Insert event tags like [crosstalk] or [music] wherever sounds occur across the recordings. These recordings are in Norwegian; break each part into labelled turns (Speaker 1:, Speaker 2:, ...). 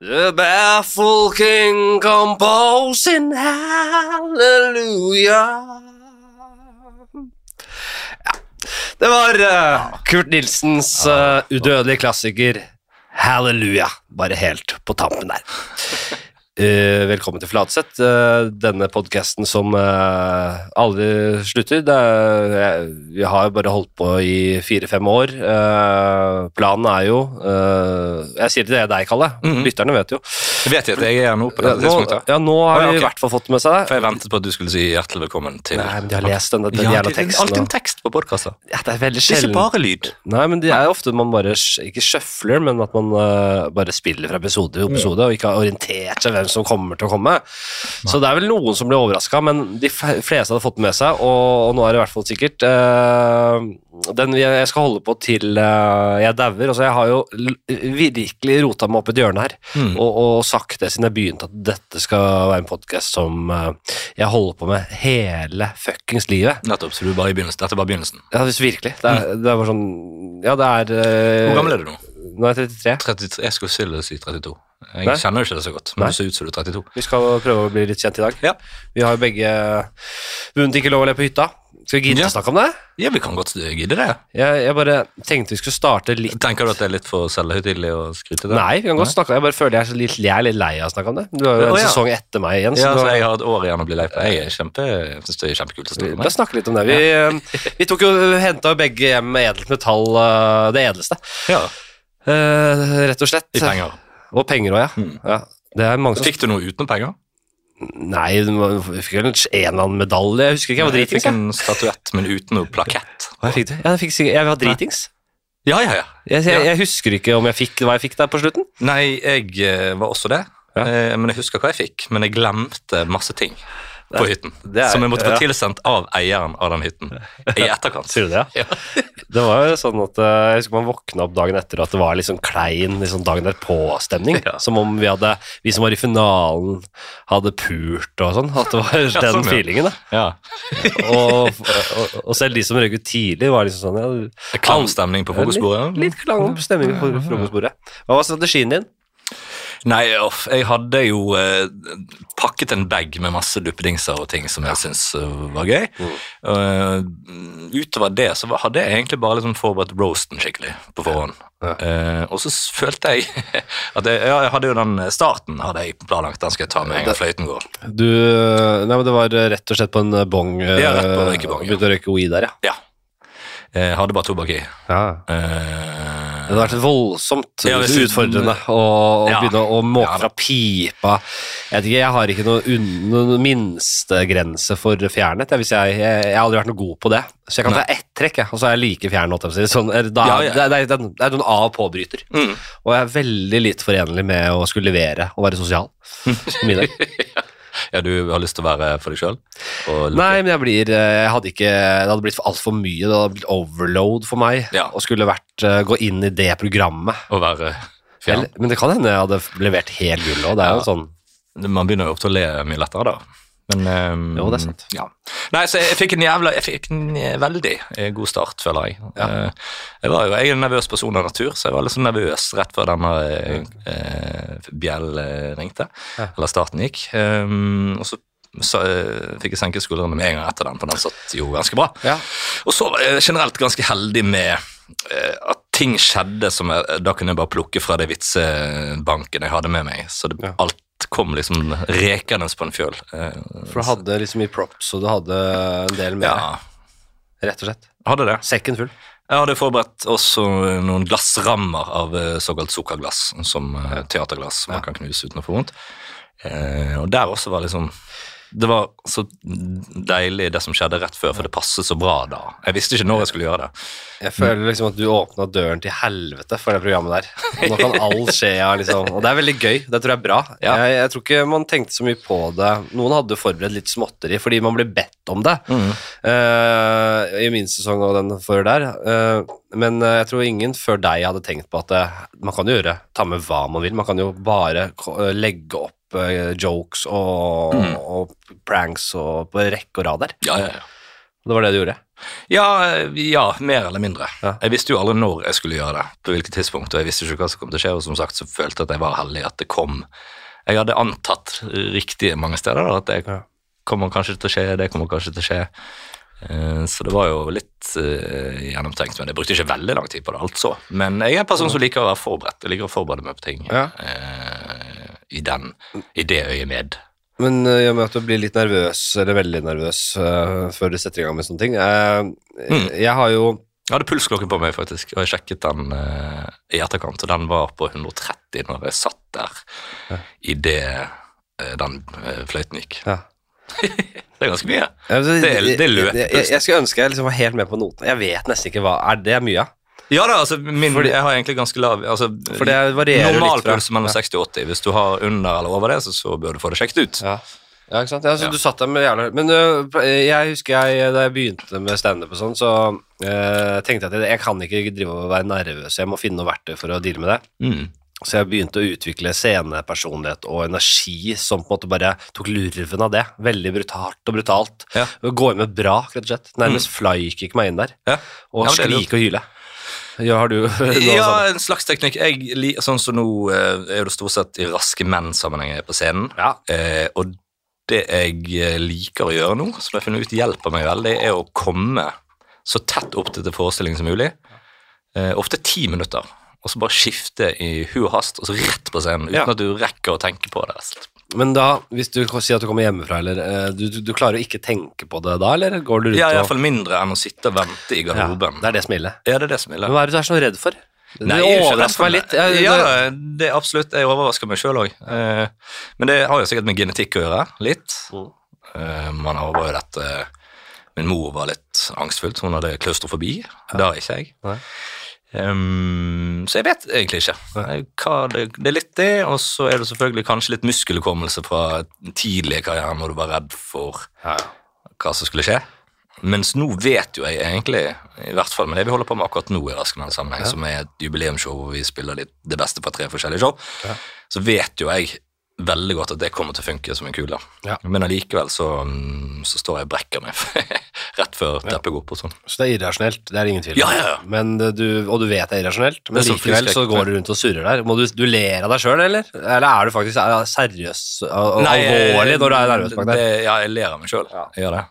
Speaker 1: The baffled king composing hallelujah. Ja. Det var eh, Kurt Nilsens eh, udødelige klassiker Hallelujah. Bare helt på tampen der. Eh, velkommen til Flatseth, eh, denne podkasten som eh, aldri slutter. Det er, jeg, vi har jo bare holdt på i fire-fem år. Eh, planen er jo eh, Jeg sier det til deg, Kalle.
Speaker 2: Mhm.
Speaker 1: Lytterne vet jo.
Speaker 2: Jeg vet jo at jeg er her nå på
Speaker 1: Ja,
Speaker 2: dette
Speaker 1: nå,
Speaker 2: tidspunktet.
Speaker 1: ja, nå har
Speaker 2: Å, ja,
Speaker 1: de i
Speaker 2: ok.
Speaker 1: hvert fall fått med seg det.
Speaker 2: For jeg ventet på at du skulle si hjertelig velkommen til
Speaker 1: Nei, men de har lest den, den
Speaker 2: Ja,
Speaker 1: jævla
Speaker 2: det er
Speaker 1: teksten.
Speaker 2: Alltid en
Speaker 1: og-
Speaker 2: tekst på podkaster.
Speaker 1: ja, det er veldig
Speaker 2: Det er ikke
Speaker 1: sjelden.
Speaker 2: bare lyd.
Speaker 1: Nei, men det er jo ofte man bare sj- ikke sjøfler, men at man eh, bare spiller fra episode til episode og ikke har orientert seg hvem som kommer til å komme. Så det er vel noen som blir overraska, men de f- fleste hadde fått det med seg, og, og nå er det i hvert fall sikkert. eh, den jeg- jeg skal holde på til eh, jeg dauer. Altså, jeg har jo l- virkelig rota meg opp i et hjørne her,
Speaker 2: Mm.
Speaker 1: og, og sagt det siden jeg begynte, at dette skal være en podkast som eh, jeg holder på med hele fuckings livet.
Speaker 2: Nettopp, så du er bare i begynnelsen. Dette er bare begynnelsen.
Speaker 1: Ja, hvis virkelig. Det er, det er bare sånn Ja, det er eh,
Speaker 2: Mm. Hvor gammel er du nå?
Speaker 1: Nå er jeg 33.
Speaker 2: 33, jeg skulle til å si 32. Jeg
Speaker 1: Nei.
Speaker 2: kjenner jo ikke det så godt,
Speaker 1: Nei.
Speaker 2: men du ser ut som du er 32.
Speaker 1: Vi skal prøve å bli litt kjent i dag.
Speaker 2: Ja.
Speaker 1: Vi har jo begge vunnet ikke lov å le på hytta. Skal vi gidde
Speaker 2: Ja.
Speaker 1: å snakke om det?
Speaker 2: Ja, vi kan godt gidde det.
Speaker 1: Jeg, jeg bare tenkte vi skulle starte litt
Speaker 2: Tenker du at det er litt for selvhøytidelig å skryte det?
Speaker 1: Nei, vi kan godt snakke om det. Jeg bare føler jeg er, så litt, jeg er litt lei av å snakke om det. Du har jo
Speaker 2: Å,
Speaker 1: en
Speaker 2: ja.
Speaker 1: sesong etter meg igjen.
Speaker 2: Ja,
Speaker 1: du
Speaker 2: så
Speaker 1: har-
Speaker 2: jeg har et år igjen å bli lei på. Jeg er kjempe, jeg synes det er kjempekult å
Speaker 1: Vi
Speaker 2: snakke
Speaker 1: bør
Speaker 2: med.
Speaker 1: snakke litt om det. Vi, [laughs] eh, vi tok jo, henta jo begge hjem edelt metall, eh, det edleste.
Speaker 2: Ja,
Speaker 1: Eh, rett og slett.
Speaker 2: i penger. Mm.
Speaker 1: Og penger òg, ja. ja. Det er mange som
Speaker 2: Fikk du noe uten penger?
Speaker 1: Nei, du må- vi fikk vel en eller annen medalje. Jeg husker ikke, jeg var
Speaker 2: Jeg
Speaker 1: dritings.
Speaker 2: fikk
Speaker 1: Jeg,
Speaker 2: en statuett, men uten noe plakett.
Speaker 1: Hva fikk du? Ja, jeg, fikk, sikkert- jeg var dritings.
Speaker 2: Ja, ja, ja.
Speaker 1: Jeg, jeg, jeg husker ikke om jeg fikk hva jeg fikk der på slutten.
Speaker 2: Nei, jeg eh, var også det.
Speaker 1: Ja.
Speaker 2: Eh, Men jeg husker hva jeg fikk. Men jeg glemte masse ting på hytten.
Speaker 1: det er-
Speaker 2: som jeg måtte få
Speaker 1: ja.
Speaker 2: tilsendt av eieren av den hytten i etterkant.
Speaker 1: [laughs] Sier du det,
Speaker 2: Ja.
Speaker 1: Det var jo sånn at eh, jeg husker man våkna opp dagen etter, og at det var litt sånn klein litt sånn dagen [laughs] derpå-stemning.
Speaker 2: Ja.
Speaker 1: Som om vi, hadde, vi som var i finalen, hadde pult og sånn. At det [laughs] var den
Speaker 2: sånn, ja.
Speaker 1: feelingen, da.
Speaker 2: Ja.
Speaker 1: Og, og, og selv de som røyk ut tidlig, var liksom sånn ja,
Speaker 2: Klamstemning på
Speaker 1: Litt,
Speaker 2: frokostbordet.
Speaker 1: litt klang stemning på frokostbordet. Hva var strategien din?
Speaker 2: Nei, off, jeg hadde jo eh, pakket en bag med masse duppedingser og ting som jeg syntes eh, var gøy.
Speaker 1: Mm.
Speaker 2: Eh, utover det så var- hadde jeg egentlig bare liksom forberedt roasten skikkelig på forhånd.
Speaker 1: Ja.
Speaker 2: Eh, og så s- følte jeg [laughs] at jeg, ja, jeg hadde jo den starten hadde jeg planlagt, den skal jeg ta med en gang fløyten går.
Speaker 1: Du eh, Nei, men det var rett og slett på en bong. eh,
Speaker 2: Ja, rett på en røykebong, ja.
Speaker 1: Begynte å røyke weed der, ja.
Speaker 2: Ja. Jeg hadde bare tobakk i. Eh,
Speaker 1: Det hadde vært voldsomt
Speaker 2: Ja, hvis du-
Speaker 1: utfordrende å, å
Speaker 2: Ja.
Speaker 1: begynne å måke
Speaker 2: Ja, da.
Speaker 1: fra pipa. Jeg vet ikke, jeg har ikke noen unn- noen minstegrense for fjernhet. Jeg, hvis jeg, jeg, jeg har aldri vært noe god på det. Så jeg kan ta ett trekk, jeg, og så er jeg like fjern. holdt jeg på å si. Sånn, er- da,
Speaker 2: Ja, ja.
Speaker 1: Det, er- det, er- det er noen av- og påbryter.
Speaker 2: Mm.
Speaker 1: Og jeg er veldig lite forenlig med å skulle levere og være
Speaker 2: [laughs]
Speaker 1: sosial. på Middag.
Speaker 2: ja, du har lyst til å være for deg sjøl?
Speaker 1: Nei, men jeg blir eh, Jeg hadde ikke Det hadde blitt altfor mye. Det hadde blitt overload for meg
Speaker 2: Ja.
Speaker 1: og skulle vært, eh, gå inn i det programmet.
Speaker 2: Å være fjern?
Speaker 1: Eller, men det kan hende jeg hadde levert hel gull òg. Det er jo
Speaker 2: Ja.
Speaker 1: sånn
Speaker 2: Man begynner jo ofte å le mye lettere da. Men ehm,
Speaker 1: Jo, det er sant.
Speaker 2: Ja. Nei, så jeg fikk en jævla Jeg fikk en eh, veldig eh, god start, føler jeg. Eh, Jeg, var jo, jeg er en nervøs person av natur, så jeg var litt sånn nervøs rett før denne eh, eh, bjellen ringte.
Speaker 1: Ja.
Speaker 2: Eller starten gikk. Ehm, og så, så eh, fikk jeg senket skuldrene med en gang etter den, for den satt jo ganske bra.
Speaker 1: Ja.
Speaker 2: Og så var jeg generelt ganske heldig med eh, at ting skjedde som jeg, eh, da kunne jeg bare plukke fra det vitsebanken jeg hadde med meg. Så det,
Speaker 1: Ja.
Speaker 2: alt kom liksom rekende på en fjøl. Eh,
Speaker 1: For du hadde liksom mye props, og du hadde en del mer,
Speaker 2: ja,
Speaker 1: rett og slett.
Speaker 2: hadde det.
Speaker 1: Sekken full.
Speaker 2: Jeg hadde forberedt også noen glassrammer av eh, såkalt sukkerglass, som eh, teaterglass som man kan knuse uten å få vondt. Eh, og der også var liksom Det var så deilig det som skjedde rett før, for det passet så bra da. Jeg visste ikke når jeg skulle gjøre det.
Speaker 1: Jeg føler liksom at du åpna døren til helvete for det programmet der. Nå kan alt skje, ja, liksom. Og det er veldig gøy. Det tror jeg er bra.
Speaker 2: Ja.
Speaker 1: Jeg, jeg tror ikke man tenkte så mye på det. Noen hadde forberedt litt småtteri fordi man ble bedt om det eh, i min sesong og den før der. Eh, men eh, jeg tror ingen før deg hadde tenkt på at eh, man kan jo gjøre ta med hva man vil. Man kan jo bare ko- eh, legge opp eh, jokes
Speaker 2: Mm.
Speaker 1: og, og pranks og på rekke og rad der.
Speaker 2: Ja, ja, ja.
Speaker 1: Det var det du gjorde.
Speaker 2: Ja, eh, ja, mer eller mindre.
Speaker 1: Ja.
Speaker 2: Jeg visste jo aldri når jeg skulle gjøre det, på hvilket tidspunkt, og jeg visste ikke hva som kom til å skje, og som sagt så følte jeg at jeg var heldig at det kom. Jeg hadde antatt riktig mange steder da, at det
Speaker 1: Ja.
Speaker 2: kommer kanskje til å skje, det kommer kanskje til å skje. Eh, Så det var jo litt eh, gjennomtenkt, men jeg brukte ikke veldig lang tid på det, altså. Men jeg er en person som liker å være forberedt, jeg liker å forberede meg på ting
Speaker 1: Ja.
Speaker 2: eh, i, den, i det øyet med.
Speaker 1: Men eh, i og med at du blir litt nervøs, eller veldig nervøs, eh, før du setter i gang med sånne ting eh,
Speaker 2: Mm.
Speaker 1: Jeg har jo
Speaker 2: Jeg hadde pulsklokken på meg, faktisk, og jeg sjekket den eh, i etterkant. Og den var på 130 når jeg satt der idet uh, den eh, fløyten gikk.
Speaker 1: ja.
Speaker 2: Det er ganske mye.
Speaker 1: Altså,
Speaker 2: Det er- det er løp,
Speaker 1: Jeg, jeg, jeg skulle ønske jeg liksom var helt med på notene. Jeg vet nesten ikke hva er det er mye av.
Speaker 2: Ja da, altså, min, jeg har egentlig ganske lav altså,
Speaker 1: For det varierer jo
Speaker 2: Normal
Speaker 1: litt fra
Speaker 2: puls er mellom 60 og 80. Hvis du har under eller over det, så, så bør du få det sjekket ut.
Speaker 1: Ja. Ja, ikke sant? Ja, så
Speaker 2: Ja.
Speaker 1: Du satt der med jævla Men øh, jeg husker jeg, øh, da jeg begynte med standup og sånn, så øh, tenkte jeg at jeg, jeg kan ikke drive og være nervøs, jeg må finne noe verktøy for å deale med det.
Speaker 2: Mm.
Speaker 1: Så jeg begynte å utvikle scenepersonlighet og energi som på en måte bare tok lurven av det. Veldig brutalt og brutalt.
Speaker 2: Ja. Mm.
Speaker 1: Gå inn med brak, rett og slett. Nærmest flykick meg inn der.
Speaker 2: Ja.
Speaker 1: Og
Speaker 2: Ja, men det er lurt.
Speaker 1: skrike og hyle. Ja, har du [laughs] noe sånt?
Speaker 2: Ja, en slags teknikk. Jeg, li- sånn som nå eh, er det stort sett i Raske menn-sammenheng jeg er på scenen.
Speaker 1: Ja.
Speaker 2: Eh, og det jeg eh, liker å gjøre nå, som jeg har funnet ut hjelper meg veldig, er å komme så tett opp til til forestillingen som mulig. Eh, ofte ti minutter. Og så bare skifte i hu og hast, og så rett på scenen. Uten
Speaker 1: Ja.
Speaker 2: at du rekker å tenke på det. rett og slett.
Speaker 1: Men da, hvis du sier at du kommer hjemmefra, eller øh, du, du, du klarer å ikke tenke på det da, eller går du rundt
Speaker 2: Ja, i hvert
Speaker 1: og
Speaker 2: fall mindre enn å sitte og vente i
Speaker 1: ja,
Speaker 2: garderoben.
Speaker 1: Det er det som gjelder.
Speaker 2: Ja, det er det som gjelder.
Speaker 1: Men hva er det du er så redd for?
Speaker 2: Nei,
Speaker 1: det
Speaker 2: jeg er ikke redd
Speaker 1: overrasker
Speaker 2: for
Speaker 1: meg litt. Jeg,
Speaker 2: ja,
Speaker 1: det,
Speaker 2: da, det er absolutt. Jeg overrasker meg sjøl òg. Men det har jo sikkert med genetikk å gjøre. Litt.
Speaker 1: Mm.
Speaker 2: Eh, Man arver jo dette Min mor var litt angstfull. så Hun hadde klaustrofobi. Det har ikke jeg.
Speaker 1: Nei.
Speaker 2: Ehm, så jeg vet egentlig ikke. Eh, Hva det, det er litt det, og så er det selvfølgelig kanskje litt muskelhukommelse fra tidlig i karrieren når du var redd for
Speaker 1: ja, ja.
Speaker 2: hva som skulle skje. Mens nå vet jo jeg egentlig, i hvert fall med det vi holder på med akkurat nå, i Raske menn sammenheng, som er et jubileumsshow hvor vi spiller litt det beste fra tre forskjellige show, så vet jo jeg veldig godt at det kommer til å funke som en kule.
Speaker 1: Ja.
Speaker 2: Men allikevel så, mm, så står jeg og brekker meg [laughs] rett før teppet går opp og sånn.
Speaker 1: Så det er irrasjonelt, det er ingen tvil. om.
Speaker 2: Ja, ja, ja.
Speaker 1: Men eh, du, og du vet det er irrasjonelt, men
Speaker 2: Det er så
Speaker 1: likevel så
Speaker 2: fryskrekk,
Speaker 1: går du rundt og surrer der. Må du, du ler av deg sjøl, eller? Eller er du faktisk er, du seriøs og og alvorlig når du er nervøs bak der?
Speaker 2: det- Ja, jeg ler av meg sjøl.
Speaker 1: Ja.
Speaker 2: Jeg gjør det.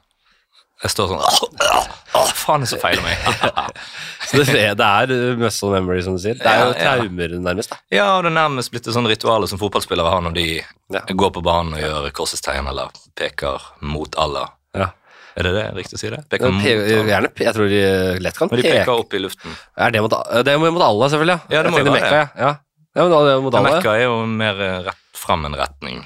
Speaker 2: Jeg står sånn [laughs] Åh, åh, åh, faen, det er så feil av
Speaker 1: [laughs]
Speaker 2: meg.
Speaker 1: Så det, det er eh, muscle memory, som du sier. Det er jo
Speaker 2: Ja, ja.
Speaker 1: traumer, nærmest. da.
Speaker 2: Ja, det er nærmest blitt et sånn ritual som fotballspillere har når de
Speaker 1: Ja.
Speaker 2: går på banen og gjør korsets tegn eller peker mot Allah.
Speaker 1: Ja.
Speaker 2: Er det det riktig å si det?
Speaker 1: Pe
Speaker 2: Peker mot Allah.
Speaker 1: gjerne, pe- jeg tror de eh, lett kan
Speaker 2: Men Mm. de
Speaker 1: peke.
Speaker 2: peker opp i luften.
Speaker 1: Er det, mot, det er mot alle, selvfølgelig.
Speaker 2: Ja, det må
Speaker 1: Jeg
Speaker 2: jo
Speaker 1: tenkte
Speaker 2: være
Speaker 1: Mekka, ja. Ja. ja, men det er mot alle.
Speaker 2: Mekka er jo mer eh, rett fram en retning.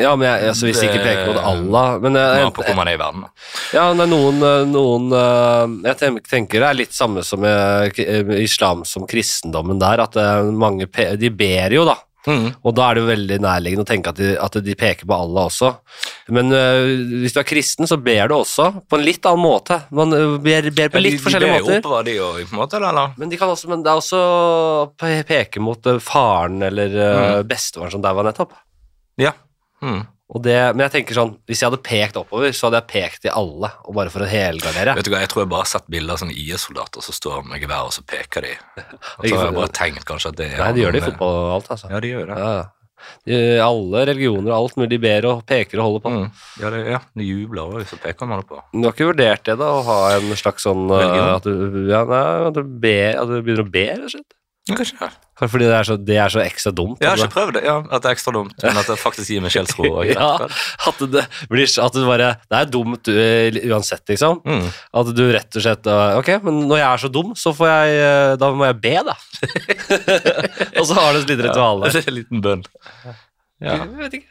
Speaker 1: Ja, men jeg, altså, hvis jeg ikke
Speaker 2: Det-
Speaker 1: peker mot Allah men jeg,
Speaker 2: Man på hvor man er i verden. da.
Speaker 1: Ja, det er noen, noen eh, Jeg ten- tenker det er litt samme som eh, k- eh, islam som kristendommen der, at eh, mange pe De ber jo, da.
Speaker 2: Mhm.
Speaker 1: Og da er det jo veldig nærliggende å tenke at de, at de peker på Allah også. Men eh, hvis du er kristen, så ber du også på en litt annen måte. Man eh, ber, ber på
Speaker 2: Ja, de-
Speaker 1: litt forskjellige
Speaker 2: De ber jo
Speaker 1: måter.
Speaker 2: oppover, de òg, på en måte. Eller?
Speaker 1: Men, de kan også, men det er også å pe- peke mot eh, faren eller
Speaker 2: Mm.
Speaker 1: eh, bestefaren som daua nettopp.
Speaker 2: Ja. Mhm.
Speaker 1: Og det, men jeg tenker sånn, hvis jeg hadde pekt oppover, så hadde jeg pekt til alle, og bare for å helgardere.
Speaker 2: Vet du hva, Jeg tror jeg bare har sett bilder av sånne IS-soldater som står med gevær, og
Speaker 1: [laughs]
Speaker 2: så peker de. Og så har jeg bare tenkt kanskje at det er
Speaker 1: Nei, de gjør det i
Speaker 2: noen-
Speaker 1: fotball og alt, altså.
Speaker 2: eh, Ja, de gjør det.
Speaker 1: Ja, ja. De- Alle religioner og alt mulig, de ber og peker og holder på.
Speaker 2: Mhm. Ja, det, ja, de jubler òg, så peker man oppover.
Speaker 1: Men Du har ikke vurdert det, da, å ha en slags sånn uh,
Speaker 2: Religion?
Speaker 1: at, du, ja, nei, at, du ber, at du begynner å be, rett og slett?
Speaker 2: Kanskje det.
Speaker 1: Kanskje fordi det er så, det er så ekstra dumt?
Speaker 2: Jeg har
Speaker 1: at
Speaker 2: [laughs] ikke prøvd det. Ja, at det er ekstra dumt, men at det faktisk gir meg sjelsro. og
Speaker 1: det- [laughs]
Speaker 2: jeg
Speaker 1: ja,
Speaker 2: vet det.
Speaker 1: at det blir så- at det bare Det er dumt uh, uansett, liksom.
Speaker 2: Mm.
Speaker 1: At du rett og slett uh, Ok, men når jeg er så dum, så får jeg uh, Da må jeg be, da. [laughs] og så har du et lite ritual der.
Speaker 2: [laughs] Det er en liten bønn. Ja.
Speaker 1: Jeg vet ikke.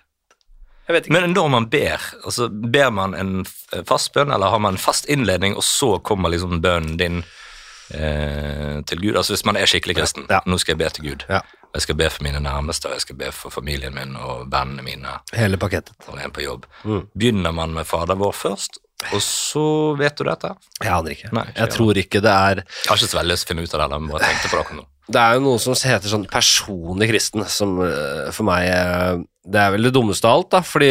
Speaker 1: Jeg vet ikke.
Speaker 2: Men når man ber, altså ber man en f- eh, fast bønn, eller har man en fast innledning, og så kommer liksom bønnen din eh, til Gud? Altså hvis man er skikkelig kristen,
Speaker 1: Ja.
Speaker 2: nå skal jeg be til Gud.
Speaker 1: Ja.
Speaker 2: Jeg skal be for mine nærmeste, og jeg skal be for familien min og vennene mine
Speaker 1: Hele pakketten.
Speaker 2: når jeg er på jobb.
Speaker 1: Mm.
Speaker 2: Begynner man med Fader vår først, og så vet du dette?
Speaker 1: Jeg aner ikke.
Speaker 2: Nei, ikke
Speaker 1: jeg
Speaker 2: jeg
Speaker 1: tror ikke det er
Speaker 2: Jeg har ikke så veldig lyst til å finne ut av det, men bare tenkte på det akkurat nå.
Speaker 1: Det er jo noe som heter sånn personlig kristen, som øh, eh, for meg øh, Det er vel det dummeste av alt, da. Fordi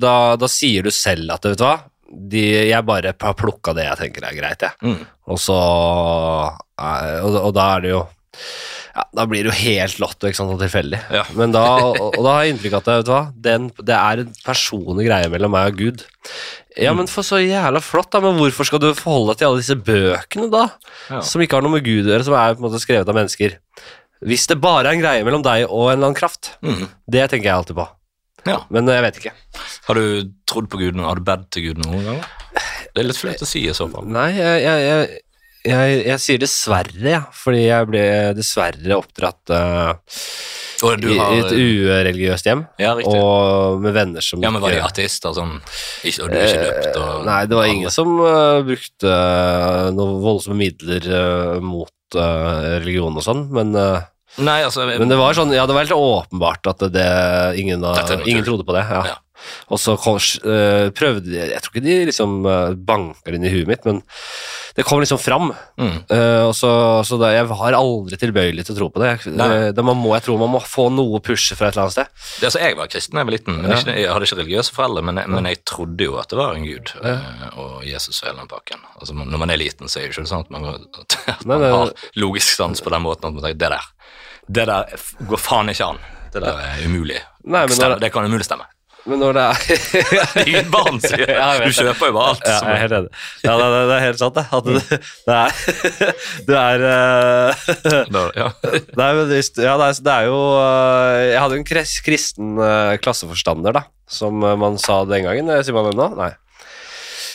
Speaker 1: da, da sier du selv at vet du hva de, jeg bare har plukka det jeg tenker er greit, jeg.
Speaker 2: Mm.
Speaker 1: Og så eh, og, og da er det jo ja, Da blir det jo helt lotto ikke sant, og tilfeldig.
Speaker 2: Ja.
Speaker 1: Men da, og, og da har jeg inntrykk av at vet du hva, den, det er en personlig greie mellom meg og Gud. Ja, men for så jævla flott, da. Men hvorfor skal du forholde deg til alle disse bøkene, da?
Speaker 2: Ja.
Speaker 1: Som ikke har noe med Gud å gjøre, som er på en måte skrevet av mennesker. Hvis det bare er en greie mellom deg og en eller annen kraft.
Speaker 2: Mm.
Speaker 1: Det tenker jeg alltid på.
Speaker 2: Ja.
Speaker 1: Men jeg vet ikke.
Speaker 2: Har du trodd på Gud noen Har du bedt til Gud noen gang? Det er litt flaut å si i så fall.
Speaker 1: Nei, jeg, jeg, jeg, jeg, jeg sier dessverre, ja. Fordi jeg ble dessverre oppdratt eh,
Speaker 2: Og du
Speaker 1: i, i et
Speaker 2: har,
Speaker 1: ureligiøst hjem.
Speaker 2: ja, riktig.
Speaker 1: Og med venner som
Speaker 2: Ja, men Var de
Speaker 1: ikke-
Speaker 2: ateister sånn, ikke, og du er ikke døpt? Og,
Speaker 1: Eh, Nei, det var ingen som eh, brukte eh, noen voldsomme midler eh, mot eh, religion og sånn, men, eh,
Speaker 2: Nei, altså, jeg,
Speaker 1: men det var sånn, ja, det var helt åpenbart at det, det ingen, av-
Speaker 2: Dette er naturlig.
Speaker 1: ingen trodde på det. Ja.
Speaker 2: Ja.
Speaker 1: Og så kom- eh, prøvde de, jeg tror ikke de liksom eh, banker det inn i huet mitt, men det kom liksom fram.
Speaker 2: mm,
Speaker 1: Eh, og så, så da, Jeg har aldri tilbøyelig til å tro på det. Jeg,
Speaker 2: Nei.
Speaker 1: eh, da man må, jeg tror man må få noe å pushe fra et eller annet sted.
Speaker 2: det, altså, jeg var kristen da jeg var liten. Men
Speaker 1: Ja.
Speaker 2: ikke, jeg hadde ikke religiøse foreldre, men jeg, men jeg trodde jo at det var en gud eh, og Jesus og hele den pakken. Altså, man- når man er liten, så er det jo ikke sånn at man, går- at
Speaker 1: Nei,
Speaker 2: man
Speaker 1: nei.
Speaker 2: har logisk sans på den måten at man tenker det der, det der f- går faen ikke an. Det der er umulig.
Speaker 1: Nei, men
Speaker 2: Stem-
Speaker 1: når-
Speaker 2: det kan umulig stemme.
Speaker 1: Men når det er
Speaker 2: Det er jo barn, sier jeg.
Speaker 1: [laughs] Ja, jeg vet
Speaker 2: Du kjøper jo bare alt.
Speaker 1: Ja,
Speaker 2: som-
Speaker 1: jeg er helt enig. Ja, det, det, det er helt sant, det. At det, det er [laughs] Det er eh, [laughs]
Speaker 2: Da- ja.
Speaker 1: det er, jo lyst- ja, det, er, det er jo eh, Jeg hadde jo en kres, kristen eh, klasseforstander, da, som eh, man sa den gangen. eh, Sier man det nå? Nei.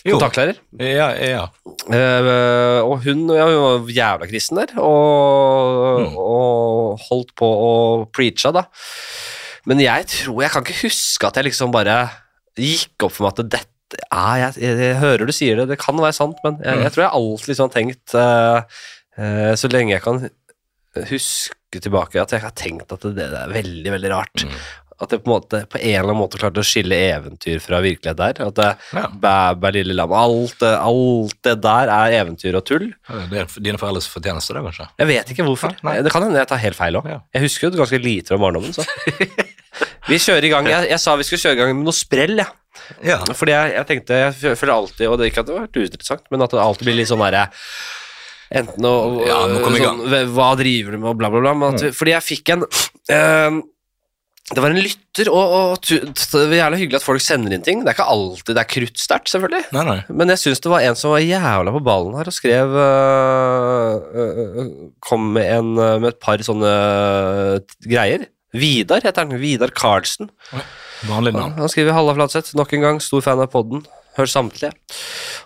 Speaker 2: Jo.
Speaker 1: Kontaktlærer.
Speaker 2: Ja, ja.
Speaker 1: Eh, og hun, ja, hun var jævla kristen der, og,
Speaker 2: Mm.
Speaker 1: og holdt på å preacha, da. Men jeg tror Jeg kan ikke huske at jeg liksom bare gikk opp for meg at dette ja, jeg, jeg, jeg hører du sier det, det kan være sant, men jeg,
Speaker 2: Mm.
Speaker 1: jeg tror jeg alltid liksom har tenkt eh, eh, Så lenge jeg kan huske tilbake, at jeg har tenkt at det, det er veldig, veldig rart.
Speaker 2: Mm.
Speaker 1: At jeg på en, måte, på en eller annen måte klarte å skille eventyr fra virkelighet der. At det,
Speaker 2: ja.
Speaker 1: Bæbær, lille lam. Alt, det- alt det der er eventyr og tull.
Speaker 2: Det er dine foreldres fortjeneste, det, kanskje?
Speaker 1: Jeg vet ikke hvorfor.
Speaker 2: Nei, nei.
Speaker 1: Det kan hende jeg tar helt feil òg.
Speaker 2: Ja.
Speaker 1: Jeg husker jo ganske lite om barndommen. Så. [laughs] Vi kjører i gang, jeg, jeg sa vi skulle kjøre i gang med noe sprell, jeg.
Speaker 2: Ja.
Speaker 1: Fordi jeg, jeg tenkte, jeg fø- føler alltid, og det er ikke at det har vært uinteressant, men at det alltid blir litt sånn derre Enten å
Speaker 2: Ja, nå kom vi i gang. Mm.
Speaker 1: sånn, hve- Hva driver du med, og bla, bla, bla. Men at, Fordi jeg fikk en eh, Det var en lytter, og, og tu, det er jævla hyggelig at folk sender inn ting. Det er ikke alltid det er kruttsterkt, selvfølgelig.
Speaker 2: Nei, nei.
Speaker 1: Men jeg syns det var en som var jævla på ballen her og skrev øh, øh, øh, Kom med, en, øh, med et par sånne øh, t- greier. Vidar heter han. Vidar Karlsen.
Speaker 2: Vanlig
Speaker 1: Han,
Speaker 2: navn.
Speaker 1: han skriver Halla, Flatseth. Nok en gang, stor fan av podden. Hør samtlige.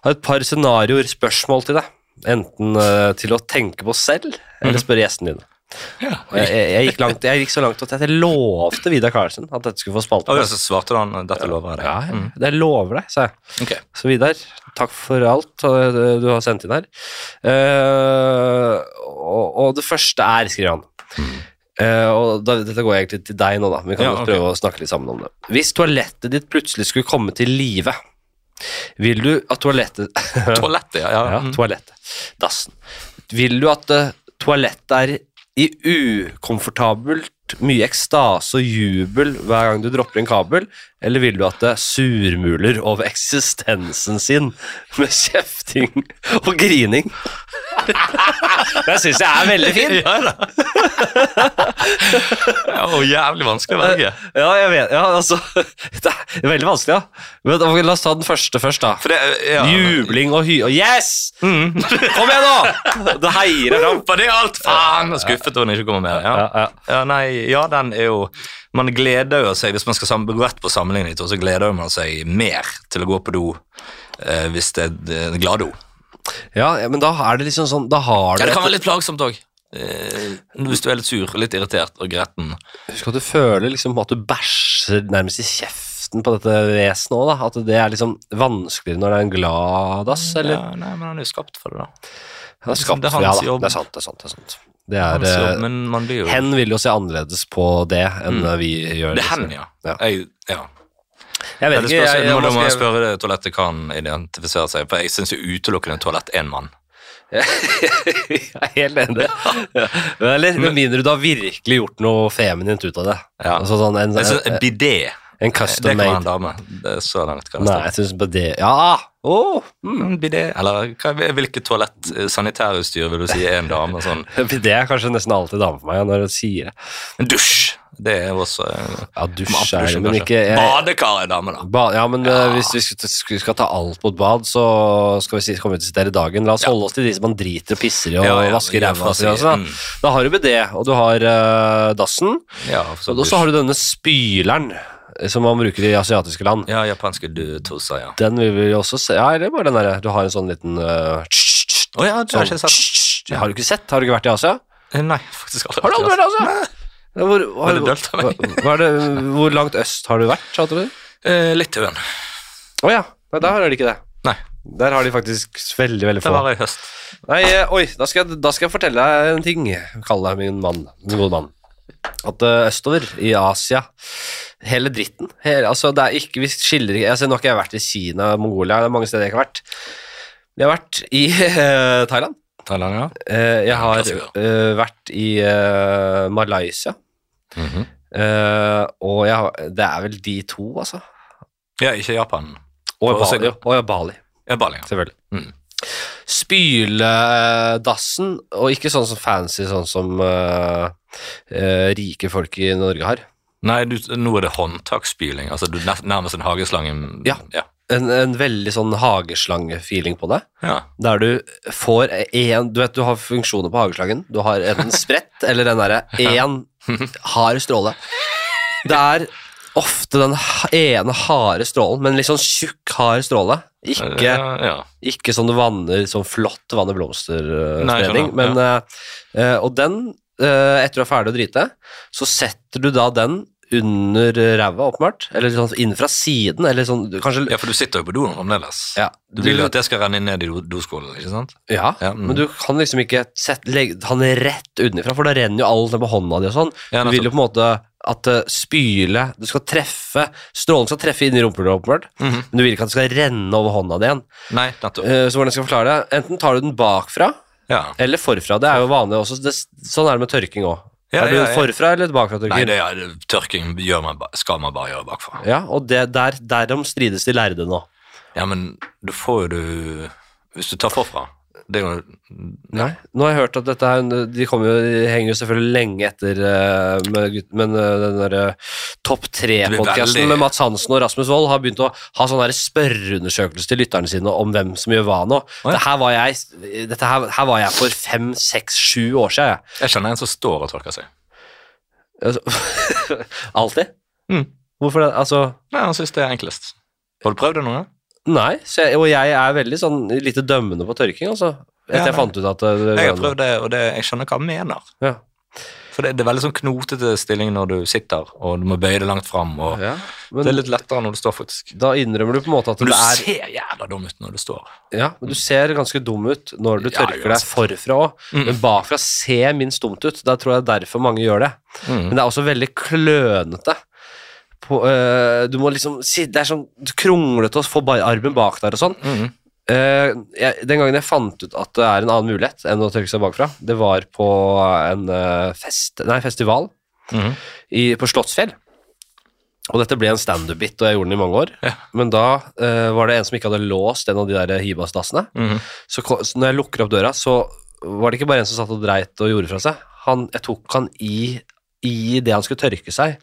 Speaker 1: Har et par scenarioer, spørsmål til deg. Enten øh, til å tenke på selv, eller spørre gjestene dine.
Speaker 2: Ja.
Speaker 1: Og Jeg, jeg, jeg, gikk langt, jeg gikk så langt at jeg lovte Vidar Karlsen at dette skulle få spalte.
Speaker 2: Og så svarte han dette lover jeg deg.
Speaker 1: Ja, jeg, jeg lover deg, sa jeg.
Speaker 2: Ok.
Speaker 1: Så Vidar, takk for alt eh, du har sendt inn her. Eh, og, og det første er, skriver han Eh, og da, Dette går egentlig til deg nå, da. Vi kan
Speaker 2: Mm. Ja,
Speaker 1: jo
Speaker 2: ok.
Speaker 1: prøve å snakke litt sammen om det. Hvis toalettet ditt plutselig skulle komme til live, vil du at toalettet
Speaker 2: Toalettet, ja.
Speaker 1: Ja,
Speaker 2: ja. Mm.
Speaker 1: toalettet. Dassen. Vil du at eh, toalettet er i ukomfortabelt mye ekstase og jubel hver gang du dropper en kabel, eller vil du at det surmuler over eksistensen sin med kjefting og grining? [laughs] Det syns jeg er veldig fint.
Speaker 2: Ja da. [laughs] ja, og jævlig vanskelig å velge.
Speaker 1: Ja, jeg vet, ja, altså, [laughs] det er veldig vanskelig, ja. Men da- la oss ta den første først, da.
Speaker 2: For det, ja.
Speaker 1: Jubling og hy... og Yes! [laughs] Kom igjen, nå! Det heier jeg fram.
Speaker 2: Var det alt? Faen! Jeg er Skuffet over den ikke kommer mer. Ja.
Speaker 1: Ja, ja.
Speaker 2: Ja, nei, ja, den er jo Man gleder jo seg, hvis man skal sam- gå rett på sammenligning, så gleder man seg mer til å gå på do eh, hvis det er en gladdo.
Speaker 1: Ja, ja, men da er det liksom sånn Da har du
Speaker 2: Ja, det
Speaker 1: et-
Speaker 2: kan være litt plagsomt òg. Eh, hvis du er litt sur, litt irritert og gretten.
Speaker 1: Husk at du føler liksom at du bæsjer nærmest i kjeften på dette vesenet òg, da. At det er liksom vanskeligere når det er en glad dass, eller
Speaker 2: Ja, nei, men han er jo skapt for det, da.
Speaker 1: Det er skapt
Speaker 2: det er
Speaker 1: for ja,
Speaker 2: hans
Speaker 1: da.
Speaker 2: jobb.
Speaker 1: Det er sant, det er sant. Det er sant. Det
Speaker 2: Han
Speaker 1: er,
Speaker 2: er så-
Speaker 1: eh,
Speaker 2: men man blir jo
Speaker 1: hen vil jo se annerledes på det enn eh, vi gjør.
Speaker 2: Mm. Det er
Speaker 1: liksom.
Speaker 2: hen, ja.
Speaker 1: Ja.
Speaker 2: Jeg,
Speaker 1: Jeg
Speaker 2: ja. Ja,
Speaker 1: vet
Speaker 2: det
Speaker 1: ikke,
Speaker 2: spørs,
Speaker 1: jeg, jeg,
Speaker 2: nå må jeg
Speaker 1: jeg,
Speaker 2: spørre det toalettet kan identifisere seg, for jeg syns utelukkende toalett er en mann.
Speaker 1: [laughs] jeg er helt enig. [laughs] Ja. Eller med mindre du har virkelig gjort noe feminint ut av det.
Speaker 2: Ja.
Speaker 1: Altså sånn en,
Speaker 2: Jeg synes, en bidé
Speaker 1: En
Speaker 2: Det
Speaker 1: custom
Speaker 2: kan være en
Speaker 1: made.
Speaker 2: dame. Det er så langt kan det
Speaker 1: Nei,
Speaker 2: stå.
Speaker 1: jeg syns bare det Ja! Åh,
Speaker 2: Mm, bidé. Eller hva, hvilket toalett eh, sanitærutstyr vil du si er en dame? Sånn.
Speaker 1: [laughs] Det er kanskje nesten alltid dame for meg ja, når jeg sier det.
Speaker 2: En dusj! Det er jo også eh,
Speaker 1: Ja, dusj er det,
Speaker 2: dusjen,
Speaker 1: men
Speaker 2: kanskje.
Speaker 1: ikke jeg,
Speaker 2: Badekar er dame, da.
Speaker 1: ba, Ja, men eh, hvis vi skal, skal- skal ta alt mot bad, så skal vi si, komme ut til der i dagen. La oss holde oss til de som man driter og pisser i og
Speaker 2: Ja, ja,
Speaker 1: vasker
Speaker 2: ja,
Speaker 1: ræva si.
Speaker 2: vasker,
Speaker 1: Altså, da.
Speaker 2: mm.
Speaker 1: da har du bidé, og du har eh, dassen.
Speaker 2: Ja, for så
Speaker 1: Og så
Speaker 2: dusj.
Speaker 1: har du denne spyleren eh, som man bruker i asiatiske land.
Speaker 2: ja japanske du- toser, ja.
Speaker 1: Den vil vi også se. Ja, eller bare den derre Du har en sånn liten eh, tss, tss,
Speaker 2: Å ja, det har jeg ikke
Speaker 1: sånn,
Speaker 2: sett.
Speaker 1: tss, tss. Det Har du ikke sett? Har du ikke vært i Asia?
Speaker 2: Eh, Nei, faktisk aldri.
Speaker 1: Har du aldri vært i Asia? Ja, Hvor,
Speaker 2: Var det dølt av meg?
Speaker 1: hva- hva er det, hvor langt øst har du vært, sa du?
Speaker 2: Eh, Litauen.
Speaker 1: Å ja. Nei, der har de ikke det.
Speaker 2: Nei,
Speaker 1: Der har de faktisk veldig, veldig
Speaker 2: det
Speaker 1: få.
Speaker 2: var i høst.
Speaker 1: Nei, eh, oi, da skal, jeg, da skal jeg fortelle deg en ting, kalle deg min mann, min gode mann. At eh, østover i Asia, hele dritten, hele, altså det er ikke, vi skiller ikke, altså nå har ikke jeg vært i Kina, Mongolia, det er mange steder jeg ikke har vært. Jeg har vært i [laughs] eh, Thailand,
Speaker 2: Thailand, ja.
Speaker 1: Eh, jeg har
Speaker 2: Klassiker.
Speaker 1: eh, vært i eh, Malaysia,
Speaker 2: Mhm.
Speaker 1: Eh, og jeg, har- det er vel de to, altså.
Speaker 2: Ja, ikke Japan.
Speaker 1: Og
Speaker 2: Og
Speaker 1: Bali,
Speaker 2: Singapore.
Speaker 1: og Bali,
Speaker 2: Ja, Bali, ja.
Speaker 1: selvfølgelig.
Speaker 2: Mm.
Speaker 1: spyledassen, og ikke sånn som fancy, sånn som eh, eh, rike folk i Norge har.
Speaker 2: Nei, du, nå er det håndtaksspyling. Altså, du er nær- nærmest en hageslange.
Speaker 1: Ja.
Speaker 2: ja.
Speaker 1: En, en veldig sånn hageslange-feeling på det,
Speaker 2: Ja.
Speaker 1: der du får én Du vet du har funksjoner på hageslangen. Du har enten sprett [laughs] eller den derre én hard stråle. Det er ofte den ha- ene harde strålen, men litt sånn tjukk, hard stråle. Ikke
Speaker 2: eh, Ja, ja.
Speaker 1: Ikke sånn du vanner sånn flott vanner
Speaker 2: Nei, jeg
Speaker 1: blomsterspredning,
Speaker 2: skjønner,
Speaker 1: men eh, eh, Og den, eh, etter du er ferdig å drite, så setter du da den under ræva, åpenbart. Eller sånn inn fra siden, eller sånn du- Kanskje
Speaker 2: ja, for du sitter jo på doen fremdeles.
Speaker 1: Ja,
Speaker 2: Du vil jo at det skal renne ned i do- doskålen, ikke sant?
Speaker 1: ja,
Speaker 2: Ja, mm.
Speaker 1: men du kan liksom ikke sette, legge han rett utenfra, for da renner jo alt ned på hånda di og sånn.
Speaker 2: Ja,
Speaker 1: du vil jo
Speaker 2: nettopp.
Speaker 1: på en måte at eh, spyle Du skal treffe Strålen skal treffe inn i rumpehullet, åpenbart,
Speaker 2: Mhm.
Speaker 1: men du vil ikke at det skal renne over hånda di igjen.
Speaker 2: Nei, nettopp.
Speaker 1: Eh, så hvordan skal jeg forklare det? Enten tar du den bakfra,
Speaker 2: Ja.
Speaker 1: Eller forfra. Det er jo vanlig også. Det, sånn er det med tørking òg.
Speaker 2: Ja,
Speaker 1: er du
Speaker 2: ja, ja.
Speaker 1: forfra eller bakfra
Speaker 2: Nei,
Speaker 1: tørker?
Speaker 2: det, ja, det- tørking gjør man, ba- skal man bare gjøre bakfra.
Speaker 1: Ja, og det, der, derom strides de lærde nå.
Speaker 2: Ja, men du får jo du Hvis du tar forfra, det er jo
Speaker 1: Nei. Nå har jeg hørt at dette er en- De kommer jo, de henger jo selvfølgelig lenge etter eh, med, gutt- men eh, den derre Topp
Speaker 2: Det blir
Speaker 1: tre-podkasten
Speaker 2: veldig-
Speaker 1: med Mats Hansen og Rasmus Wold har begynt å ha sånn der spørreundersøkelse til lytterne sine om hvem som gjør hva nå.
Speaker 2: ja.
Speaker 1: Dette, her var jeg, dette her, her var jeg for fem, seks, sju år siden, jeg.
Speaker 2: Jeg kjenner en som står og tørker seg.
Speaker 1: Altså, [laughs] Alltid.
Speaker 2: Mm.
Speaker 1: Hvorfor det? Altså
Speaker 2: Nei, han syns det er enklest. Har du prøvd det noen gang?
Speaker 1: Nei, så jeg, og jeg er veldig sånn lite dømmende på tørking, altså. Etter jeg
Speaker 2: Ja, nei.
Speaker 1: fant ut at det, det,
Speaker 2: Jeg har prøvd det, og det, jeg skjønner hva han mener.
Speaker 1: Ja.
Speaker 2: For det, det er veldig sånn knotete stilling når du sitter, og du må bøye det langt fram. Og
Speaker 1: Ja,
Speaker 2: det er
Speaker 1: men
Speaker 2: litt lettere når du står, faktisk.
Speaker 1: da innrømmer du på en måte at
Speaker 2: Men
Speaker 1: du
Speaker 2: du
Speaker 1: er
Speaker 2: ser jævla dum ut når du står.
Speaker 1: Ja, men du ser ganske dum ut når du
Speaker 2: Ja,
Speaker 1: tørker deg
Speaker 2: uansett.
Speaker 1: forfra òg,
Speaker 2: Mm.
Speaker 1: men bakfra ser minst dumt ut. Da tror jeg derfor mange gjør det. Men det er også veldig klønete. På, øh, du må liksom si, Det er sånn kronglete å få bare armen bak der og sånn.
Speaker 2: Mhm.
Speaker 1: Eh, jeg, den gangen jeg fant ut at det er en annen mulighet enn å tørke seg bakfra, det var på en eh, fest, nei, festival
Speaker 2: Mhm.
Speaker 1: i, på Slottsfjell. Og dette ble en standup-bit, og jeg gjorde den i mange år.
Speaker 2: Ja.
Speaker 1: Men da eh, var det en som ikke hadde låst en av de der Hibas-dassene.
Speaker 2: Mhm.
Speaker 1: Så, ko- så når jeg lukker opp døra, så var det ikke bare en som satt og dreit og gjorde fra seg. Han, jeg tok han i, i det han skulle tørke seg.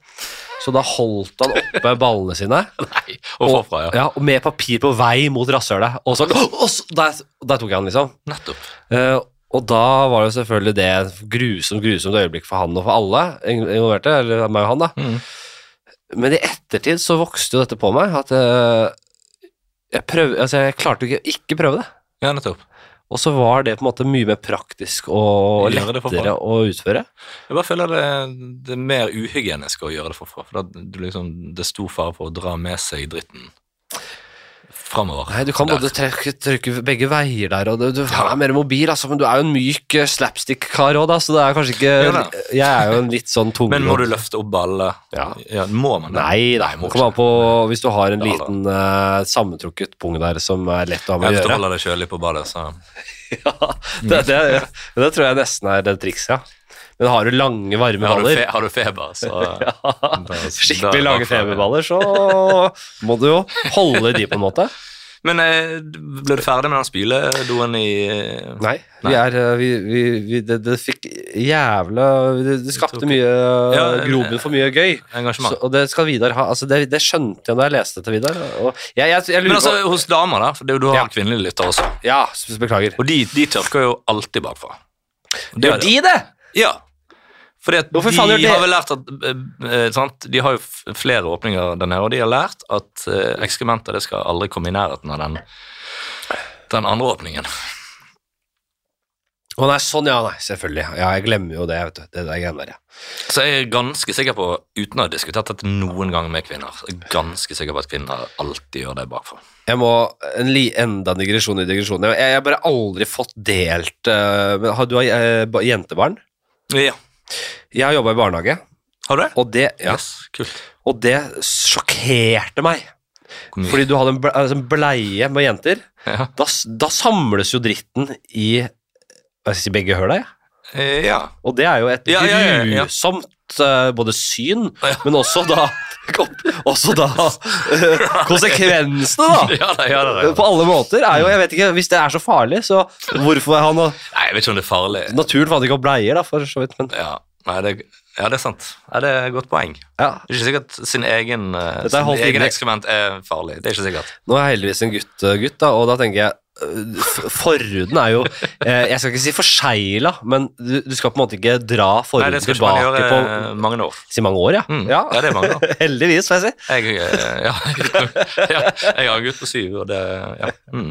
Speaker 1: Så da holdt han oppe [laughs] ballene sine,
Speaker 2: Nei, og forfra, ja.
Speaker 1: ja, og med papir på vei mot rasshølet. Og så, og så der, der tok jeg han, liksom.
Speaker 2: Nettopp.
Speaker 1: Eh, og da var det jo selvfølgelig det et grusomt, grusomt øyeblikk for han og for alle ing- involverte, eller meg og han, da.
Speaker 2: Mhm.
Speaker 1: Men i ettertid så vokste jo dette på meg, at eh, jeg, prøv, altså jeg klarte jo ikke ikke prøve det.
Speaker 2: Ja, nettopp.
Speaker 1: Og så var det på en måte mye mer praktisk og
Speaker 2: Gjøre det for
Speaker 1: lettere å utføre.
Speaker 2: Jeg bare føler det, det er mer uhygienisk å gjøre det forfra. For da, du liksom, det er stor fare for å dra med seg dritten framover.
Speaker 1: Nei, du kan
Speaker 2: Der.
Speaker 1: både trykke, trykke begge veier der, og du, du
Speaker 2: Ja.
Speaker 1: er mer mobil, altså, men du er jo en myk eh, slapstick-kar òg, da, så det er kanskje ikke
Speaker 2: Jo da.
Speaker 1: Jeg er jo en litt sånn tung
Speaker 2: Men må du løfte opp ballene?
Speaker 1: Ja.
Speaker 2: Må man det?
Speaker 1: Nei, da.
Speaker 2: Nei, må
Speaker 1: Kom an på hvis du har en
Speaker 2: Ja, da.
Speaker 1: liten eh, sammentrukket pung der som er lett å ha med å
Speaker 2: Hvis du
Speaker 1: gjøre. [laughs]
Speaker 2: holder deg kjølig på badet, så
Speaker 1: Ja, det, det, det tror jeg nesten er det trikset, ja. Men har du lange, varme
Speaker 2: Har du,
Speaker 1: baller
Speaker 2: fe har du feber,
Speaker 1: [laughs]
Speaker 2: så
Speaker 1: ja.
Speaker 2: da- da-
Speaker 1: Skikkelig lange
Speaker 2: da-
Speaker 1: feberballer, så må du jo holde de på en måte.
Speaker 2: Men eh, ble du ferdig med den spyledoen i eh,
Speaker 1: Nei, vi er eh, vi, vi, vi, det, det fikk jævla Det, det skapte
Speaker 2: tok-
Speaker 1: mye eh,
Speaker 2: Ja,
Speaker 1: grobunn for mye gøy. Så,
Speaker 2: engasjement?
Speaker 1: og det skal Vidar ha. Altså, det, det skjønte jeg da jeg leste det til Vidar. Og jeg, jeg, jeg
Speaker 2: Men
Speaker 1: lurer
Speaker 2: altså,
Speaker 1: på
Speaker 2: hos damer, da, for det er jo du har
Speaker 1: Ja.
Speaker 2: kvinnelige lyttere også,
Speaker 1: Ja, s- beklager.
Speaker 2: og de, de tørker jo alltid bakfra. Og det er
Speaker 1: Gjør
Speaker 2: det.
Speaker 1: de det?
Speaker 2: Ja. Fordi at
Speaker 1: Hvorfor
Speaker 2: de
Speaker 1: faen gjør det?
Speaker 2: har vel lært at eh, eh, sant? De har jo f- flere åpninger der nede, og de har lært at eh, ekskrementer det skal aldri komme i nærheten av den, den andre åpningen.
Speaker 1: Å nei, sånn ja, nei, selvfølgelig. Ja, jeg glemmer jo det, vet du. Det der greiene der, ja.
Speaker 2: Så jeg er ganske sikker på, uten å ha diskutert dette noen gang med kvinner, så er jeg ganske sikker på at kvinner alltid gjør det bakfra.
Speaker 1: Jeg må en li, enda en digresjon i digresjonen. Jeg, jeg har bare aldri fått delt eh, men Har du eh, ba- jentebarn?
Speaker 2: Ja.
Speaker 1: Jeg har jobba i barnehage,
Speaker 2: Har du det?
Speaker 1: og det, ja,
Speaker 2: Yes, kult.
Speaker 1: og det sjokkerte meg.
Speaker 2: Hvor mye?
Speaker 1: Fordi du hadde en ble- altså en bleie med jenter.
Speaker 2: ja.
Speaker 1: Da, s- da samles jo dritten i hva skal jeg si, begge høla, jeg.
Speaker 2: Eh, ja.
Speaker 1: Og det er jo et
Speaker 2: Ja, ja, ja, ja.
Speaker 1: grusomt eh, både syn, men også da Også
Speaker 2: [laughs]
Speaker 1: da eh, konsekvensene, da.
Speaker 2: Ja, da, Ah! [laughs] ja, da, ja, da.
Speaker 1: På alle måter er jo Jeg vet ikke, hvis det er så farlig, så hvorfor er han og-
Speaker 2: Nei, jeg vet ikke om det er farlig.
Speaker 1: Naturen fant ikke opp bleier, da, for så vidt, men
Speaker 2: Ja, Nei, det, ja det er sant. Ja, det er et godt poeng.
Speaker 1: ja.
Speaker 2: Det er ikke sikkert sin egen, eh,
Speaker 1: Dette er
Speaker 2: sin
Speaker 1: holdt
Speaker 2: egen
Speaker 1: inne.
Speaker 2: ekskrement er farlig. Det er ikke sikkert.
Speaker 1: Nå er jeg heldigvis en gutt, eh, gutt da, og da tenker jeg øh, f- Forhuden er jo eh, Jeg skal ikke si forsegla, men du, du skal på en måte ikke dra
Speaker 2: Nei,
Speaker 1: forhuden
Speaker 2: det skal ikke man
Speaker 1: tilbake
Speaker 2: gjøre
Speaker 1: på
Speaker 2: eh, mange år.
Speaker 1: Si mange år, ja.
Speaker 2: Mm. Ja.
Speaker 1: ja. [laughs]
Speaker 2: det er mange år.
Speaker 1: Heldigvis, får jeg si.
Speaker 2: Jeg, eh, ja, [laughs] ja, jeg har en gutt på syv, og det ja. Mm.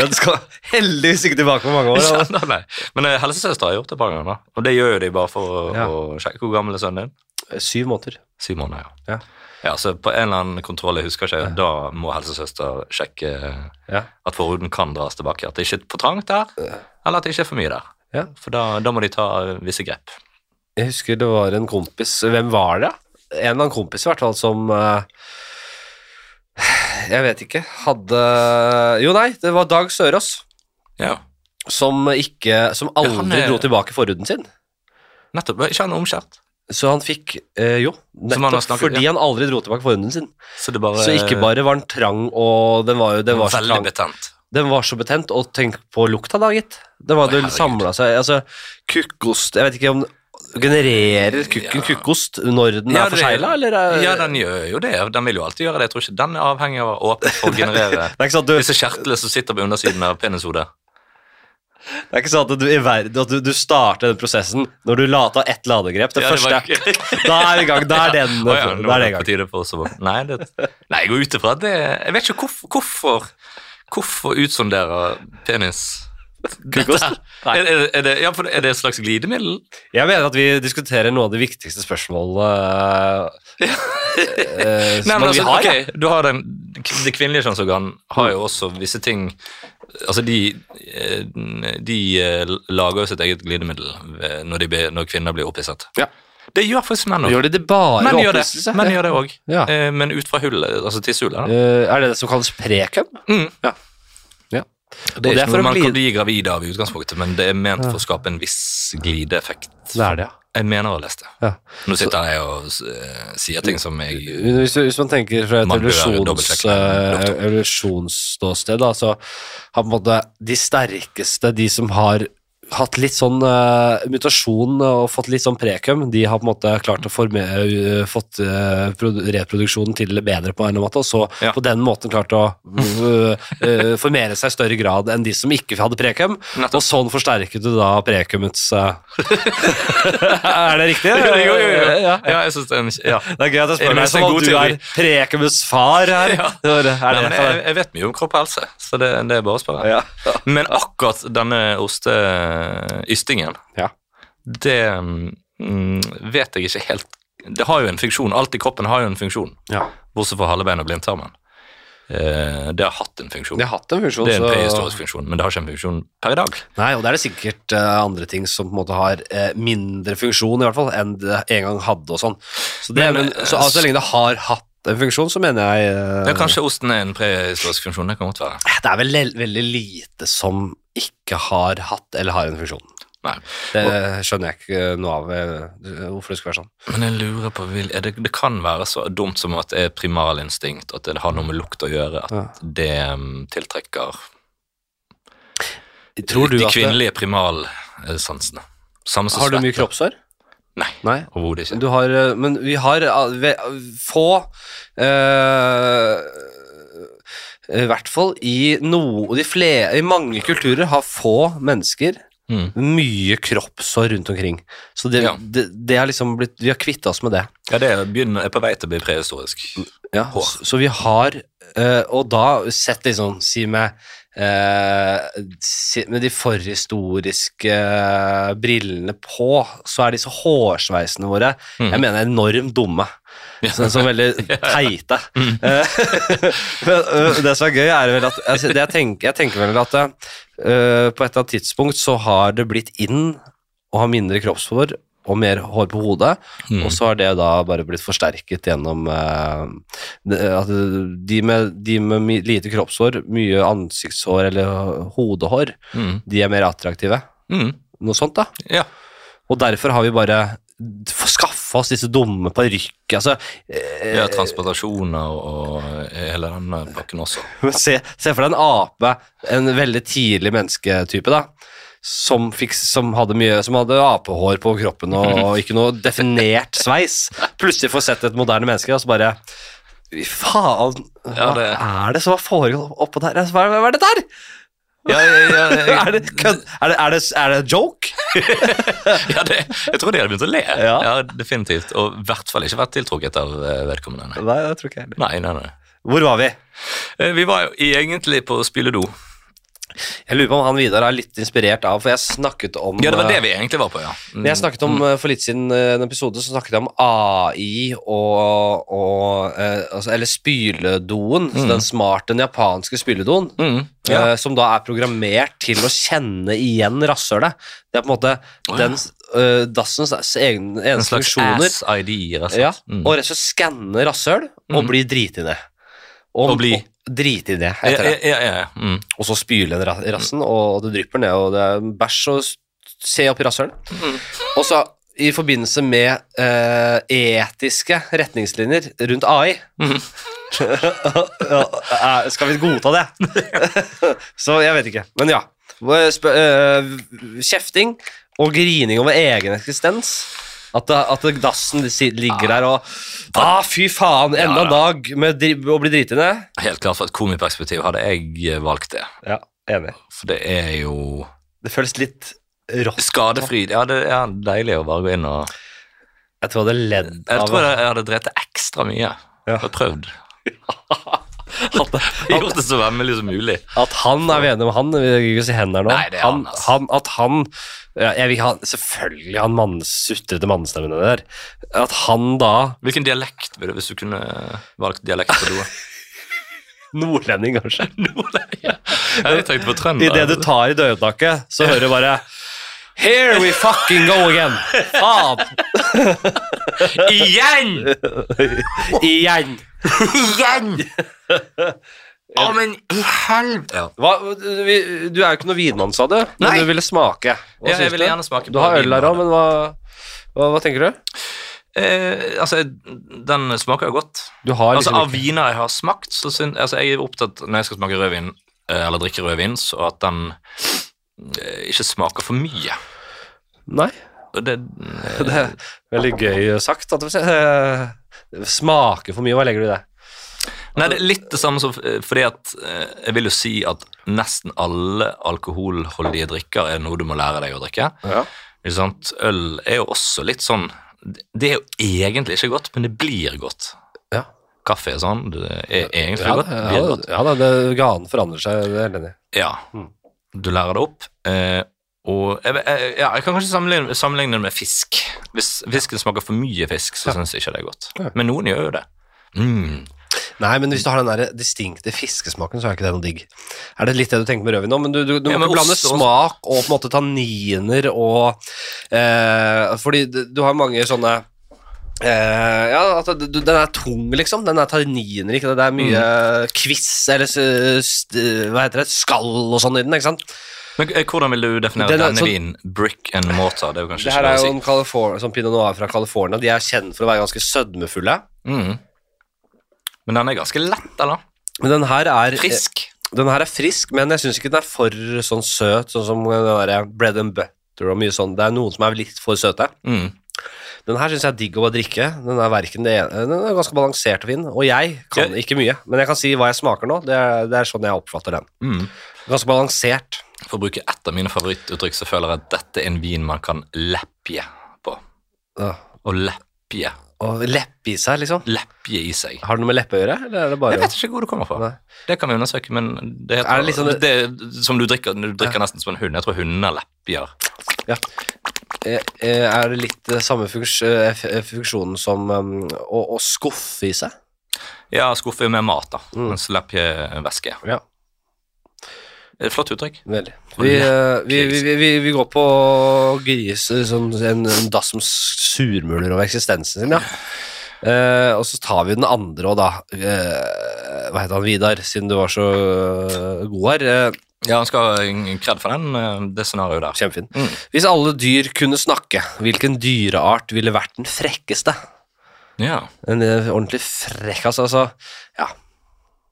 Speaker 1: Den skal heldigvis ikke tilbake på mange år. altså.
Speaker 2: Ja,
Speaker 1: Da.
Speaker 2: da, [laughs] nei. Men eh, helsesøster har gjort det et par ganger, da. og det gjør jo de bare for å,
Speaker 1: Ja.
Speaker 2: å sjekke hvor gammel er sønnen din.
Speaker 1: Syv måneder.
Speaker 2: Syv måneder, ja.
Speaker 1: Ja.
Speaker 2: Ja, Så på en eller annen kontroll jeg husker ikke, da må helsesøster sjekke
Speaker 1: Ja.
Speaker 2: at forhuden kan dras tilbake. At det ikke er for trangt der, eller at det ikke er for mye der.
Speaker 1: Ja.
Speaker 2: For da, da må de ta visse grep.
Speaker 1: Jeg husker det var en kompis Hvem var det? En eller annen kompis i hvert fall som eh, Jeg vet ikke. Hadde Jo, nei, det var Dag Sørås.
Speaker 2: Ja,
Speaker 1: Som, ikke, som aldri
Speaker 2: han er-
Speaker 1: dro tilbake forhuden sin.
Speaker 2: nettopp. Ikke han omskjært.
Speaker 1: Så han fikk eh, Jo,
Speaker 2: Som han har
Speaker 1: nettopp
Speaker 2: snakket- eh,
Speaker 1: fordi han aldri dro tilbake forhuden sin.
Speaker 2: Så det bare,
Speaker 1: Så ikke bare var den trang, og den var, jo, den var, så,
Speaker 2: Veldig
Speaker 1: trang,
Speaker 2: betent.
Speaker 1: den var så betent. Og tenk på lukta, da, gitt. Den var
Speaker 2: Å,
Speaker 1: jo
Speaker 2: herregud.
Speaker 1: samla seg Altså, kukkost Jeg vet ikke om Genererer kukken
Speaker 2: Ja.
Speaker 1: kukkost når den
Speaker 2: Ja,
Speaker 1: er
Speaker 2: det-
Speaker 1: forsegla, eller? er-
Speaker 2: Ja, den gjør jo det. Den vil jo alltid gjøre det. Jeg tror ikke den er avhengig av å være åpen for å generere [laughs]
Speaker 1: det er ikke sånn at du,
Speaker 2: disse kjertlene som sitter på undersiden av penishodet.
Speaker 1: det er ikke sånn at du, i verden, at du, du starter den prosessen når du lata ett ladegrep. Det
Speaker 2: Ja, det
Speaker 1: første
Speaker 2: var
Speaker 1: er- [laughs] Da er vi i gang. Da er den
Speaker 2: Å ja, nå
Speaker 1: da er det i
Speaker 2: på
Speaker 1: gang.
Speaker 2: tide for oss å våkne. Nei, det, nei, jeg går ut ifra at det Jeg vet ikke hvorfor Hvorfor, hvorfor utsondere penis?
Speaker 1: Kukkost?
Speaker 2: Dette her. Er, er, er, det, ja, for er det et slags glidemiddel?
Speaker 1: Jeg mener at vi diskuterer noe av det viktigste spørsmålet eh,
Speaker 2: Nei,
Speaker 1: som
Speaker 2: men
Speaker 1: vi
Speaker 2: altså,
Speaker 1: har. ja.
Speaker 2: ok, du har den, Det kvinnelige kjønnsorgan har jo også visse ting Altså, de, eh, de eh, lager jo sitt eget glidemiddel eh, når, de, blir- når kvinner blir opphisset.
Speaker 1: Ja.
Speaker 2: Det gjør faktisk menn òg.
Speaker 1: Gjør de det bare
Speaker 2: Menn
Speaker 1: ved
Speaker 2: gjør det
Speaker 1: opphisselse?
Speaker 2: Menn gjør det også.
Speaker 1: Ja.
Speaker 2: Eh, Men ut fra hullet, altså tisshullet. da.
Speaker 1: Eh, er det det som kalles prekum?
Speaker 2: Mm.
Speaker 1: Ja. Ja.
Speaker 2: Det er
Speaker 1: Og det er
Speaker 2: ikke
Speaker 1: for
Speaker 2: noe
Speaker 1: å
Speaker 2: man
Speaker 1: glide-
Speaker 2: kan bli gravid av i utgangspunktet, men det er ment for å skape en viss glideeffekt.
Speaker 1: Det Sånn er det, ja.
Speaker 2: Jeg mener å ha lest det.
Speaker 1: Ja.
Speaker 2: Nå sitter jeg og eh, sier ting som jeg
Speaker 1: Hvis, hvis man tenker fra et
Speaker 2: Man bør være
Speaker 1: evolusjons,
Speaker 2: dobbeltsjekkende,
Speaker 1: eh,
Speaker 2: doktor.
Speaker 1: evolusjonsståsted, da, så har på en måte de sterkeste, de som har hatt litt sånn eh, mutasjon og fått litt sånn prekum, de har på en måte klart å formere, eh, fått eh, produ- reproduksjonen til det bedre på en eller annen måte, og så
Speaker 2: Ja.
Speaker 1: på den måten klart å eh, eh, formere seg i større grad enn de som ikke hadde prekum,
Speaker 2: Nettopp.
Speaker 1: og sånn forsterket du da prekumets eh, [laughs] Er det riktig?
Speaker 2: [laughs] Jo, jo, jo, jo.
Speaker 1: Ja,
Speaker 2: Ja, jeg synes det er en ja.
Speaker 1: [laughs] det er gøy at jeg spør
Speaker 2: Er det
Speaker 1: deg
Speaker 2: mest
Speaker 1: som
Speaker 2: en
Speaker 1: om
Speaker 2: god
Speaker 1: du
Speaker 2: teori?
Speaker 1: er Prekebus far her.
Speaker 2: [laughs] Ja.
Speaker 1: Det var det- Er
Speaker 2: Nei,
Speaker 1: det
Speaker 2: men jeg, jeg vet mye om kropp og helse, så det, det er bare å spørre.
Speaker 1: Ja.
Speaker 2: Men akkurat denne osteyystingen,
Speaker 1: Ja.
Speaker 2: det mm, vet jeg ikke helt Det har jo en funksjon. Alt i kroppen har jo en funksjon,
Speaker 1: ja.
Speaker 2: bortsett fra halebein og blindtarmen. Eh, det har hatt en funksjon.
Speaker 1: De har hatt en funksjon.
Speaker 2: Det er en
Speaker 1: så-
Speaker 2: prehistorisk funksjon, men det har ikke en funksjon per i dag.
Speaker 1: Nei, og det er det sikkert eh, andre ting som på en måte har eh, mindre funksjon i hvert fall enn det en gang hadde og sånn. Så, det,
Speaker 2: Men,
Speaker 1: men,
Speaker 2: eh,
Speaker 1: så altså, så lenge det har hatt en funksjon, så mener jeg eh,
Speaker 2: Ja, kanskje osten er en prehistorisk funksjon. Det kan godt være.
Speaker 1: Det er vel le- veldig lite som ikke har hatt eller har en funksjon.
Speaker 2: Nei.
Speaker 1: Det skjønner jeg ikke noe av eh, hvorfor det skulle være sånn.
Speaker 2: Men jeg lurer på vil, er det, det kan være så dumt som at det er primalinstinkt, at det har noe med lukt å gjøre, at
Speaker 1: Ja.
Speaker 2: det mm, tiltrekker
Speaker 1: Tror du
Speaker 2: de
Speaker 1: at det,
Speaker 2: kvinnelige primalsansene. Samme som
Speaker 1: Har du mye
Speaker 2: svette.
Speaker 1: kroppshår?
Speaker 2: Nei,
Speaker 1: Nei.
Speaker 2: overhodet ikke.
Speaker 1: Du har, eh, men vi har eh, ve- få eh, I hvert fall i noe de fle- I mange kulturer har få mennesker
Speaker 2: Mm.
Speaker 1: mye kroppshår rundt omkring. Så det,
Speaker 2: Ja.
Speaker 1: det, det er liksom blitt Vi har kvitta oss med det.
Speaker 2: Ja, det er, begynner, er på vei til å bli prehistorisk.
Speaker 1: Ja,
Speaker 2: Hår.
Speaker 1: Så, så vi har eh, Og da sett liksom Si med eh, si, Med de forhistoriske eh, brillene på, så er disse hårsveisene våre
Speaker 2: Mm.
Speaker 1: Jeg mener enormt dumme. Sånn så veldig teite. Eh, [laughs] Men eh, det som er gøy, er vel at altså, det jeg, tenker, jeg tenker vel at eh, på et eller annet tidspunkt så har det blitt inn å ha mindre kroppshår og mer hår på hodet,
Speaker 2: Mm.
Speaker 1: og så har det da bare blitt forsterket gjennom eh, det- at de med, de med mi- lite kroppshår, mye ansiktshår eller hodehår,
Speaker 2: Mm.
Speaker 1: de er mer attraktive.
Speaker 2: Mm.
Speaker 1: Noe sånt, da.
Speaker 2: Ja.
Speaker 1: Og derfor har vi bare skaffa oss disse dumme parykker. Altså, eh,
Speaker 2: ja, transplantasjoner og hele den pakken også.
Speaker 1: Men se, se for deg en ape, en veldig tidlig mennesketype, da. Som, fikk, som hadde mye Som hadde apehår på kroppen og, og ikke noe definert sveis. Plutselig får sett et moderne menneske, og så bare Fy faen, hva
Speaker 2: Ja, det-
Speaker 1: er det som har foregått oppå der? Altså, Hva er, hva er det der?!
Speaker 2: Ja, ja, ja, [laughs] ja.
Speaker 1: Er det, kødd? er det, er det, er det joke?
Speaker 2: ja, det, jeg tror de hadde begynt å le. Ja.
Speaker 1: Ja.
Speaker 2: Definitivt. Og i hvert fall ikke vært tiltrukket av eh, vedkommende.
Speaker 1: Nei, det tror ikke jeg
Speaker 2: Nei, nei, nei.
Speaker 1: Hvor var vi?
Speaker 2: Eh, Vi var jo egentlig på spyledo.
Speaker 1: Jeg lurer på om han Vidar er litt inspirert av For jeg snakket om
Speaker 2: Ja, det var
Speaker 1: eh,
Speaker 2: det vi egentlig var på, ja. Mm.
Speaker 1: Men Jeg snakket om, eh, For litt siden eh, en episode så snakket jeg om AI og, og eh, altså, Eller spyledoen. Så den smarte den japanske spyledoen.
Speaker 2: Mm. Ja.
Speaker 1: eh, som da er programmert til å kjenne igjen rasshølet. Det er på en måte
Speaker 2: Å, ja.
Speaker 1: den eh, dassens egen,
Speaker 2: En
Speaker 1: eneste
Speaker 2: slags
Speaker 1: funksjoner.
Speaker 2: ass-ID, rett og slett.
Speaker 1: Ja,
Speaker 2: Mm.
Speaker 1: Og rett og slett skanne rasshøl og
Speaker 2: Mm.
Speaker 1: bli driti ned.
Speaker 2: Og bli-
Speaker 1: Driti ned,
Speaker 2: ja,
Speaker 1: heter det.
Speaker 2: ja, ja, ja. Mm.
Speaker 1: Og så spyle den ra- rassen, og det drypper ned, og det er bæsj og s- se opp i rasshølen. Og så i forbindelse med eh, etiske retningslinjer rundt AI Mhm. [laughs] Ja, eh, Skal vi godta det? [laughs] så jeg vet ikke. Men ja. Hva- sp- eh, Kjefting og grining over egen eksistens. At, det- at det- dassen si- ligger der og Ah, fy faen! Enda
Speaker 2: Ja,
Speaker 1: en dag med dri å bli driti ned.
Speaker 2: Helt klart fra et komiperspektiv hadde jeg eh, valgt det.
Speaker 1: Ja, enig.
Speaker 2: For det er jo
Speaker 1: Det føles litt rått.
Speaker 2: skadefri. Ja, det er deilig å bare gå inn og
Speaker 1: Jeg tror jeg hadde ledd
Speaker 2: Jeg
Speaker 1: av
Speaker 2: tror jeg jeg hadde drept ekstra mye.
Speaker 1: Ja.
Speaker 2: Og
Speaker 1: [laughs]
Speaker 2: prøvd.
Speaker 1: at, at,
Speaker 2: Gjort det så vemmelig som mulig.
Speaker 1: at han er venner med han. Vi vil ikke si hen her nå.
Speaker 2: Nei, det er han, ass.
Speaker 1: han, at han ja, jeg vil ikke ha, Selvfølgelig han mann, sutrete mannestemmen der. At han da,
Speaker 2: Hvilken dialekt ville du hvis du kunne valgt dialekt
Speaker 1: [laughs]
Speaker 2: på do?
Speaker 1: nordlending kanskje,
Speaker 2: Nordleie. Jeg tenkte på trønder.
Speaker 1: idet du tar i dørhåndtaket, så hører du bare Here we fucking go again! Faen!
Speaker 2: Igjen!
Speaker 1: Igjen!
Speaker 2: Igjen!
Speaker 1: [laughs]
Speaker 2: Å, men i helvete! Ja.
Speaker 1: Hva, vi- du er jo ikke noe vinmann, sa du, men
Speaker 2: Nei.
Speaker 1: du ville smake. Hva
Speaker 2: Ja, jeg
Speaker 1: syns
Speaker 2: ville
Speaker 1: du?
Speaker 2: gjerne smake
Speaker 1: Du
Speaker 2: på
Speaker 1: har øl
Speaker 2: vinen
Speaker 1: her
Speaker 2: av
Speaker 1: òg, men hva, hva, hva tenker du?
Speaker 2: Eh, altså, den smaker jo godt.
Speaker 1: Du har
Speaker 2: Altså,
Speaker 1: liksom
Speaker 2: Av
Speaker 1: ikke-
Speaker 2: viner jeg har smakt, så syns altså, jeg er opptatt når jeg skal smake rødvin, eh, eller drikke rødvin, så at den eh, ikke smaker for mye.
Speaker 1: Nei.
Speaker 2: Og det, eh,
Speaker 1: [laughs] Det er veldig gøy sagt. At det eh, smaker for mye, hva legger du i det?
Speaker 2: Nei, det er litt det samme som eh, Fordi at eh, jeg vil jo si at nesten alle alkoholholdige drikker er noe du må lære deg å drikke.
Speaker 1: Ja.
Speaker 2: Ikke sant? Øl er jo også litt sånn Det er jo egentlig ikke godt, men det blir godt.
Speaker 1: Ja.
Speaker 2: Kaffe er sånn. Det er egentlig
Speaker 1: Ja,
Speaker 2: godt. Blir
Speaker 1: da-
Speaker 2: godt.
Speaker 1: ja da, det, ganen forandrer seg, det er jeg enig i.
Speaker 2: Ja.
Speaker 1: Mm.
Speaker 2: Du lærer det opp. eh, og jeg, vet- jeg, ja, jeg kan kanskje sammenligne, sammenligne det med fisk. Hvis fisken smaker for mye fisk, så syns jeg ikke det er godt.
Speaker 1: Ja.
Speaker 2: Men noen gjør jo det. Mm.
Speaker 1: Nei, men hvis du har den der distinkte fiskesmaken, så er ikke det noe digg. Er det litt det du tenker med rødvin nå? Men du, du, du
Speaker 2: Ja,
Speaker 1: må
Speaker 2: men
Speaker 1: ikke blande
Speaker 2: ost og-
Speaker 1: smak og på en måte tanniner og eh, Fordi du, du har mange sånne eh, ja, at du, den er tung, liksom. Den er tanniner, ikke det?
Speaker 2: Mm.
Speaker 1: Det er mye kviss eller s- st, hva heter det, skall og sånn i den, ikke sant?
Speaker 2: Men eh, hvordan vil du definere
Speaker 1: Den er- sånn-
Speaker 2: denne vinen? Brick and mortar, det er jo kanskje
Speaker 1: Det her
Speaker 2: ikke
Speaker 1: er
Speaker 2: lov å
Speaker 1: jo
Speaker 2: si.
Speaker 1: en Californ- sånn pinot noir fra California. De er kjent for å være ganske sødmefulle.
Speaker 2: Mm. Men den er ganske lett, eller?
Speaker 1: Men den her er eh,
Speaker 2: Frisk.
Speaker 1: Den her er frisk, men jeg syns ikke den er for sånn søt, sånn som den der bread and butter og mye sånn. Det er noen som er litt for søte.
Speaker 2: Mm.
Speaker 1: Den her syns jeg er digg å drikke. Den er, hverken det ene, den er ganske balansert og fin. Og jeg kan ikke mye, men jeg kan si hva jeg smaker nå. Det er, det er sånn jeg oppfatter den.
Speaker 2: Mm.
Speaker 1: Ganske balansert.
Speaker 2: For å bruke ett av mine favorittuttrykk, så føler jeg at dette er en vin man kan leppje på.
Speaker 1: Ja.
Speaker 2: Og leppje.
Speaker 1: Og leppe i seg, liksom.
Speaker 2: Leppje i seg.
Speaker 1: Har det noe med leppe å gjøre, eller er det bare
Speaker 2: Jeg vet ikke hvor det kommer fra.
Speaker 1: Nei.
Speaker 2: Det kan vi undersøke, men det, heter,
Speaker 1: Er det litt sånn-
Speaker 2: det er som du drikker, du drikker nesten som en hund. Jeg tror hunder lepjer.
Speaker 1: Ja. Eh, eh, Er det litt eh, samme funks eh, f- eh, funksjonen som um, å, å skuffe i seg?
Speaker 2: Ja, skuffer jo med mat, da,
Speaker 1: Mm.
Speaker 2: mens lepje er væske.
Speaker 1: Ja.
Speaker 2: Det er et Flott uttrykk.
Speaker 1: Veldig. Vi, eh, vi, vi, vi- vi, vi går på gris, sånn, en, en dass som surmuler over eksistensen sin, ja. Eh, og så tar vi den andre òg, da. Eh, hva heter han, Vidar, siden du var så eh, god her? Eh,
Speaker 2: Ja, Han skal ha en kred for den, eh, det scenarioet der.
Speaker 1: kjempefin.
Speaker 2: Mm.
Speaker 1: Hvis alle dyr kunne snakke, hvilken dyreart ville vært den frekkeste?
Speaker 2: Ja.
Speaker 1: En eh, ordentlig frekkas, altså. Ja.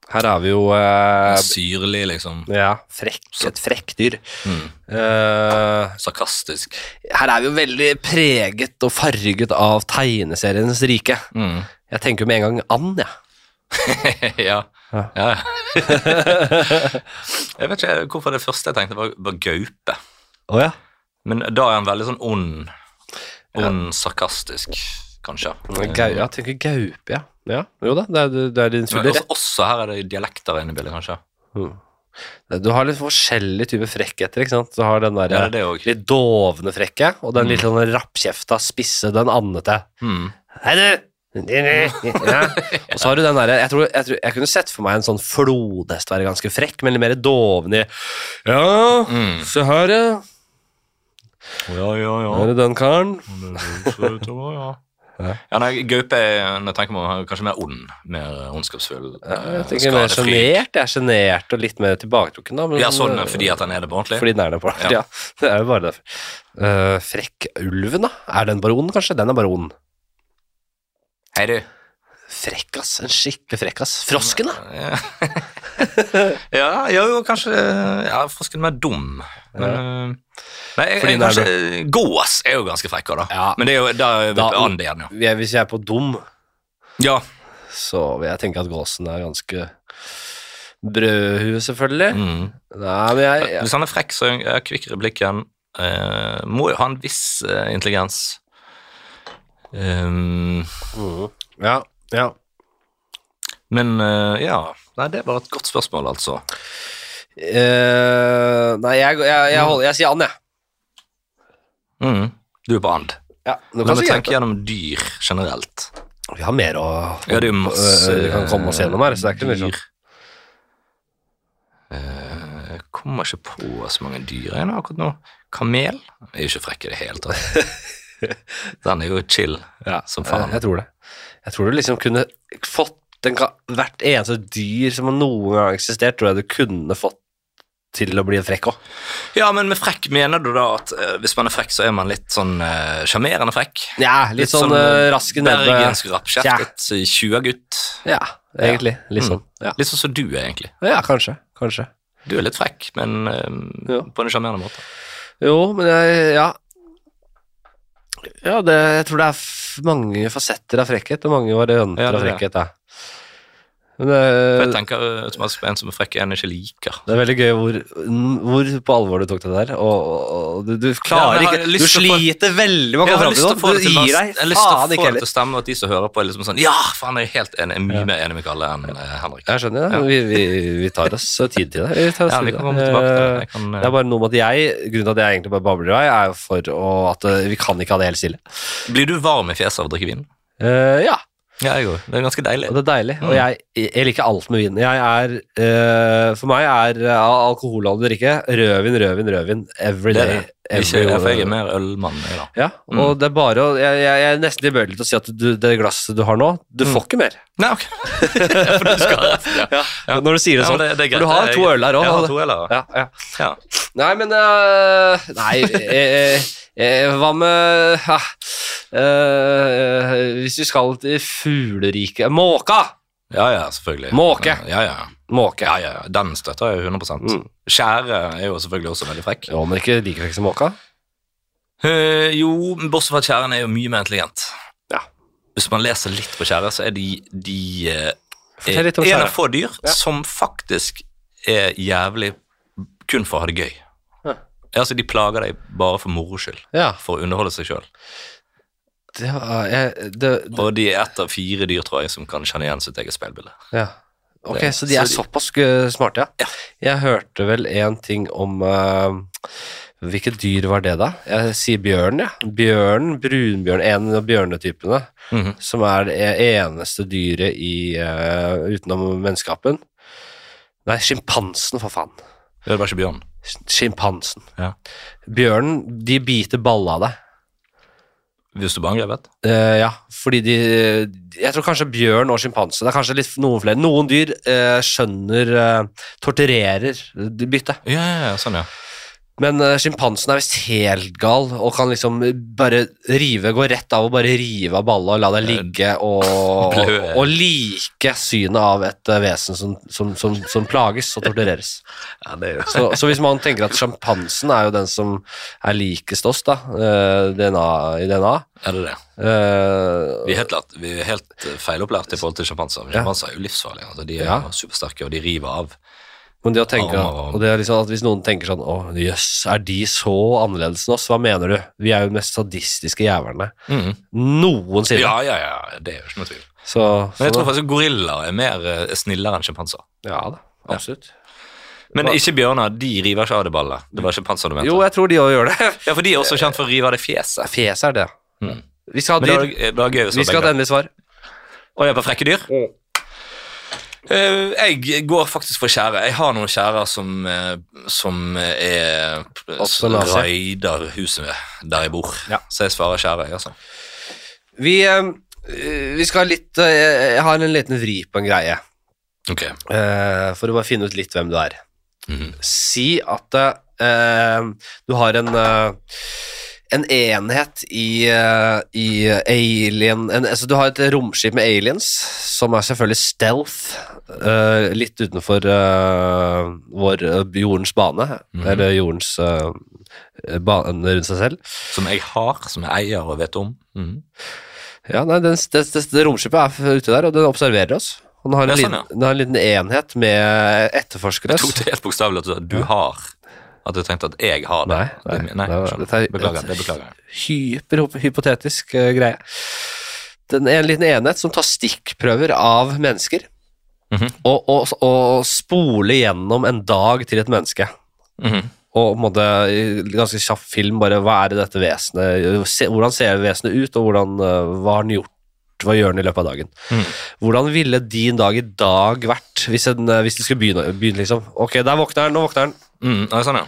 Speaker 1: Her har vi jo eh,
Speaker 2: Syrlig, liksom.
Speaker 1: ja, frekk, et frekkdyr.
Speaker 2: Mm.
Speaker 1: Eh,
Speaker 2: Sarkastisk.
Speaker 1: her er vi jo veldig preget og farget av tegneserienes rike.
Speaker 2: Mm. [laughs]
Speaker 1: Jeg tenker jo med en gang and, jeg.
Speaker 2: ja.
Speaker 1: Ja.
Speaker 2: ja. [laughs] jeg vet ikke hvorfor det første jeg tenkte, var, var gaupe.
Speaker 1: Oh, ja.
Speaker 2: Men da er han veldig sånn ond. Ond, sarkastisk, kanskje.
Speaker 1: Gau, ja, tenker gaupe, ja. ja. Jo da, det er, det er din
Speaker 2: Men
Speaker 1: fulle
Speaker 2: også,
Speaker 1: rett.
Speaker 2: altså, også her er det dialekter inne i bildet, kanskje.
Speaker 1: Du har litt forskjellige typer frekkheter, ikke sant? Du har den der
Speaker 2: Ja, det er det også.
Speaker 1: litt dovne frekke, og den litt sånn rappkjefta, spisse, den andete.
Speaker 2: Mm.
Speaker 1: Hei, du!
Speaker 2: [laughs]
Speaker 1: Ja. Og så har du den derre jeg, tror- jeg, tror- jeg kunne sett for meg en sånn flodhest være ganske frekk, men litt mer doven i Ja,
Speaker 2: Mm.
Speaker 1: se her, ja.
Speaker 2: Ja, ja,
Speaker 1: Her er den karen.
Speaker 2: ja.
Speaker 1: Ja.
Speaker 2: Ja, nei, Gaupe er når jeg tenker meg, om, kanskje mer ond. Mer ondskapsfull.
Speaker 1: Ja, jeg
Speaker 2: eh,
Speaker 1: tenker mer sånn
Speaker 2: skadefri.
Speaker 1: sjenert. Jeg er sjenert og litt mer tilbaketrukken, da. men-
Speaker 2: Ja, sånn fordi at han er det på ordentlig.
Speaker 1: Fordi den er det på ja.
Speaker 2: Ja.
Speaker 1: det er jo bare derfor. Eh, frekk ulven, da? Er den baron, kanskje? Den er baron.
Speaker 2: Hei, du.
Speaker 1: Frekk, ass. En skikkelig frekk, ass. Frosken, da?
Speaker 2: Ja, [laughs] ja jo, jo, kanskje eh, Ja, frosken mer dum. Men, eh, Nei, jeg,
Speaker 1: Fordi
Speaker 2: jeg,
Speaker 1: den er
Speaker 2: kanskje, gås er jo ganske frekk også, da.
Speaker 1: Ja.
Speaker 2: Men det er jo der er vi
Speaker 1: Da-
Speaker 2: på and igjen, ja.
Speaker 1: Jeg- Hvis jeg er på dum,
Speaker 2: ja.
Speaker 1: så vil jeg tenke at gåsen er ganske brødhue, selvfølgelig.
Speaker 2: Mm.
Speaker 1: Nei, men jeg, jeg
Speaker 2: Eh, Hvis han er frekk, så er han kvikk i replikken. Eh, må jo ha en viss eh, intelligens. Ehm,
Speaker 1: Mhm. Ja, ja.
Speaker 2: men eh, ja Nei, det var et godt spørsmål, altså.
Speaker 1: Eh, nei, jeg, jeg, jeg, holder, jeg sier and, jeg.
Speaker 2: Mm. Du er på and.
Speaker 1: Ja, nå
Speaker 2: La
Speaker 1: kan
Speaker 2: meg
Speaker 1: jeg
Speaker 2: tenke gjennom dyr generelt.
Speaker 1: Vi har mer å
Speaker 2: Ja, det er jo masse
Speaker 1: øh, vi kan komme oss gjennom her, så det er ikke mye sånn.
Speaker 2: dyr. Eh, Jeg kommer ikke på så mange dyr jeg nå akkurat nå. Kamel er jo ikke frekk i det hele tatt.
Speaker 1: [laughs]
Speaker 2: Den er jo chill
Speaker 1: Ja,
Speaker 2: som
Speaker 1: eh,
Speaker 2: faen.
Speaker 1: Jeg tror det. Jeg tror du liksom kunne fått en, ka- hvert eneste dyr som noen gang har eksistert, tror jeg du kunne fått til å bli en frekk òg.
Speaker 2: Ja, men med frekk mener du da at eh, hvis man er frekk, så er man litt sånn eh, sjarmerende frekk? eh,
Speaker 1: Ja, litt, sånn uh, rask i nebbet.
Speaker 2: Bergensk rappkjeftet tjuagutt.
Speaker 1: Ja, egentlig. Litt
Speaker 2: Mm.
Speaker 1: sånn. Ja,
Speaker 2: eh, Litt sånn som du er, egentlig.
Speaker 1: ja kanskje. Kanskje.
Speaker 2: Du er litt frekk, men eh,
Speaker 1: Ja.
Speaker 2: på en sjarmerende måte.
Speaker 1: Jo, men jeg Ja. Ja, det, jeg tror det er f mange fasetter av frekkhet, og mange varianter
Speaker 2: Ja, det er
Speaker 1: av
Speaker 2: det.
Speaker 1: frekkhet. Ja. Men det,
Speaker 2: For jeg tenker automatisk på en som er frekk, en jeg ikke liker.
Speaker 1: Det er veldig gøy hvor, hvor på alvor du tok det der. Og, og- og du, du klarer
Speaker 2: Ja, men jeg har
Speaker 1: ikke Du
Speaker 2: lyst til å få-
Speaker 1: sliter veldig med å
Speaker 2: Jeg
Speaker 1: komme
Speaker 2: har
Speaker 1: fram
Speaker 2: lyst til å få
Speaker 1: til noe. Du
Speaker 2: det til å-
Speaker 1: gir
Speaker 2: jeg
Speaker 1: deg
Speaker 2: har lyst til å
Speaker 1: faen ikke
Speaker 2: få det til
Speaker 1: heller.
Speaker 2: å stemme, og at de som hører på, er liksom sånn Ja, faen, jeg er helt enig. Jeg er mye mer enig med Kalle enn eh, Henrik.
Speaker 1: Jeg skjønner det. Vi, vi, vi tar oss tid til det. Vi tar oss
Speaker 2: Ja, vi
Speaker 1: tid
Speaker 2: kan
Speaker 1: til
Speaker 2: komme
Speaker 1: det.
Speaker 2: tilbake til det.
Speaker 1: Eh,
Speaker 2: Jeg kan,
Speaker 1: Det er bare noe med at jeg Grunnen til at jeg egentlig bare babler i vei, er jo for å, at eh, vi kan ikke ha det helt stille.
Speaker 2: eh, Blir du varm i fjeset av å drikke vin?
Speaker 1: Eh, ja.
Speaker 2: Ja, jeg òg. Det er ganske deilig.
Speaker 1: Og det er deilig. Og jeg, jeg liker alt med vin. Jeg er, eh, for meg er eh, alkoholholdig drikke rødvin, rødvin, rødvin every
Speaker 2: Det er
Speaker 1: day.
Speaker 2: det. Ikke,
Speaker 1: every-
Speaker 2: ja, for jeg er mer ølmann, jeg, da.
Speaker 1: Ja, og det er bare å Jeg, jeg, jeg er nesten tilbøyelig til å si at du, det glasset du har nå, du får ikke mer.
Speaker 2: Nei, ok. for du skal ha rett. Mm. [laughs] Ja. Ja.
Speaker 1: Når du sier
Speaker 2: Ja,
Speaker 1: det sånn.
Speaker 2: men det, det er greit.
Speaker 1: For du har
Speaker 2: Jeg-
Speaker 1: to øl her
Speaker 2: Jeg har
Speaker 1: òg.
Speaker 2: to øl her.
Speaker 1: Ja, ja.
Speaker 2: Ja.
Speaker 1: Nei, men øh, Nei, eh, eh, hva med ah, eh, Hvis vi skal til fugleriket Måka!
Speaker 2: ja, ja, selvfølgelig.
Speaker 1: Måke.
Speaker 2: Ja, ja.
Speaker 1: Måke.
Speaker 2: ja, ja. ja. Den støtter jeg 100
Speaker 1: Mm.
Speaker 2: Skjære er jo selvfølgelig også veldig frekk.
Speaker 1: Jo, men ikke like frekk som måka.
Speaker 2: Eh, jo, bortsett fra at kjæren er jo mye mer intelligent.
Speaker 1: Ja.
Speaker 2: Hvis man leser litt på kjære, så er de, de eh,
Speaker 1: Fortell litt om
Speaker 2: en
Speaker 1: kjære.
Speaker 2: av få dyr
Speaker 1: Ja.
Speaker 2: som faktisk er jævlig kun for å ha det gøy.
Speaker 1: Ja.
Speaker 2: Altså, de plager deg bare for moro skyld,
Speaker 1: Ja,
Speaker 2: for å underholde seg sjøl.
Speaker 1: det var jeg, det, det,
Speaker 2: Og de er ett av fire dyr, tror jeg, som kan kjenne igjen sitt eget speilbilde.
Speaker 1: ja. Ok,
Speaker 2: Det-
Speaker 1: så de er
Speaker 2: så
Speaker 1: såpass øh, smarte, ja. Jeg hørte vel en ting om øh, Hvilket dyr var det, da? Jeg sier bjørn, jeg. Ja. Bjørn, brunbjørn, en av bjørnetypene.
Speaker 2: Mhm.
Speaker 1: som er det eneste dyret i, eh, utenom menneskeapen. Nei, sjimpansen, for faen.
Speaker 2: Det er bare ikke bjørn.
Speaker 1: Sjimpansen.
Speaker 2: Ja.
Speaker 1: Bjørnen, de biter balla av deg.
Speaker 2: Hvis du blir angrepet.
Speaker 1: Eh, ja, fordi de Jeg tror kanskje bjørn og sjimpanse. Det er kanskje litt noen flere. Noen dyr eh, skjønner eh, Torturerer de byttet.
Speaker 2: Ja, ja, ja, sånn, ja.
Speaker 1: Men eh, sjimpansen er visst helt gal og kan liksom bare rive Gå rett av og bare rive av balla og la deg ligge og, og,
Speaker 2: Blø.
Speaker 1: og like synet av et eh, vesen som, som, som, som plages og tortureres.
Speaker 2: ja det er jo.
Speaker 1: Så, så hvis man tenker at sjampansen er jo den som er likest oss da, eh, DNA, i DNA
Speaker 2: Er det det?
Speaker 1: eh,
Speaker 2: Vi er helt, klart, vi er helt eh, feilopplært i forhold til sjampanser.
Speaker 1: Ja.
Speaker 2: Sjampanser er jo livsfarlige. Altså, de er
Speaker 1: Ja.
Speaker 2: supersterke, og de river av.
Speaker 1: Men det å tenke
Speaker 2: Armer og-
Speaker 1: og det er liksom at Hvis noen tenker sånn Å, jøss, er de så annerledes enn oss? Hva mener du? Vi er jo de mest sadistiske jævlene noensinne.
Speaker 2: Ja, ja, ja, Mm, det er jo ikke noe tvil.
Speaker 1: Så, så
Speaker 2: Men jeg
Speaker 1: da-
Speaker 2: tror faktisk gorillaer er mer eh, snillere enn sjimpanser.
Speaker 1: Ja da, absolutt.
Speaker 2: Men ikke bjørner. De river ikke av det ballet. Det var sjimpanser du mente.
Speaker 1: Jo, jeg tror de òg gjør det.
Speaker 2: [laughs] Ja, for de er også kjent for å rive av det fjeset.
Speaker 1: Fjes er det.
Speaker 2: Mm.
Speaker 1: Vi skal ha
Speaker 2: Men det var,
Speaker 1: dyr.
Speaker 2: det var gøy hvis
Speaker 1: Vi skal ha et endelig svar.
Speaker 2: Og jeg er på frekke dyr. Eh, jeg går faktisk for skjære. Jeg har noen skjærer som, eh, som er
Speaker 1: Også nazi.
Speaker 2: raider huset der jeg bor.
Speaker 1: Ja.
Speaker 2: Så jeg svarer skjære, jeg, altså.
Speaker 1: Vi, eh, vi skal ha litt eh, Jeg har en liten vri på en greie.
Speaker 2: Ok.
Speaker 1: eh, for å bare finne ut litt hvem du er.
Speaker 2: Mhm.
Speaker 1: Si at eh, du har en eh, en enhet i, eh, i alien en, altså Du har et romskip med aliens, som er selvfølgelig stealth. eh, litt utenfor eh, vår eh, jordens bane,
Speaker 2: Mhm.
Speaker 1: eller jordens eh, bane rundt seg selv.
Speaker 2: Som jeg har, som jeg eier og vet om. Mhm.
Speaker 1: Ja, nei, den, det, det, det romskipet er f- ute der, og den observerer oss. Og den har en,
Speaker 2: Ja, sånn,
Speaker 1: liten,
Speaker 2: ja.
Speaker 1: den har en liten enhet med etterforskere.
Speaker 2: Jeg tok det helt bokstavelig at du sa du har. At du tenkte at jeg har det.
Speaker 1: Nei, nei,
Speaker 2: det, nei,
Speaker 1: nei,
Speaker 2: skjønner.
Speaker 1: dette er-
Speaker 2: beklager, det beklager jeg.
Speaker 1: hyperhypotetisk eh, greie. Den er en liten enhet som tar stikkprøver av mennesker,
Speaker 2: Mhm.
Speaker 1: og, og, og spoler gjennom en dag til et menneske.
Speaker 2: Mhm.
Speaker 1: Og på en måte, i ganske kjapp film, bare hva er det dette vesenet se, Hvordan ser vesenet ut, og hvordan, eh, hva har den gjort? Hva gjør den i løpet av dagen?
Speaker 2: Mhm.
Speaker 1: Hvordan ville din dag i dag vært hvis, en, eh, hvis du skulle begynne, begynne liksom? Ok, der våkner den, nå våkner den.
Speaker 2: Mhm, nei, sånn, ja.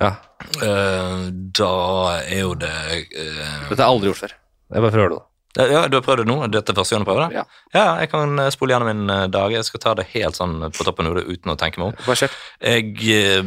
Speaker 1: Ja,
Speaker 2: Eh, da er jo det eh,
Speaker 1: Dette har jeg aldri gjort før. Jeg bare prøver det nå.
Speaker 2: Ja, Ja, du har prøvd det nå? Dette er første gang du prøver det?
Speaker 1: Ja.
Speaker 2: jeg kan eh, spole gjennom min eh, dag. Jeg skal ta det helt sånn på toppen av hodet uten å tenke meg om.
Speaker 1: Bare kjør.
Speaker 2: Jeg eh,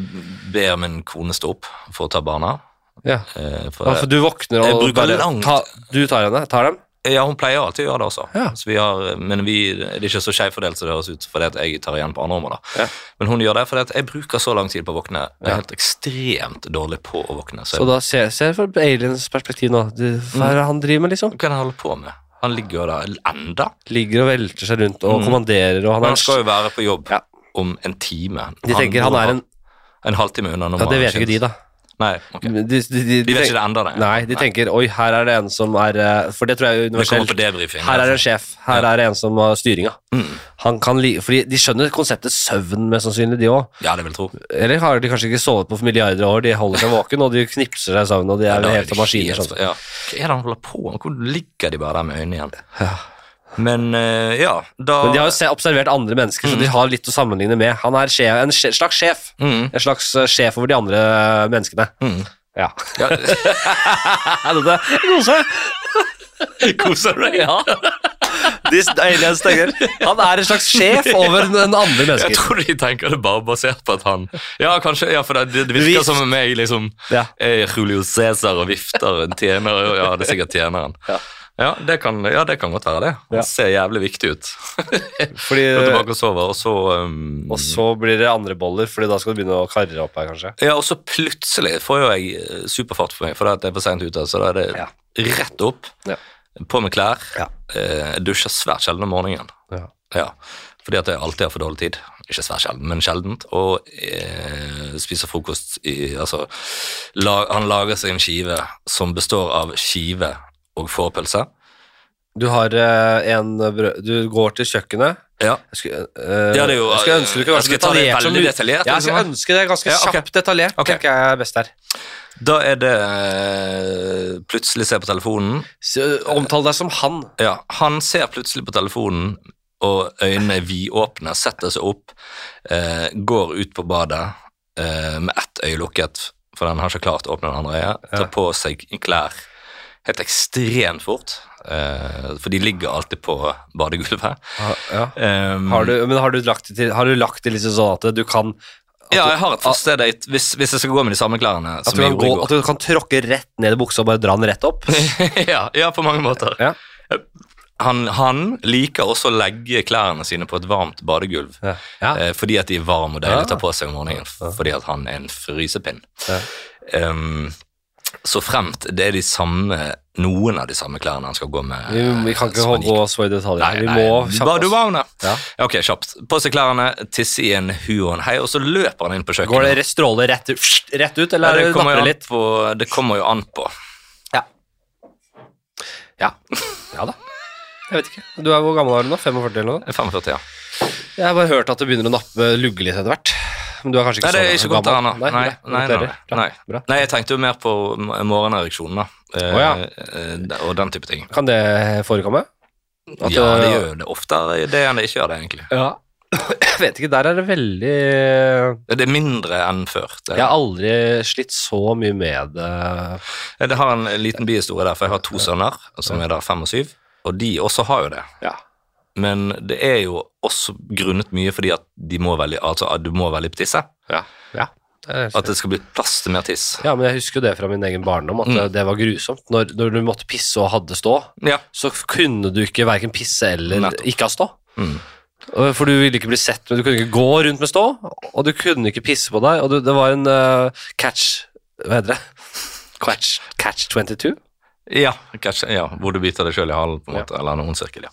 Speaker 2: ber min kone stå opp for å ta barna.
Speaker 1: Ja.
Speaker 2: eh, for-
Speaker 1: Ja, for du våkner og
Speaker 2: Jeg bruker
Speaker 1: bare
Speaker 2: langt.
Speaker 1: ta, Du tar henne? Tar dem?
Speaker 2: ja, hun pleier alltid å gjøre det også.
Speaker 1: Ja.
Speaker 2: Så vi har, eh, men vi, det er ikke så skjevfordelt som det høres ut, fordi at jeg tar igjen på andre områder.
Speaker 1: Ja.
Speaker 2: Men hun gjør det fordi at jeg bruker så lang tid på å våkne. Jeg
Speaker 1: Ja.
Speaker 2: er helt ekstremt dårlig på å våkne. Så,
Speaker 1: Så da ser jeg fra aliens perspektiv nå. Du, hva er det han driver med, liksom?
Speaker 2: hva kan jeg holde på med? Han ligger jo der enda.
Speaker 1: Ligger og velter seg rundt og
Speaker 2: Mm.
Speaker 1: kommanderer, og han
Speaker 2: Men
Speaker 1: er
Speaker 2: han skal jo være på jobb
Speaker 1: Ja.
Speaker 2: om en time.
Speaker 1: De tenker han er en
Speaker 2: En halvtime unna når
Speaker 1: Ja, det
Speaker 2: man-
Speaker 1: vet ikke de, da.
Speaker 2: Nei, ok.
Speaker 1: De, de, de, de,
Speaker 2: De vet ikke
Speaker 1: tenker-
Speaker 2: det enda, nei.
Speaker 1: Nei, de tenker oi, her er det en som er eh, For det tror jeg er
Speaker 2: Vi kommer på
Speaker 1: universelt.
Speaker 2: debrifing.
Speaker 1: Her er det en sjef. Her er det en som har styringa.
Speaker 2: Mm.
Speaker 1: Han kan li fordi de skjønner konseptet søvn, mest sannsynlig, de òg.
Speaker 2: Ja, det vil jeg tro.
Speaker 1: Eller har de kanskje ikke sovet på milliarder av år, de holder seg våken, og de knipser seg sammen, og de
Speaker 2: Ja,
Speaker 1: er
Speaker 2: da er
Speaker 1: helt
Speaker 2: det
Speaker 1: av maskiner.
Speaker 2: helt-
Speaker 1: Sånn.
Speaker 2: ja. Hva er det han holder på med? Hvor ligger de bare der med øynene igjen? Men eh, ja, da
Speaker 1: Men de har jo
Speaker 2: [laughs]
Speaker 1: se- observert andre mennesker, så de har litt å sammenligne med. Han er sje- en sje- slags sjef.
Speaker 2: Mm,
Speaker 1: En slags eh, sjef over de andre eh, menneskene.
Speaker 2: mm.
Speaker 1: Ja. [laughs]
Speaker 2: Ja,
Speaker 1: Dette koser meg.
Speaker 2: Koser du deg?
Speaker 1: Ja. De s- aliens tenker Han er en slags sjef over den den andre
Speaker 2: Jeg
Speaker 1: mennesker.
Speaker 2: tror de tenker det bare basert på at han Ja, kanskje, ja, for det, det- det virker
Speaker 1: Vift.
Speaker 2: som om jeg liksom
Speaker 1: Ja.
Speaker 2: er Julio Cæsar og vifter en tjener. og Ja, det er sikkert tjeneren.
Speaker 1: Ja.
Speaker 2: Ja, det kan, ja, det kan godt være det.
Speaker 1: Ja. Eh,
Speaker 2: Han ser jævlig viktig ut. [laughs]
Speaker 1: Fordi,
Speaker 2: Går tilbake og sover, og så um,
Speaker 1: og så blir det andre boller, Fordi da skal du begynne å karre opp her, kanskje.
Speaker 2: Ja, og så plutselig får jo jeg eh, superfart for meg, for det er for sent ute, så da er det
Speaker 1: Ja.
Speaker 2: rett opp,
Speaker 1: Ja.
Speaker 2: på med klær,
Speaker 1: Ja.
Speaker 2: eh, dusjer svært sjelden om morgenen.
Speaker 1: Ja.
Speaker 2: Ja, fordi at jeg alltid har for dårlig tid. Ikke svært sjelden, men sjeldent. Og eh, spiser frokost i Altså, la, han lager seg en skive som består av skive og fårpølse.
Speaker 1: Du har eh, en brød... Du går til kjøkkenet.
Speaker 2: Ja.
Speaker 1: Jeg skulle, eh,
Speaker 2: Ja, det er jo-
Speaker 1: jeg skulle ønske du kunne
Speaker 2: jeg
Speaker 1: være så
Speaker 2: skulle ta det
Speaker 1: detaljert som
Speaker 2: veldig
Speaker 1: mulig.
Speaker 2: detaljert,
Speaker 1: Ja, jeg skulle
Speaker 2: liksom.
Speaker 1: ønske det ganske
Speaker 2: Ja, ok.
Speaker 1: kjapt detaljert.
Speaker 2: Ok.
Speaker 1: tenker jeg er best der.
Speaker 2: Da er det eh, Plutselig ser jeg på telefonen.
Speaker 1: Så, Omtale deg som han.
Speaker 2: Ja, han ser plutselig på telefonen, og øynene er vidåpne, setter seg opp, eh, går ut på badet eh, med ett øye lukket, for den har ikke klart å åpne det andre øyet,
Speaker 1: Ja.
Speaker 2: tar på seg klær helt ekstremt fort, eh, for de ligger alltid på badegulvet.
Speaker 1: Ja.
Speaker 2: Eh,
Speaker 1: Har du, men har du lagt det til Har du lagt det litt sånn at du kan at
Speaker 2: ja,
Speaker 1: du-
Speaker 2: jeg har et første date, hvis, hvis jeg skal gå med de samme klærne
Speaker 1: at
Speaker 2: som
Speaker 1: du,
Speaker 2: jeg
Speaker 1: kan
Speaker 2: gjorde
Speaker 1: gå,
Speaker 2: i går.
Speaker 1: at du kan tråkke rett ned i buksa og bare dra den rett opp?
Speaker 2: [laughs] ja, ja, på mange måter.
Speaker 1: Ja.
Speaker 2: Han, han liker også å legge klærne sine på et varmt badegulv.
Speaker 1: Ja. Ja.
Speaker 2: Eh, fordi at de er varme og deilige
Speaker 1: Ah.
Speaker 2: å ta på seg om morgenen. Fordi at han er en frysepinn.
Speaker 1: Ja.
Speaker 2: Ehm, så fremt det er de samme, noen av de samme klærne han skal gå med.
Speaker 1: Vi, vi kan ikke
Speaker 2: som han gikk-
Speaker 1: gå så i detalj. her.
Speaker 2: Nei,
Speaker 1: Vi
Speaker 2: nei,
Speaker 1: må
Speaker 2: du ba-
Speaker 1: kjappe
Speaker 2: du
Speaker 1: oss.
Speaker 2: ba om det.
Speaker 1: Ja.
Speaker 2: Ok, kjapt. På seg klærne, tisse i en hu og en hei, og så løper han inn på kjøkkenet.
Speaker 1: Går det rett- stråler rett, ut- fst, rett ut, eller
Speaker 2: Ja,
Speaker 1: ja,
Speaker 2: det,
Speaker 1: napper
Speaker 2: kommer jo
Speaker 1: det
Speaker 2: an
Speaker 1: litt?
Speaker 2: på, det kommer jo an på.
Speaker 1: Ja. ja. Ja da. Jeg vet ikke. Du er hvor gammel er du nå? 45 eller noe?
Speaker 2: 45, ja.
Speaker 1: Jeg har bare hørt at det begynner å nappe lugge litt etter hvert. Men du er kanskje ikke
Speaker 2: Nei, det er
Speaker 1: så
Speaker 2: ikke
Speaker 1: sånn
Speaker 2: godt
Speaker 1: gammel?
Speaker 2: annet. Nei, nei, nei, nei,
Speaker 1: gratulerer. Bra,
Speaker 2: nei.
Speaker 1: bra.
Speaker 2: Nei, jeg tenkte jo mer på m- morgenereksjonen, da. Eh,
Speaker 1: Å, ja.
Speaker 2: eh, Og den type ting.
Speaker 1: Kan det forekomme? At
Speaker 2: ja,
Speaker 1: det-
Speaker 2: det gjør jo det oftere det enn det ikke gjør det, egentlig.
Speaker 1: Ja. Jeg vet ikke, der er det veldig eh,
Speaker 2: Det er mindre enn før. Det,
Speaker 1: Jeg har aldri slitt så mye med det.
Speaker 2: det har en liten bihistorie der, for jeg har to sønner som er da fem og syv, og de også har jo det.
Speaker 1: Ja.
Speaker 2: Men det er jo også grunnet mye fordi at de må veldig, altså at du må veldig tisse.
Speaker 1: Ja. ja. Det er
Speaker 2: At det skal bli plass til mer tiss.
Speaker 1: ja, men jeg husker jo det fra min egen barndom, at
Speaker 2: Mm.
Speaker 1: det var grusomt. Når, når du måtte pisse og hadde stå,
Speaker 2: Ja.
Speaker 1: så kunne du ikke verken pisse eller
Speaker 2: Nettopp.
Speaker 1: ikke ha stå.
Speaker 2: Mm.
Speaker 1: Og- For du ville ikke bli sett, men du kunne ikke gå rundt med stå, og du kunne ikke pisse på deg. Og du, det var en eh, catch Hva heter det? Catch, catch 22?
Speaker 2: Ja, catch, ja, hvor du biter deg sjøl i halen, på en
Speaker 1: Ja.
Speaker 2: måte, eller en ondsirkel, ja.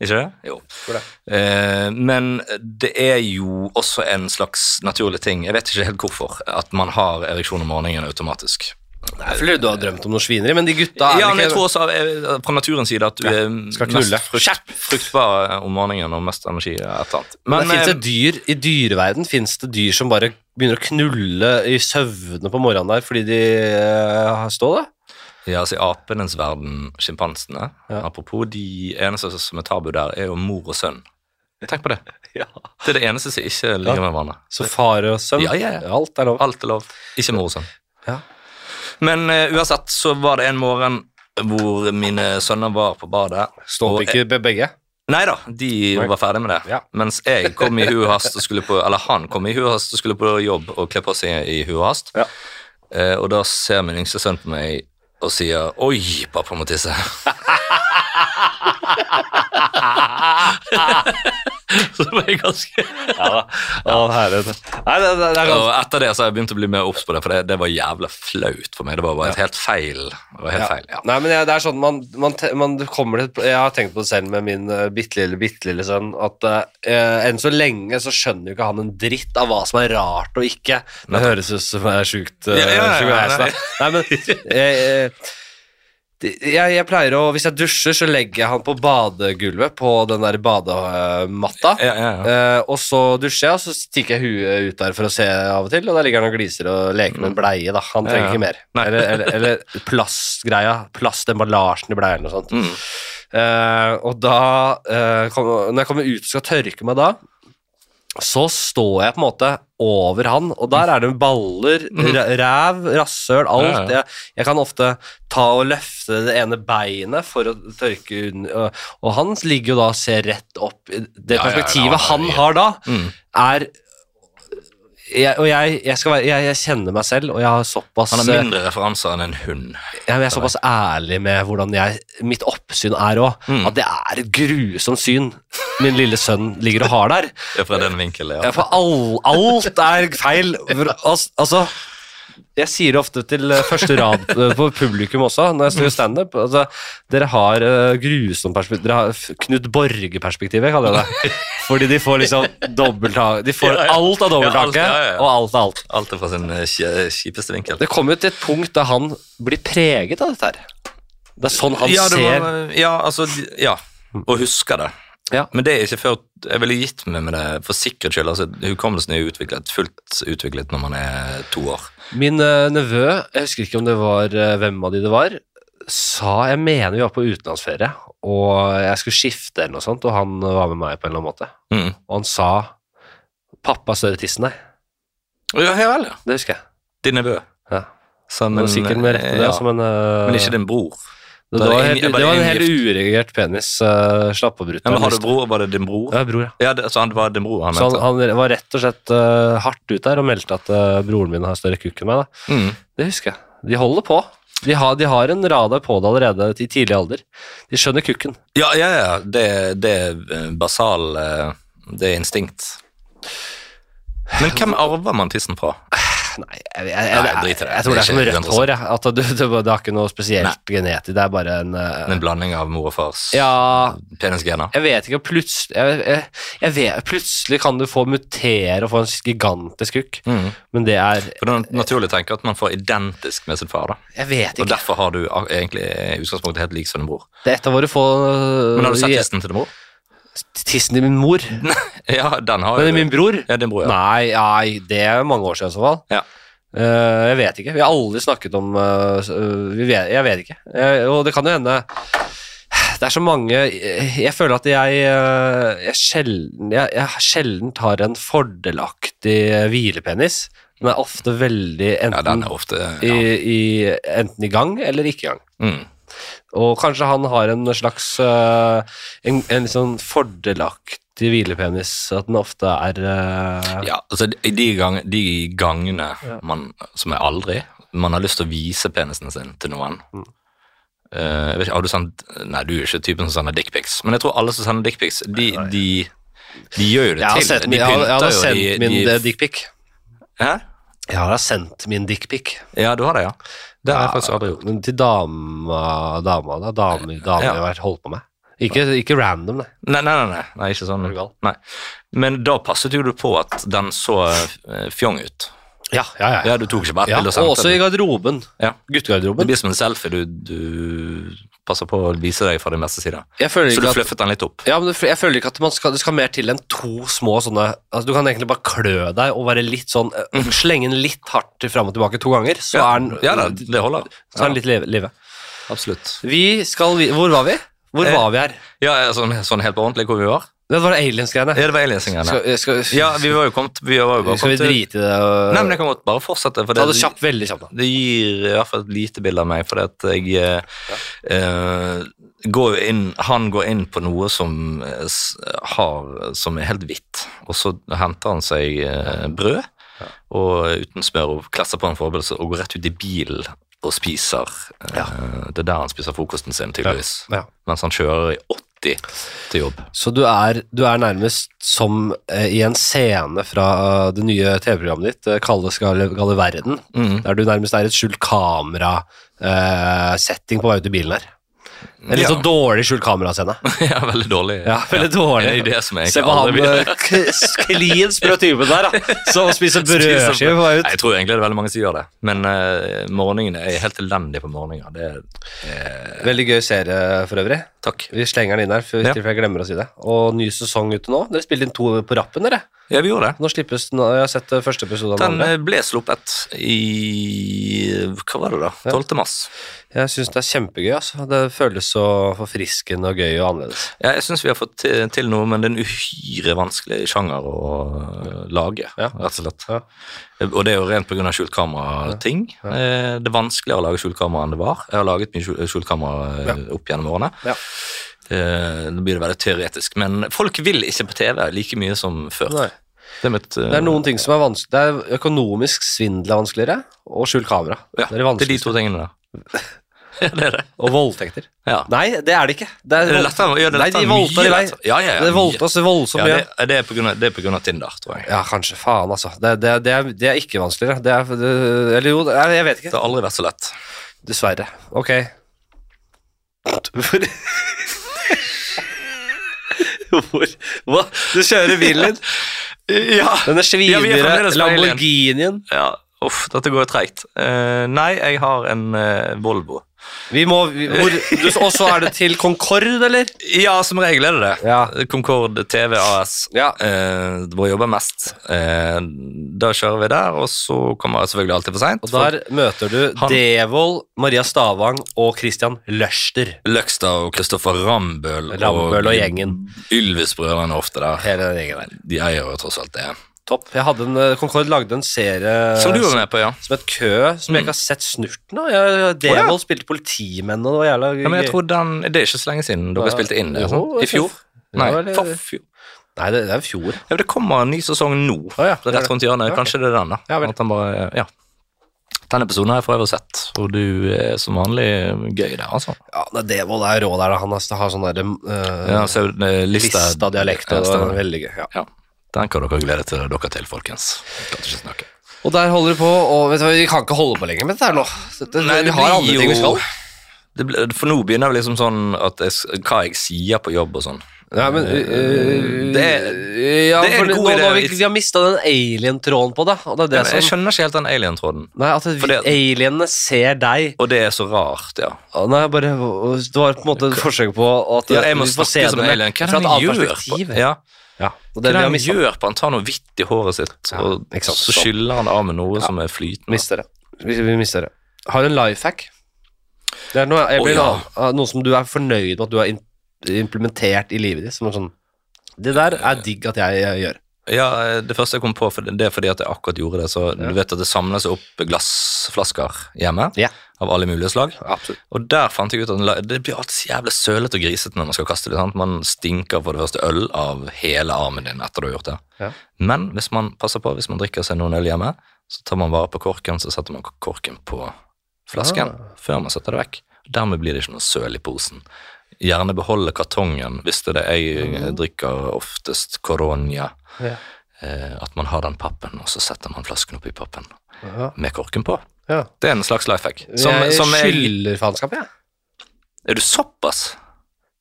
Speaker 2: Ikke det? Jo.
Speaker 1: Hvor det?
Speaker 2: Eh, men det er jo også en slags naturlig ting, jeg vet ikke helt hvorfor, at man har ereksjon om morgenen automatisk.
Speaker 1: Nei, for du har drømt om noe svineri, men de gutta er
Speaker 2: Ja,
Speaker 1: vel
Speaker 2: men jeg
Speaker 1: ikke
Speaker 2: tror også av, eh, fra naturens side at du er
Speaker 1: skal
Speaker 2: mest
Speaker 1: knulle.
Speaker 2: frukt, fruktbar om morgenen og mest energi et eller annet.
Speaker 1: Men
Speaker 2: Men
Speaker 1: det finnes
Speaker 2: eh,
Speaker 1: det dyr, I dyreverden fins det dyr som bare begynner å knulle i søvne på morgenen der fordi de uh,
Speaker 2: [laughs]
Speaker 1: står det?
Speaker 2: ja, altså, i apenes verden, sjimpansene,
Speaker 1: Ja.
Speaker 2: apropos, de eneste som er tabu der, er jo mor og sønn. Tenk på det. Det er det eneste som ikke ligger med hverandre.
Speaker 1: Så fare og søvn,
Speaker 2: Ja, ja, ja.
Speaker 1: alt er lov.
Speaker 2: Alt er lov. Ikke mor og sønn.
Speaker 1: Ja.
Speaker 2: Men eh, uansett så var det en morgen hvor mine sønner var på badet.
Speaker 1: Står
Speaker 2: og-
Speaker 1: det ikke be- begge?
Speaker 2: Nei da, de
Speaker 1: Nei.
Speaker 2: var ferdig med det.
Speaker 1: Ja.
Speaker 2: Mens jeg kom i hu og hast og skulle på Eller han kom i hu og hast og skulle på jobb og kle på seg i hu og hast.
Speaker 1: Ja.
Speaker 2: Eh, og da ser min yngste sønn på meg og sier 'Oi, pappa må tisse'. [laughs] så det var jeg ganske
Speaker 1: Å, herregud. Nei, det, det, det er
Speaker 2: Og etter det så har jeg begynt å bli mer obs på det, for det, det var jævla flaut for meg. Det var bare et helt feil. Det var helt feil, ja.
Speaker 1: Nei, men jeg, det er sånn man, man, te- man kommer til Jeg har tenkt på det selv med min uh, bitte lille, bitte lille sønn, at eh, enn så lenge så skjønner jo ikke han en dritt av hva som er rart og ikke. Det høres ut som jeg er sjukt eh,
Speaker 2: Ja, ja, ja,
Speaker 1: sjuk i
Speaker 2: ja,
Speaker 1: heisen, da. Nei, men eh, eh, det- jeg, jeg pleier å Hvis jeg dusjer, så legger jeg han på badegulvet på den der badematta.
Speaker 2: Ja, ja, ja.
Speaker 1: Eh, og så dusjer jeg, og så stikker jeg huet ut der for å se av og til, og der ligger han og gliser og leker med en bleie, da. Han trenger
Speaker 2: Mm. Ja, ja.
Speaker 1: ikke mer.
Speaker 2: Nei.
Speaker 1: Eller, eller, eller plastgreia, plastemballasjen i bleien og sånt.
Speaker 2: Mm.
Speaker 1: Eh, og da, eh, kom, når jeg kommer ut og skal tørke meg da, så står jeg på en måte over han, og der er det baller, ra- ræv, rasshøl, alt.
Speaker 2: Mm. Ja, ja.
Speaker 1: Jeg, jeg kan ofte ta og løfte det ene beinet for å tørke unn- og- Og han ligger jo da og ser rett opp. Det
Speaker 2: Ja, ja, ja,
Speaker 1: perspektivet
Speaker 2: han
Speaker 1: han
Speaker 2: er-
Speaker 1: har da,
Speaker 2: Mm.
Speaker 1: er jeg, og jeg, jeg, skal være, jeg, jeg kjenner meg selv, og jeg har såpass
Speaker 2: Han har mindre referanser enn en hund. [laughs]
Speaker 1: ja, men jeg er såpass ærlig med hvordan jeg, mitt oppsyn er òg,
Speaker 2: Mm.
Speaker 1: at det er et grusomt syn min lille sønn ligger og har der.
Speaker 2: Ja, Fra den vinkelen,
Speaker 1: Ja,
Speaker 2: ja.
Speaker 1: For all, alt er feil. For, oss- altså, jeg sier det ofte til eh, første rad eh, på publikum også, når jeg står i standup. Altså, dere har eh, grusomt perspektiv. Dere har f- Knut Borge-perspektivet, kaller jeg det. Fordi de får liksom dobbelttak. De får
Speaker 2: Ja,
Speaker 1: alt
Speaker 2: ja.
Speaker 1: av
Speaker 2: Ja, alt,
Speaker 1: dobbelttaket,
Speaker 2: ja, ja, ja.
Speaker 1: og alt av alt.
Speaker 2: Alt er fra sin eh, kje- kjipeste vinkel.
Speaker 1: Det kommer jo til et punkt da han blir preget av dette her. Det er sånn han
Speaker 2: ja, det
Speaker 1: ser
Speaker 2: var, ja, altså, ja. Og husker det.
Speaker 1: Ja.
Speaker 2: Men det er ikke før jeg ville gitt meg med det for sikkerhets skyld. Altså, hukommelsen er jo utviklet, fullt utviklet når man er to år.
Speaker 1: Min eh, nevø, jeg husker ikke om det var eh, hvem av de det var, sa jeg mener vi var på utenlandsferie, og jeg skulle skifte eller noe sånt, og han eh, var med meg på en eller annen måte.
Speaker 2: Mm.
Speaker 1: Og han sa 'pappa har større tiss enn deg'.
Speaker 2: Ja, ja vel, ja.
Speaker 1: Det husker jeg.
Speaker 2: Din nevø.
Speaker 1: Ja.
Speaker 2: Så,
Speaker 1: Men, sikkert med rett med det,
Speaker 2: ja.
Speaker 1: altså, men, eh,
Speaker 2: Men ikke din bror.
Speaker 1: det,
Speaker 2: da er
Speaker 1: var
Speaker 2: det
Speaker 1: helt,
Speaker 2: ingen-
Speaker 1: det
Speaker 2: bare
Speaker 1: var en
Speaker 2: ingen
Speaker 1: helt uregulert penis. eh, slapp av,
Speaker 2: Ja,
Speaker 1: brutter'n.
Speaker 2: men har du bror, var det din bror?
Speaker 1: Ja, bror, ja.
Speaker 2: Ja, det, så han det var din bror han
Speaker 1: Så han,
Speaker 2: mente?
Speaker 1: han var rett og slett eh, hardt ut der og meldte at eh, broren min har større kukk enn meg. Da.
Speaker 2: Mm.
Speaker 1: Det husker jeg. De holder på. De har, de har en radar på det allerede i tidlig alder. De skjønner kukken.
Speaker 2: Ja, ja, ja. Det, det er eh, basal eh, Det er instinkt. Men hvem arver man tissen fra?
Speaker 1: Nei, jeg, jeg, jeg,
Speaker 2: Nei,
Speaker 1: jeg,
Speaker 2: drit i det.
Speaker 1: tror det
Speaker 2: Det
Speaker 1: er
Speaker 2: er
Speaker 1: som
Speaker 2: ikke
Speaker 1: rødt hår. jeg. At du, du, det har ikke noe spesielt genetisk. Det er bare en eh,
Speaker 2: En blanding av mor og fars
Speaker 1: Ja,
Speaker 2: penisgener?
Speaker 1: jeg vet ikke. Plutselig, jeg, jeg, jeg vet, plutselig kan du få mutere og få en gigantisk kukk.
Speaker 2: Mm.
Speaker 1: Men det er
Speaker 2: For Det er naturlig å tenke at man får identisk med sin far. da.
Speaker 1: Jeg vet
Speaker 2: Og
Speaker 1: ikke.
Speaker 2: Derfor har du a- egentlig eh, i utgangspunktet helt lik som din bror.
Speaker 1: Det er et av våre få
Speaker 2: Men har du sett
Speaker 1: eh,
Speaker 2: tissen til din bror? [laughs]
Speaker 1: Tissen i min mor.
Speaker 2: Ja, den har
Speaker 1: Men i
Speaker 2: jo
Speaker 1: min
Speaker 2: du.
Speaker 1: bror
Speaker 2: Ja, din bror, ja.
Speaker 1: Nei, nei, det er mange år siden i så fall.
Speaker 2: Ja.
Speaker 1: Eh, jeg vet ikke. Vi har aldri snakket om eh, s- eh, vi vet, Jeg vet ikke. Eh, og det kan jo hende Det er så mange Jeg, jeg føler at jeg, eh, jeg, sjelden, jeg, jeg sjelden har en fordelaktig eh, hvilepenis. Den er ofte veldig
Speaker 2: ja,
Speaker 1: enten,
Speaker 2: den er ofte
Speaker 1: i,
Speaker 2: ja.
Speaker 1: i, enten i gang eller ikke i gang.
Speaker 2: mm.
Speaker 1: Og kanskje han har en slags eh, En, en litt sånn fordelaktig hvilepenis. At den ofte er eh,
Speaker 2: Ja, altså de, de gang, de gangene man, som er aldri, man har lyst til å vise penisen sin til noen.
Speaker 1: Mm.
Speaker 2: Eh, jeg vet ikke, har du sendt, nei, du er ikke typen som sender dickpics, men jeg tror alle som sender dickpics, de, de, de gjør jo det
Speaker 1: Jeg har
Speaker 2: til.
Speaker 1: sett,
Speaker 2: de
Speaker 1: min- jeg har, jeg har
Speaker 2: jo,
Speaker 1: sendt
Speaker 2: de-
Speaker 1: min
Speaker 2: de-
Speaker 1: eh, dickpic.
Speaker 2: Hæ?
Speaker 1: Jeg har da sendt min dickpic.
Speaker 2: Ja, du har det, ja. Det har jeg faktisk aldri gjort.
Speaker 1: Men Til dama, dama da. Damer, damer
Speaker 2: Ja.
Speaker 1: jeg har vært- holdt på med. Ikke, ikke random, nei.
Speaker 2: Nei, nei, nei, nei, nei ikke sånn.
Speaker 1: Er du gal?
Speaker 2: Nei. Men da passet jo du på at den så eh, fjong ut.
Speaker 1: Ja, ja, ja.
Speaker 2: Ja, du tok ikke bare et
Speaker 1: Ja,
Speaker 2: bilde og
Speaker 1: og
Speaker 2: sendte
Speaker 1: også i
Speaker 2: det.
Speaker 1: garderoben.
Speaker 2: Ja. Det
Speaker 1: Guttegarderoben.
Speaker 2: blir som en selfie, du, du passer på å vise deg fra din beste side.
Speaker 1: Jeg føler
Speaker 2: Så
Speaker 1: ikke
Speaker 2: du
Speaker 1: at,
Speaker 2: fluffet den litt opp.
Speaker 1: ja, men jeg føler ikke at man skal, det skal mer til enn to små sånne altså, Du kan egentlig bare klø deg og være litt sånn eh, Slenge den litt hardt fram og tilbake to ganger, så er den,
Speaker 2: ja da, det holder.
Speaker 1: så er den litt live. live.
Speaker 2: Absolutt.
Speaker 1: Vi skal vi- Hvor var vi? Hvor
Speaker 2: Eh.
Speaker 1: var vi her?
Speaker 2: Ja, sånn, sånn helt på ordentlig hvor vi var?
Speaker 1: Det var aliens-greiene.
Speaker 2: Ja, det var aliens-greiene.
Speaker 1: Skal, skal,
Speaker 2: Ja, vi var jo kommet vi var jo bare
Speaker 1: Skal vi
Speaker 2: kommet til-
Speaker 1: drite i det? og-
Speaker 2: Nei, men jeg kan godt bare fortsette. For
Speaker 1: Ta
Speaker 2: det,
Speaker 1: det kjapt, veldig kjapt. da.
Speaker 2: det gir i hvert fall et lite bilde av meg, fordi at jeg eh, eh, går jo inn, Han går inn på noe som, eh, s- har, som er helt hvitt, og så henter han seg eh, brød og uten smør og klasser på en forberedelse og går rett ut i bilen og spiser. eh, Det er der han spiser frokosten sin, tydeligvis.
Speaker 1: Ja.
Speaker 2: Mens han kjører i 80 til jobb.
Speaker 1: [laughs] Så du er, du er nærmest som eh, i en scene fra eh, det nye TV-programmet ditt, eh, Kalle skal kalle verden,
Speaker 2: Mm.
Speaker 1: der du nærmest er i et skjult kamera-setting på vei ut i bilen her. En litt
Speaker 2: Ja.
Speaker 1: sånn dårlig skjult kamera-scene.
Speaker 2: Ja, veldig
Speaker 1: [laughs]
Speaker 2: dårlig.
Speaker 1: Ja, veldig
Speaker 2: En
Speaker 1: dårlig.
Speaker 2: idé som jeg
Speaker 1: Se
Speaker 2: egentlig
Speaker 1: på han
Speaker 2: aldri vil.
Speaker 1: med k- klin sprø typen der, da, [laughs] som spiser brødskive på vei
Speaker 2: Nei,
Speaker 1: ut.
Speaker 2: Jeg tror egentlig det er veldig mange som gjør det, men eh, morgenene jeg er helt elendig på morgener. Det er, eh,
Speaker 1: Veldig gøy serie for øvrig.
Speaker 2: takk.
Speaker 1: Vi slenger den inn her, for
Speaker 2: Ja.
Speaker 1: for jeg glemmer å si det. Og ny sesong ute nå. Dere spilte inn to på rappen, dere.
Speaker 2: Ja, vi gjorde det.
Speaker 1: Nå slippes den, og jeg har sett eh, første episode av den
Speaker 2: Den
Speaker 1: andre.
Speaker 2: eh, ble sluppet i Hva var det, da? 12. mars.
Speaker 1: Jeg syns det er kjempegøy, altså. Det føles så forfriskende og gøy og annerledes.
Speaker 2: Ja, jeg syns vi har fått til, til noe, men det er en uhyre vanskelig sjanger å øh, lage, rett og slett. Og det er jo rent pga. skjult kamera-ting.
Speaker 1: Ja.
Speaker 2: Eh, Det er vanskeligere å lage skjult kamera enn det var. Jeg har laget mye skjul- skjult kamera eh, opp gjennom årene.
Speaker 1: Ja.
Speaker 2: Eh, Nå blir det veldig teoretisk, men folk vil ikke på TV like mye som før.
Speaker 1: Nei.
Speaker 2: Det er mitt, eh,
Speaker 1: Det er noen ting som er vanskelig Det er økonomisk svindel er vanskeligere, og skjult kamera. det er
Speaker 2: ja,
Speaker 1: det
Speaker 2: det er de
Speaker 1: vanskeligste.
Speaker 2: to tingene der. Ja, det er det.
Speaker 1: Og voldtekter.
Speaker 2: Ja.
Speaker 1: Nei, det er det ikke. Det
Speaker 2: Er det lettere? Ja, det er
Speaker 1: Nei, de
Speaker 2: lettere,
Speaker 1: voldtar
Speaker 2: mye
Speaker 1: i vei.
Speaker 2: lettere. Ja, ja, ja,
Speaker 1: Det
Speaker 2: mye.
Speaker 1: voldtar oss voldsomt
Speaker 2: Ja,
Speaker 1: mye.
Speaker 2: det, det er på grunn av- det er pga. Tinder, tror jeg.
Speaker 1: Ja, kanskje. Faen, altså. Det, det, det, er, det er ikke vanskeligere. Det er, det, eller jo, det er, jeg vet
Speaker 2: Det
Speaker 1: ikke.
Speaker 2: har aldri vært så lett.
Speaker 1: Dessverre. Ok. Hvor Hvor Hva? Du kjører bilen din.
Speaker 2: Ja,
Speaker 1: Denne svindyre
Speaker 2: fremdeles på alien.
Speaker 1: Lamborghinien.
Speaker 2: ja. Uff, dette går treigt. Eh, nei, jeg har en eh, Volvo.
Speaker 1: Vi må vi, hvor, du, Og så er det til Concorde, eller?
Speaker 2: Ja, som regel er det det.
Speaker 1: Ja.
Speaker 2: Concorde TV AS.
Speaker 1: Ja.
Speaker 2: Eh, hvor jeg jobber mest. Eh, da kjører vi der, og så kommer jeg selvfølgelig alltid for seint.
Speaker 1: Og der møter du
Speaker 2: Han-
Speaker 1: Devold, Maria Stavang og Christian Løster.
Speaker 2: Løkstad og Kristoffer Rambøll,
Speaker 1: Rambøll og gjengen.
Speaker 2: Ylvis-brødrene er ofte der.
Speaker 1: Hele den gjengen der.
Speaker 2: De eier jo tross alt det.
Speaker 1: Topp. Eh, Jeg hadde en, eh, Concorde lagde en serie
Speaker 2: Som du var med på, ja.
Speaker 1: som het Kø, som jeg ikke har sett snurten av. Jeg- Devold spilte politimenn, og det var jævla
Speaker 2: ja men jeg
Speaker 1: gøy.
Speaker 2: tror den, Det er ikke så lenge siden dere
Speaker 1: Ja.
Speaker 2: spilte inn det.
Speaker 1: Jo,
Speaker 2: sant? I
Speaker 1: jeg tror-
Speaker 2: fjor? Nei,
Speaker 1: Ja, eller-
Speaker 2: for fjor.
Speaker 1: Nei, det, det er i fjor.
Speaker 2: Ja, men det kommer en ny sesong nå.
Speaker 1: Å ja,
Speaker 2: Det er
Speaker 1: det er
Speaker 2: rett rundt hjørnet.
Speaker 1: Ja,
Speaker 2: Kanskje det er den, da.
Speaker 1: Ja, vel.
Speaker 2: At den bare, ja. Denne episoden har jeg for øvrig sett, og du er som vanlig gøy der, altså.
Speaker 1: Ja, det er Devold er rå der. da. Han har- har sånn der eh,
Speaker 2: Ja, så, eh, lista,
Speaker 1: lista dialekt, og det
Speaker 2: stemmer.
Speaker 1: var veldig gøy. Ja.
Speaker 2: Ja. Den kan dere glede til, dere til, folkens. Jeg klarte ikke å snakke.
Speaker 1: Og der holder du på, og vet du hva, vi kan ikke holde på lenger med dette her nå. Dette, vi har andre ting vi skal.
Speaker 2: det blir, For nå begynner det liksom sånn at jeg, s- hva jeg sier på jobb og sånn.
Speaker 1: Ja, men
Speaker 2: øh,
Speaker 1: det, ja,
Speaker 2: det er en
Speaker 1: for nå,
Speaker 2: god
Speaker 1: nå har vi,
Speaker 2: idé.
Speaker 1: vi har mista den alien-tråden på det. Og det er det
Speaker 2: Men
Speaker 1: som,
Speaker 2: Jeg skjønner ikke helt den alien-tråden.
Speaker 1: nei, at vi,
Speaker 2: det-
Speaker 1: alienene ser deg.
Speaker 2: Og det er så rart, ja.
Speaker 1: Å, Nei, bare, det var på en måte et forsøk på at
Speaker 2: ja jeg må
Speaker 1: vi får
Speaker 2: snakke
Speaker 1: se
Speaker 2: som
Speaker 1: det med-
Speaker 2: alien. Hva er
Speaker 1: fra
Speaker 2: det
Speaker 1: et annet
Speaker 2: han gjør?
Speaker 1: perspektiv.
Speaker 2: På? Ja.
Speaker 1: Ja, og
Speaker 2: Hva
Speaker 1: det, vi
Speaker 2: er det
Speaker 1: har
Speaker 2: han
Speaker 1: mistet,
Speaker 2: gjør på? Han tar noe hvitt i håret sitt,
Speaker 1: Ja,
Speaker 2: og
Speaker 1: ikke sant,
Speaker 2: så
Speaker 1: sånn.
Speaker 2: skyller han av med noe som er flytende.
Speaker 1: mister det. Vi, vi mister det. Har en life hack. Det er noe, jeg
Speaker 2: Å,
Speaker 1: blir
Speaker 2: ja.
Speaker 1: noe, noe som du er fornøyd med at du har in- implementert i livet ditt. Som er sånn Det der er digg at jeg, jeg gjør.
Speaker 2: Ja, det første jeg kom på, for det er fordi at jeg akkurat gjorde det. Så
Speaker 1: Ja.
Speaker 2: du vet at det samler seg opp glassflasker hjemme
Speaker 1: Ja.
Speaker 2: av alle mulige slag.
Speaker 1: Absolutt.
Speaker 2: Og der fant jeg ut at den la- det blir alltid så jævlig sølete og grisete når man skal kaste det. sant? Man stinker for det første øl av hele armen din etter du har gjort det.
Speaker 1: Ja.
Speaker 2: Men hvis man passer på, hvis man drikker seg noen øl hjemme, så tar man vare på korken, så setter man korken på flasken
Speaker 1: Ah.
Speaker 2: før man setter det vekk. Dermed blir det ikke noe søl i posen. Gjerne beholde kartongen, hvis det er det jeg eh, drikker oftest, Coronia.
Speaker 1: Mm. Ja.
Speaker 2: Eh, at man har den pappen, og så setter man flasken oppi pappen
Speaker 1: Ja.
Speaker 2: med korken på.
Speaker 1: Ja.
Speaker 2: Det er en slags life hack. Som,
Speaker 1: jeg
Speaker 2: som er,
Speaker 1: skylder faenskap, jeg.
Speaker 2: er du såpass?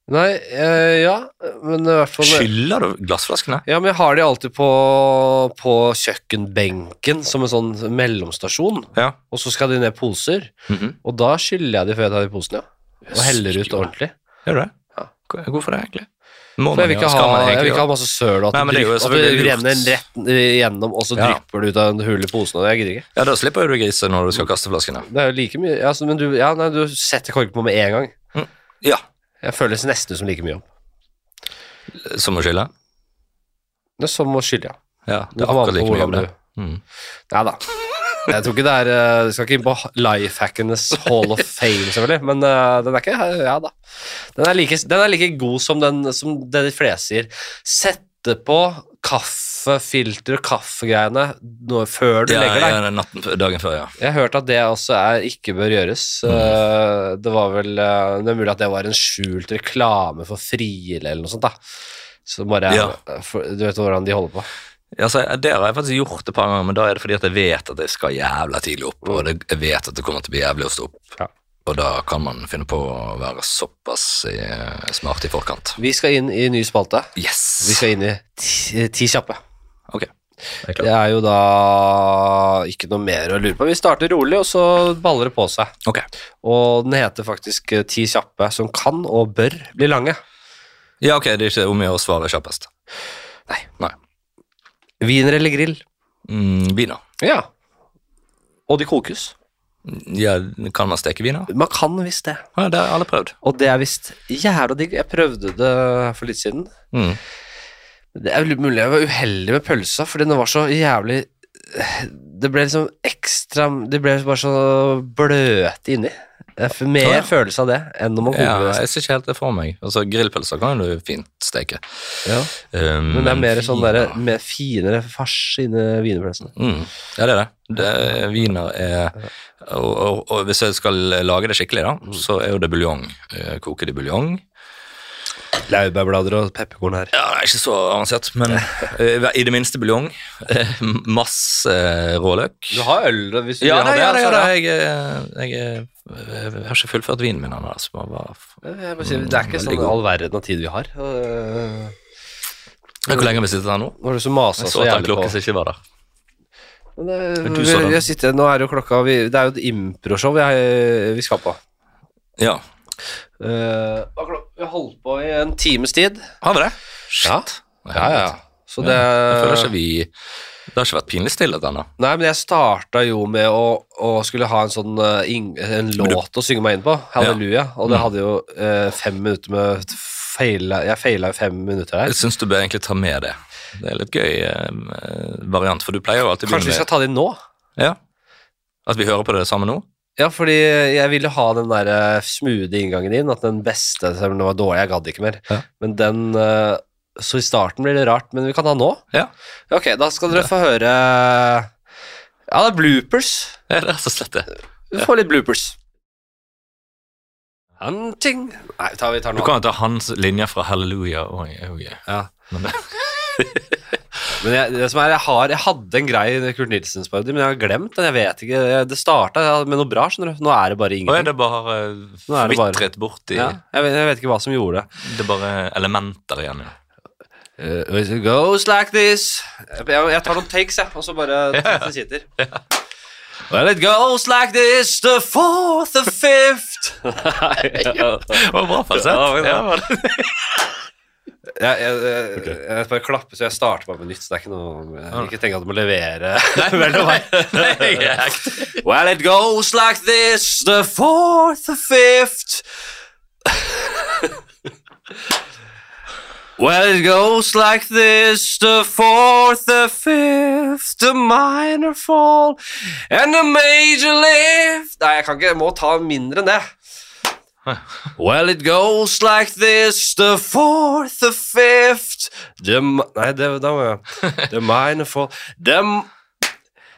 Speaker 1: Nei, eh, ja, men i hvert fall
Speaker 2: Skyller du glassflaskene?
Speaker 1: Ja, men jeg har de alltid på, på kjøkkenbenken som en sånn mellomstasjon.
Speaker 2: Ja.
Speaker 1: Og så skal de ned i poser, og da skyller jeg de før jeg tar de posene, ja. Og heller ut ordentlig.
Speaker 2: Gjør du det?
Speaker 1: Ja.
Speaker 2: Hvorfor det, egentlig? Må
Speaker 1: For jeg vil
Speaker 2: gjøre-
Speaker 1: ikke
Speaker 2: skal
Speaker 1: ha,
Speaker 2: man
Speaker 1: jeg
Speaker 2: egentlig
Speaker 1: vil ikke
Speaker 2: gjøre?
Speaker 1: ha masse søl, og
Speaker 2: Nei,
Speaker 1: at
Speaker 2: men
Speaker 1: det,
Speaker 2: det er jo
Speaker 1: drypp- at det
Speaker 2: selvfølgelig lurt.
Speaker 1: renner rett eh, igjennom, og så
Speaker 2: Ja.
Speaker 1: drypper det ut av en hul i posen. Og jeg gidder ikke.
Speaker 2: Ja, da slipper du å grise når du skal kaste flaskene.
Speaker 1: Det er jo like mye ja, så- Men du, ja, nei, du setter korken på med en gang.
Speaker 2: Ja.
Speaker 1: Jeg føles nesten som like mye om.
Speaker 2: Eh, Som å skylle?
Speaker 1: Det er som å skylle, ja.
Speaker 2: Ja, det
Speaker 1: Det
Speaker 2: er
Speaker 1: kommer
Speaker 2: akkurat
Speaker 1: an på
Speaker 2: like mye om
Speaker 1: hvordan
Speaker 2: det.
Speaker 1: du
Speaker 2: Mm.
Speaker 1: Nei da. Jeg tror ikke det er eh, Vi skal ikke inn på life hackenes hall of fame, selvfølgelig, men eh, den er ikke Ja da. Den er like, den er like god som, den, som det de fleste sier. Sette på kaffefilter og kaffegreiene når, før du
Speaker 2: Ja,
Speaker 1: legger deg.
Speaker 2: ja, det er natten, før- dagen før, ja.
Speaker 1: Jeg hørte at det også er, ikke bør gjøres. Eh, Det var vel eh, Det er mulig at det var en skjult reklame for Friele eller noe sånt, da. Så bare
Speaker 2: Ja.
Speaker 1: for, Du vet hvordan de holder på.
Speaker 2: Ja, så jeg- Det har jeg faktisk gjort et par ganger, men da er det fordi at jeg vet at jeg skal jævla tidlig opp, og det, jeg vet at det kommer til å bli jævlig å stå opp.
Speaker 1: Ja.
Speaker 2: Og da kan man finne på å være såpass eh, smart i forkant.
Speaker 1: Vi skal inn i ny spalte.
Speaker 2: Yes!
Speaker 1: Vi skal inn i Ti, ti kjappe.
Speaker 2: Ok. Jeg er
Speaker 1: Det
Speaker 2: klar.
Speaker 1: er jo da ikke noe mer å lure på. Vi starter rolig, og så baller det på seg.
Speaker 2: Ok.
Speaker 1: Og den heter faktisk eh, Ti kjappe som kan og bør bli lange.
Speaker 2: Ja, ok, det er ikke om å gjøre å svare kjappest.
Speaker 1: Nei.
Speaker 2: Nei.
Speaker 1: Wiener eller grill?
Speaker 2: Mm, Vina.
Speaker 1: Ja. Og de kokes.
Speaker 2: Ja, kan man steke vin av?
Speaker 1: Man kan visst det.
Speaker 2: Ja, det har alle prøvd.
Speaker 1: Og det er visst jævla digg. Jeg prøvde det for litt siden.
Speaker 2: Mm.
Speaker 1: Det er vel mulig jeg var uheldig med pølsa, fordi den var så jævlig Det ble liksom ekstra Det ble bare så bløte inni. Jeg får mer
Speaker 2: Å, ja.
Speaker 1: følelse av det enn når man
Speaker 2: Ja,
Speaker 1: koker det.
Speaker 2: jeg ser ikke helt det for meg. Altså, Grillpølser kan du fint steke.
Speaker 1: Ja.
Speaker 2: Um,
Speaker 1: Men det er mer sånn
Speaker 2: viner-
Speaker 1: derre med finere fars inni wienerpølsene.
Speaker 2: Mm. Ja, det er det. det er- viner er og, og, og hvis jeg skal lage det skikkelig, da, så er jo det buljong. Eh, Koke det i buljong.
Speaker 1: Laurbærblader og pepperkorn her.
Speaker 2: Ja, det er ikke så avansert, men [laughs] eh, i det minste buljong. Eh, Masse eh, råløk.
Speaker 1: Du har øl da, hvis du
Speaker 2: Ja,
Speaker 1: vil ha
Speaker 2: det, ja, det, ja,
Speaker 1: altså,
Speaker 2: det. Jeg, eh, jeg, eh, jeg har ikke fullført vinen min ennå. Altså. Bare- bare-
Speaker 1: ja. Jeg bare sier, Det er ikke
Speaker 2: Veldig
Speaker 1: sånn
Speaker 2: god.
Speaker 1: all verden av tid vi har. Øh,
Speaker 2: Hvor lenge har vi sittet her nå?
Speaker 1: Nå var det så masa
Speaker 2: Jeg
Speaker 1: så
Speaker 2: så at den
Speaker 1: jævlig på.
Speaker 2: klokken som ikke var der.
Speaker 1: Men det-
Speaker 2: Du så den.
Speaker 1: vi- jeg sitter, nå er jo klokka vi, Det er jo et improshow vi, vi skal på.
Speaker 2: Ja.
Speaker 1: Eh, hva klok- vi har holdt på i en times tid.
Speaker 2: Har vi det?
Speaker 1: Ja. Så det
Speaker 2: Jeg føler ikke vi Det har ikke vært pinlig stille ennå.
Speaker 1: Nei, men jeg starta jo med å, å skulle ha en sånn eh, ing, en låt å synge meg inn på. Halleluja. Og det
Speaker 2: Mm.
Speaker 1: hadde jo eh, fem minutter med feila, Jeg feila jo fem minutter der.
Speaker 2: Jeg syns du bør egentlig ta med det. Det er litt gøy eh, variant, for du pleier jo alltid å
Speaker 1: Kanskje vi
Speaker 2: begynne
Speaker 1: skal ta det inn nå?
Speaker 2: med ja. At vi hører på det samme nå?
Speaker 1: Ja, fordi jeg ville ha den der eh, smoothie inngangen din, at den beste, selv om den var dårlig, jeg gadd ikke mer.
Speaker 2: Ja.
Speaker 1: Men den, eh, så i starten blir det rart, men vi kan ha nå.
Speaker 2: Ja.
Speaker 1: Ok, da skal dere få høre, ja, det er bloopers.
Speaker 2: Ja, det er rett og slett det.
Speaker 1: Vi får litt bloopers. Hunting. Nei, vi tar, vi tar
Speaker 2: Du
Speaker 1: nå.
Speaker 2: kan jo ta hans linje fra Halleluja og oh, yeah.
Speaker 1: Ja.
Speaker 2: Men det-
Speaker 1: Men jeg, det som er, jeg, har, jeg hadde en grei Kurt Nilsens parodi, men jeg har glemt den, jeg vet ikke. Jeg- Det startet med noe bra, skjønner du. Nå er det bare
Speaker 2: Å, er
Speaker 1: ingenting.
Speaker 2: det bare eh,
Speaker 1: Nå er det bare-
Speaker 2: vitret bort i
Speaker 1: Ja, jeg, vet, jeg vet ikke hva som gjorde det.
Speaker 2: Det er bare elementer igjen. Ja.
Speaker 1: Uh, it goes like this Jeg, jeg tar noen takes, jeg, og så bare
Speaker 2: [laughs]
Speaker 1: tar det sitter. Well, it goes like this, the fourth, the
Speaker 2: [laughs]
Speaker 1: fifth jeg,
Speaker 2: Det var bra falsett.
Speaker 1: Ja, men da-
Speaker 2: Ja, [laughs] var det-
Speaker 1: jeg, jeg, jeg bare klapper, så jeg starter bare med nytt. Så det er ikke noe jeg, Ikke tenk at du må levere [laughs] mellom meg.
Speaker 2: Ah. Nei, jeg er ekte.
Speaker 1: [laughs] Well, it goes like this, the fourth, the fifth. [laughs] well, it goes like this, the fourth, the fifth, the minor fall, and the major lift. Nei, jeg kan ikke, jeg må ta mindre enn det. Well, it goes like this, the fourth, the fifth, the, mi- nei, det, da må jeg, the minor fall, the,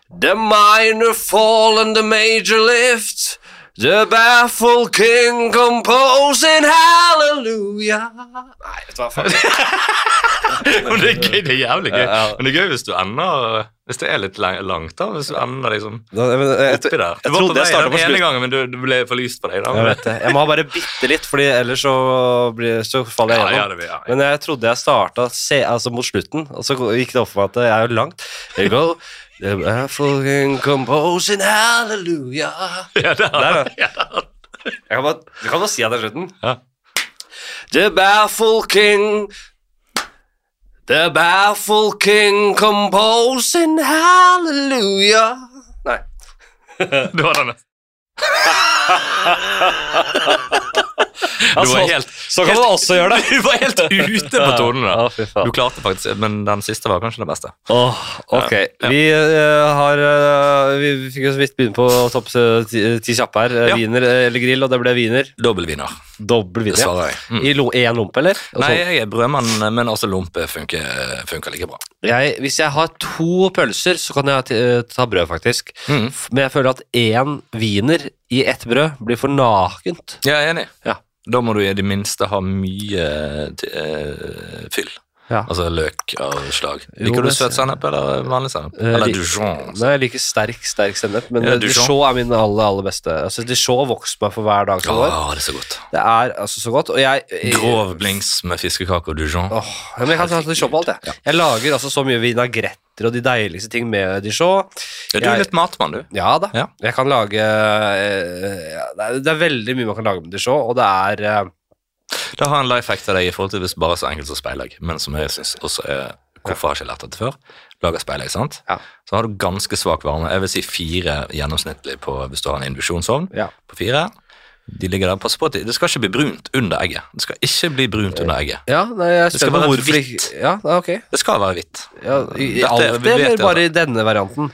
Speaker 1: the minor fall and the major lift. The baffled king composing hallelujah. Nei, vet du hva faen.
Speaker 2: Men det er gøy, det er jævlig gøy.
Speaker 1: Ja, ja.
Speaker 2: Men det er gøy hvis du ender Hvis det er litt lang- langt, da. Hvis du ender liksom oppi der. Du
Speaker 1: jeg
Speaker 2: var
Speaker 1: trodde jeg
Speaker 2: på vei
Speaker 1: startet
Speaker 2: den
Speaker 1: på
Speaker 2: ene
Speaker 1: slutt.
Speaker 2: gangen, men du, du ble for lyst på deg. da.
Speaker 1: Jeg vet det. Jeg må ha bare bitte litt, fordi ellers så, blir, så faller jeg
Speaker 2: Ja,
Speaker 1: gjennom.
Speaker 2: ja, det blir, ja. [laughs]
Speaker 1: Men jeg trodde jeg starta se, altså mot slutten, og så gikk det opp for meg at jeg er jo langt. There you go. The baffling composing hallelujah.
Speaker 2: ja, det er-
Speaker 1: Der, ja. Jeg kan bare, du kan bare si at det er slutten.
Speaker 2: Ja.
Speaker 1: The baffled king The baffled king composing hallelujah. Nei.
Speaker 2: Det var den.
Speaker 1: Altså,
Speaker 2: Du var helt,
Speaker 1: så kan man også [laughs] gjøre det.
Speaker 2: du var helt ute på tonen
Speaker 1: Ja,
Speaker 2: da.
Speaker 1: fy faen.
Speaker 2: Du klarte faktisk, men den siste var kanskje den beste.
Speaker 1: Åh, ok. Vi eh, har eh, Vi vi fikk jo så vidt begynne på topp eh, ti, ti kjappe her. Eh,
Speaker 2: Ja.
Speaker 1: Wiener eh, eller grill, og det ble wiener.
Speaker 2: Dobbelviner,
Speaker 1: Dobbel wiener. ja.
Speaker 2: svarer jeg. Mm.
Speaker 1: I lo- én lompe, eller? Og
Speaker 2: Nei,
Speaker 1: sånn.
Speaker 2: jeg er brødmann, men også lompe funker, funker like bra.
Speaker 1: Jeg, hvis jeg har to pølser, så kan jeg t eh, ta brød, faktisk.
Speaker 2: Mm.
Speaker 1: F- Men jeg føler at én wiener i ett brød blir for nakent.
Speaker 2: Jeg er enig.
Speaker 1: Ja.
Speaker 2: Da må du i det minste ha mye til, eh, fyll.
Speaker 1: Ja.
Speaker 2: Altså løk av slag.
Speaker 1: Jo,
Speaker 2: Liker du
Speaker 1: det-
Speaker 2: søt sennep eller vanlig sennep?
Speaker 1: Eh,
Speaker 2: Eller
Speaker 1: lik-
Speaker 2: dijon?
Speaker 1: Nei, jeg liker sterk sterk sennep, men
Speaker 2: Ja,
Speaker 1: eh,
Speaker 2: Dijon.
Speaker 1: Dijon er min aller aller beste. Altså, Dijon vokser meg for hver dag som går.
Speaker 2: Åh, det er så godt.
Speaker 1: Det er altså så godt. Og jeg, jeg
Speaker 2: Grov blings med fiskekake og dijon.
Speaker 1: Åh, ja, men jeg kan ta til shop alt, jeg. Jeg lager altså så mye vinagretter og de deiligste ting med Dijon.
Speaker 2: Ja, du er
Speaker 1: Jeg-
Speaker 2: litt matmann, du.
Speaker 1: Ja da.
Speaker 2: Ja.
Speaker 1: Jeg kan lage eh, ja, det, er, det er veldig mye man kan lage med Dijon, og det er eh,
Speaker 2: Da har jeg en life hack til deg i forhold til hvis bare så enkelt som speilegg, men som jeg syns også er Hvorfor har jeg ikke lært dette før? Lager speilegg, sant?
Speaker 1: Ja.
Speaker 2: Så har du ganske svak varme. Jeg vil si fire gjennomsnittlig på, hvis du har en induksjonsovn.
Speaker 1: Ja.
Speaker 2: På fire. De ligger der. Pass på at de- det skal ikke bli brunt under egget. Det skal ikke bli brunt under egget.
Speaker 1: Ja, nei, jeg er
Speaker 2: Det skal
Speaker 1: spent på
Speaker 2: være
Speaker 1: hvorfor
Speaker 2: hvitt.
Speaker 1: ikke- Ja, ja, ok.
Speaker 2: Det skal være hvitt.
Speaker 1: Ja, I i
Speaker 2: Dette-
Speaker 1: alt
Speaker 2: vi
Speaker 1: det,
Speaker 2: vet
Speaker 1: eller
Speaker 2: det,
Speaker 1: bare i denne varianten?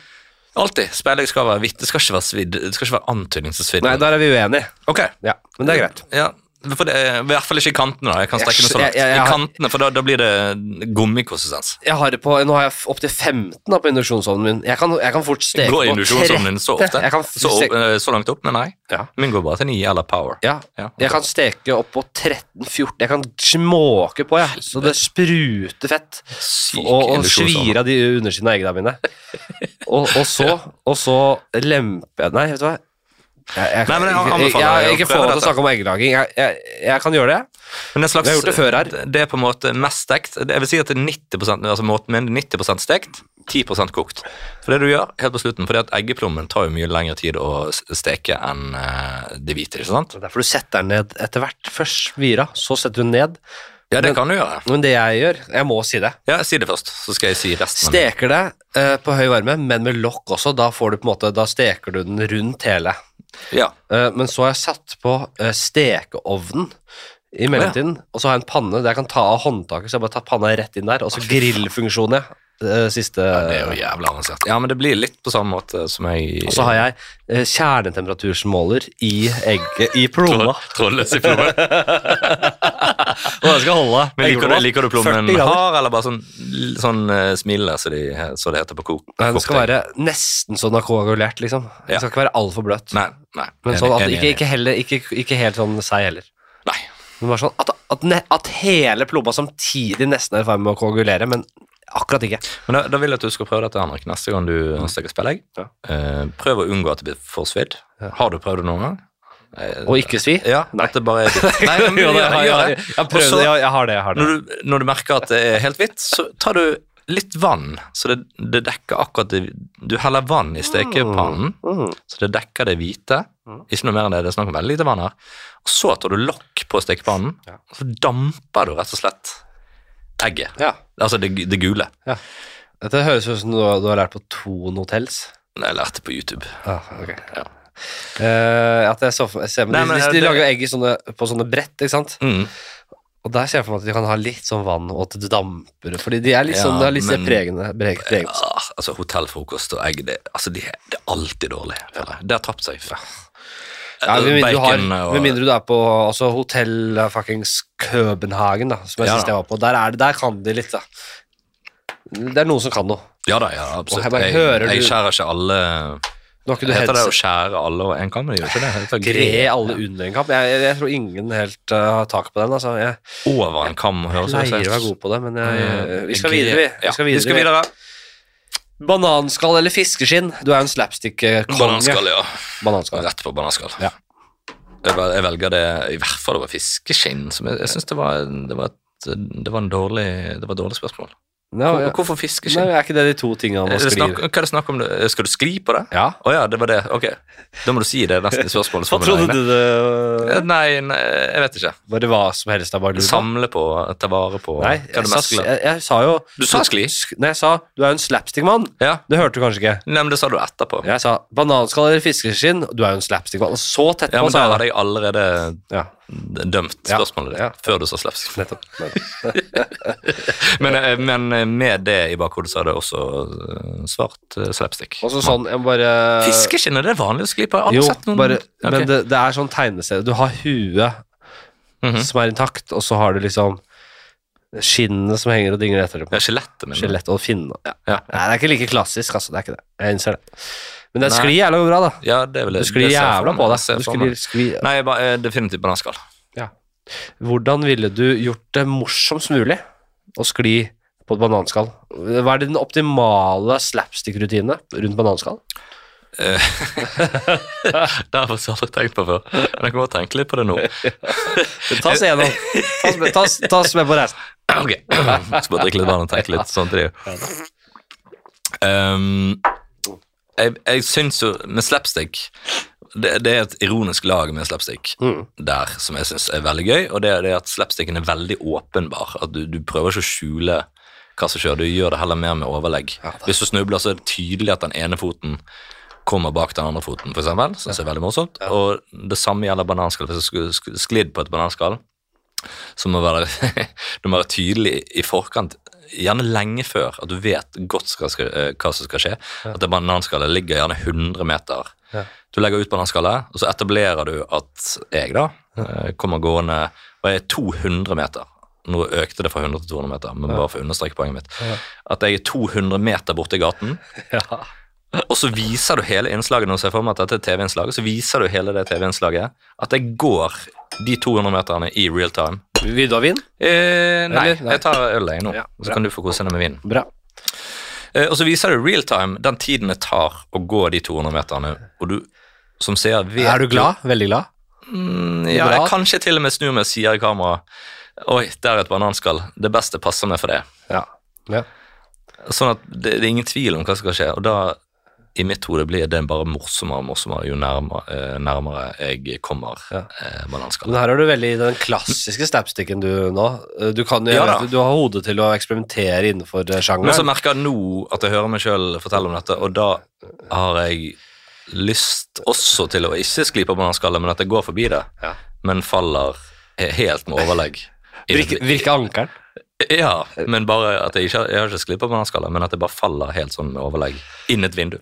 Speaker 2: Alltid. Speilegg skal være hvitt. Det skal ikke være svidd. Det skal ikke være antydning til svidd.
Speaker 1: Nei, der er vi uenige.
Speaker 2: Ok.
Speaker 1: Ja, men det er greit.
Speaker 2: Ja, for det er, I hvert fall ikke i kantene. da. Jeg kan strekke
Speaker 1: Jeg
Speaker 2: det så langt.
Speaker 1: skj- jeg- jeg
Speaker 2: I
Speaker 1: har-
Speaker 2: kantene, For da, da blir det gummikonsistens.
Speaker 1: Jeg har det på, nå har jeg opptil 15 da på induksjonsovnen min. Jeg kan, jeg kan fort steke på
Speaker 2: Går induksjonsovnen din så ofte?
Speaker 1: [laughs] Jeg kan, f-
Speaker 2: så, opp,
Speaker 1: steke,
Speaker 2: eh, så langt opp? Men nei.
Speaker 1: Ja.
Speaker 2: Min går bare til 9 eller power.
Speaker 1: ja,
Speaker 2: Ja.
Speaker 1: jeg kan steke opp på 13-14. Jeg kan småke på, ja. så det spruter fett.
Speaker 2: Syk
Speaker 1: Og, og
Speaker 2: induksjonsovn.
Speaker 1: svir av de undersiden av eggene mine. Og, og, så, og så lemper jeg Nei, vet du hva. Jeg, jeg,
Speaker 2: Nei, men jeg
Speaker 1: jeg,
Speaker 2: anbefaler
Speaker 1: jeg,
Speaker 2: deg å
Speaker 1: ikke få
Speaker 2: prøve
Speaker 1: meg til å
Speaker 2: dette.
Speaker 1: snakke om eggelaging. Jeg, jeg, jeg kan gjøre det.
Speaker 2: Men det, er slags,
Speaker 1: Vi har gjort det før her.
Speaker 2: det er på en måte mest stekt. Jeg vil si at det er 90 altså måten min er 90 stekt, 10 kokt. For det du gjør helt på slutten, fordi at eggeplommen tar jo mye lengre tid å s- steke enn eh, det hvite. ikke sant?
Speaker 1: Det er derfor du setter den ned etter hvert. Først svira, så setter du den ned.
Speaker 2: Ja, det
Speaker 1: Men-
Speaker 2: kan du gjøre.
Speaker 1: Men det jeg gjør, jeg må si det,
Speaker 2: Ja, Si det først, så skal jeg si resten. av min.
Speaker 1: steker det eh, på høy varme, men med lokk også. Da, får du på en måte, da steker du den rundt hele.
Speaker 2: Ja.
Speaker 1: Eh, men så har jeg satt på eh, stekeovnen i mellomtiden, og så har jeg en panne der jeg kan ta av håndtaket, så jeg bare tar panna rett inn der, og så grillfunksjon, jeg. eh, siste
Speaker 2: Det er jo jævla avansert. Ja, men det blir litt på samme måte som jeg
Speaker 1: Og så har jeg eh, kjernetemperaturmåler i egget, i
Speaker 2: [laughs]
Speaker 1: plomma.
Speaker 2: Trolløs i plommen.
Speaker 1: Og den skal holde.
Speaker 2: Men liker du,
Speaker 1: eggeplomma.
Speaker 2: liker du
Speaker 1: 40
Speaker 2: plommen
Speaker 1: grader.
Speaker 2: hard, eller bare sånn, sånn eh, smilende, så, de, så det heter på kok?
Speaker 1: Nei, den skal
Speaker 2: cocktail?
Speaker 1: være nesten sånn koagulert, liksom. Den
Speaker 2: Ja.
Speaker 1: skal ikke være altfor bløt.
Speaker 2: Nei. nei.
Speaker 1: Men
Speaker 2: Enig,
Speaker 1: sånn at
Speaker 2: enig,
Speaker 1: ikke,
Speaker 2: enig.
Speaker 1: ikke, heller, ikke, ikke helt sånn seig heller.
Speaker 2: Nei.
Speaker 1: Men bare sånn at, at, ne- at hele plomma samtidig nesten er i ferd med å koagulere, men akkurat ikke.
Speaker 2: Men da, da vil jeg at du skal prøve dette, Henrik, neste gang du steker spillegg.
Speaker 1: Ja.
Speaker 2: Eh, prøv å unngå at det blir for svidd. Har du prøvd det noen gang? Eh,
Speaker 1: Og ikke svi.
Speaker 2: Ja, at det bare er [laughs] hvitt. Nei, men
Speaker 1: [laughs] Jo,
Speaker 2: gjør
Speaker 1: det
Speaker 2: det,
Speaker 1: har jeg,
Speaker 2: gjør
Speaker 1: jeg,
Speaker 2: det.
Speaker 1: jeg, prøvde
Speaker 2: Og så-
Speaker 1: det, jeg, jeg har det. Jeg har det.
Speaker 2: Når du, når du merker at det er helt hvitt, så tar du litt vann, så det, det dekker akkurat det Du heller vann i stekepannen,
Speaker 1: Mm.
Speaker 2: så det dekker det hvite. Ikke noe mer enn det, det er snakk om veldig lite vann her. Og så tar du lokk på stekepannen,
Speaker 1: Ja.
Speaker 2: og så damper du rett og slett egget.
Speaker 1: Ja.
Speaker 2: Altså det, det gule.
Speaker 1: Dette høres ut som du, har- du har lært på Thon Hotels.
Speaker 2: Det jeg lærte på YouTube.
Speaker 1: Ah, ok.
Speaker 2: Ja.
Speaker 1: Eh, at jeg så for, jeg ser, men
Speaker 2: Nei,
Speaker 1: de,
Speaker 2: men
Speaker 1: de, de
Speaker 2: det-
Speaker 1: lager jo egg i sånne, på sånne brett, ikke sant?
Speaker 2: Mm.
Speaker 1: Og der ser jeg for meg at de kan ha litt sånn vann, og at det damper Fordi de er litt
Speaker 2: Ja,
Speaker 1: sånn, det er litt
Speaker 2: men-
Speaker 1: pregende. Preg, preg.
Speaker 2: Ah, altså Hotellfrokost og egg, det, altså, de, det er alltid dårlig. føler jeg. Det har tapt seg.
Speaker 1: Ja, med, mindre du har,
Speaker 2: Bacon og-
Speaker 1: med mindre du er på altså, hotell eh, fuckings Københagen, da, som jeg
Speaker 2: Ja,
Speaker 1: sist
Speaker 2: da.
Speaker 1: jeg var på. Der, er det, der kan de litt, da. Det er noen som kan noe.
Speaker 2: Ja da, ja,
Speaker 1: Og
Speaker 2: absolutt.
Speaker 1: her bare
Speaker 2: Jeg,
Speaker 1: hører
Speaker 2: jeg
Speaker 1: du-
Speaker 2: skjærer ikke alle
Speaker 1: Nå har ikke du
Speaker 2: Heter det å
Speaker 1: headset.
Speaker 2: skjære alle over en kam? Men det gjør ikke det. det. heter
Speaker 1: Gre alle under en kamp. Jeg, jeg, jeg tror ingen helt eh, har tak på den. Altså. Jeg
Speaker 2: over en kam. Høres det ut som.
Speaker 1: leier å være god på det, men jeg,
Speaker 2: Eh,
Speaker 1: vi skal videre, vi.
Speaker 2: Ja,
Speaker 1: Vi skal videre.
Speaker 2: vi skal videre.
Speaker 1: Bananskall eller fiskeskinn? Du er jo en slapstick-konge.
Speaker 2: Bananskall, ja.
Speaker 1: Bananskall.
Speaker 2: Rett på bananskall.
Speaker 1: Ja.
Speaker 2: Jeg, vel- jeg velger det i hvert fall over fiskeskinn. Som jeg jeg syns det var, det var et det var en dårlig, det var et dårlig spørsmål.
Speaker 1: Ja, ja.
Speaker 2: Hvor- Hvorfor
Speaker 1: Nei,
Speaker 2: fiskeskinn?
Speaker 1: men er ikke det de to tingene
Speaker 2: Er
Speaker 1: man
Speaker 2: det snakk,
Speaker 1: skriver?
Speaker 2: hva er det snakk om? det? Skal du skli på det?
Speaker 1: Ja.
Speaker 2: Å ja, det var det. Ok. Da må du si det nesten i spørsmålet.
Speaker 1: Hva trodde du det
Speaker 2: Eh, Nei, nei, jeg vet ikke.
Speaker 1: Bare hva som helst er bare lurt?
Speaker 2: Samle på, ta vare på
Speaker 1: Nei,
Speaker 2: Hva er
Speaker 1: jeg
Speaker 2: det
Speaker 1: sa,
Speaker 2: mest glad-
Speaker 1: jeg, jeg sa jo
Speaker 2: Du sa skli.
Speaker 1: Sk- Nei, jeg sa du er jo en slapstick-mann.
Speaker 2: Ja,
Speaker 1: Det hørte du kanskje ikke.
Speaker 2: Nei, men det sa du etterpå. Ja,
Speaker 1: Jeg sa bananskall eller fiskeskinn, du er jo en slapstick-mann. Og Så tett på,
Speaker 2: men
Speaker 1: sa
Speaker 2: da
Speaker 1: jeg det.
Speaker 2: hadde jeg allerede
Speaker 1: Ja,
Speaker 2: dømt
Speaker 1: Ja,
Speaker 2: spørsmålet ditt
Speaker 1: ja.
Speaker 2: før du sa slaps.
Speaker 1: nettopp. nettopp.
Speaker 2: [laughs] Men, eh, men med det i bakhodet så er det også eh, svart eh, slapstick.
Speaker 1: Og så sånn, jeg må bare
Speaker 2: Fiskeskinn, er det vanlig å skli på? Jeg har aldri
Speaker 1: Jo,
Speaker 2: sett noen
Speaker 1: bare,
Speaker 2: Ok.
Speaker 1: men det, det er sånn tegneserie. Du har huet
Speaker 2: Mhm.
Speaker 1: som er intakt, og så har du liksom skinnet som henger og dingler etter det.
Speaker 2: Ja, Skjelettet mitt.
Speaker 1: Skjelett og finne. Ja.
Speaker 2: Mm. Ja.
Speaker 1: Nei, det er ikke like klassisk, altså. Det er ikke det. Jeg innser det. Men det
Speaker 2: Nei.
Speaker 1: sklir jævla bra, da.
Speaker 2: Ja, det er vel
Speaker 1: Du
Speaker 2: det-
Speaker 1: sklir
Speaker 2: det ser jeg for
Speaker 1: jævla
Speaker 2: meg.
Speaker 1: på
Speaker 2: Jeg ser
Speaker 1: deg. Du
Speaker 2: for meg.
Speaker 1: sklir, sklir.
Speaker 2: Nei, jeg bare, eh, definitivt bananskall. [laughs]
Speaker 1: Hvordan ville du gjort det morsomst mulig å skli på et bananskall? Hva er den optimale slapstick-rutine rundt bananskall?
Speaker 2: Det har jeg faktisk aldri tenkt på før. Men jeg kan godt tenke litt på det nå.
Speaker 1: Ta oss gjennom. Ta oss med- Ta oss- ta oss med på reisen.
Speaker 2: [clears throat] Ok, skal bare drikke litt vann og tenke litt sånn samtidig. Um, jeg, jeg syns jo med slapstick det, det er et ironisk lag med slapstick
Speaker 1: Mm.
Speaker 2: der som jeg syns er veldig gøy, og det er det at slapsticken er veldig åpenbar. At du, du prøver ikke å skjule hva som skjer. Du gjør det heller mer med overlegg.
Speaker 1: Ja, det-
Speaker 2: Hvis du snubler, så er det tydelig at den ene foten kommer bak den andre foten, for eksempel. Synes jeg er veldig morsomt. Og det samme gjelder bananskall. Hvis du skulle skulle sklidd på et bananskall, så må du være, [laughs] du må være tydelig i forkant, gjerne lenge før, at du vet godt skal, skal, eh, hva som skal skje. At det bananskallet ligger gjerne 100 meter.
Speaker 1: Ja.
Speaker 2: Du legger ut bananskallet, og så etablerer du at jeg da eh, kommer gående, og jeg er 200 meter. Nå økte det fra 100 til 200 meter, men bare for å understreke poenget mitt.
Speaker 1: Ja.
Speaker 2: At jeg er 200 meter borte i gaten,
Speaker 1: Ja.
Speaker 2: og så viser du hele innslaget, når du ser for meg at dette er TV-innslaget, så viser du hele det TV-innslaget at jeg går de 200 meterne i real time.
Speaker 1: Vil du ha vin?
Speaker 2: Eh, nei,
Speaker 1: Eller? Nei.
Speaker 2: jeg tar øl jeg nå,
Speaker 1: Ja,
Speaker 2: så
Speaker 1: bra.
Speaker 2: kan du få kose deg med vinen.
Speaker 1: Bra.
Speaker 2: Eh, og så viser det real time den tiden det tar å gå de 200 meterne, og du som ser vet
Speaker 1: Er du glad? Veldig glad?
Speaker 2: Mm, ja, jeg
Speaker 1: Bra.
Speaker 2: kanskje til og med snur meg og sier i kameraet Oi, der er et bananskall. Det beste passer meg for det.
Speaker 1: Ja. ja.
Speaker 2: Sånn at det, det er ingen tvil om hva som skal skje, og da i mitt hode blir det bare morsommere og morsommere jo nærmere, eh, nærmere jeg kommer
Speaker 1: Ja.
Speaker 2: eh,
Speaker 1: Men
Speaker 2: bananskallet.
Speaker 1: her har du veldig den klassiske snapsticken du nå. Eh, Du, kan, jo-
Speaker 2: Ja da.
Speaker 1: du har hodet til å eksperimentere innenfor eh,
Speaker 2: Men så
Speaker 1: sjangeren.
Speaker 2: merker jeg nå at jeg hører meg sjøl fortelle om dette, og da har jeg lyst også til å ikke skli på bananskallet, men at jeg går forbi det,
Speaker 1: Ja.
Speaker 2: men faller he- helt med [laughs] overlegg.
Speaker 1: Virke, virke ankeren.
Speaker 2: Ja, men bare at jeg ikke har- jeg har ikke sklidd på bananskallet, men at jeg bare faller helt sånn med overlegg inn et vindu.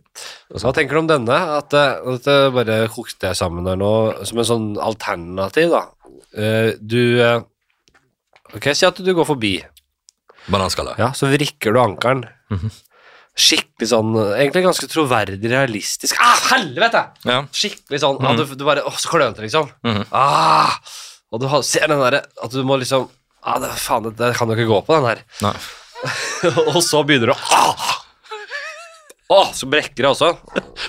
Speaker 1: Hva tenker du om denne? At, eh, at det bare kokte jeg sammen her nå, som en sånn alternativ, da. Eh, Du eh, Ok, si at du går forbi.
Speaker 2: Bananskallet.
Speaker 1: Ja, så vrikker du ankeren.
Speaker 2: Mhm.
Speaker 1: Skikkelig sånn eh, Egentlig ganske troverdig realistisk. Ah, helvete!
Speaker 2: Ja.
Speaker 1: Skikkelig sånn ah, du, du bare Å, så klønete, liksom.
Speaker 2: Mhm.
Speaker 1: ah, og du har, ser den derre At du må liksom ah, det, Faen, det, det kan jo ikke gå på,
Speaker 2: [laughs]
Speaker 1: den her.
Speaker 2: Nei.
Speaker 1: og så begynner du å ah! Å, så brekker det også.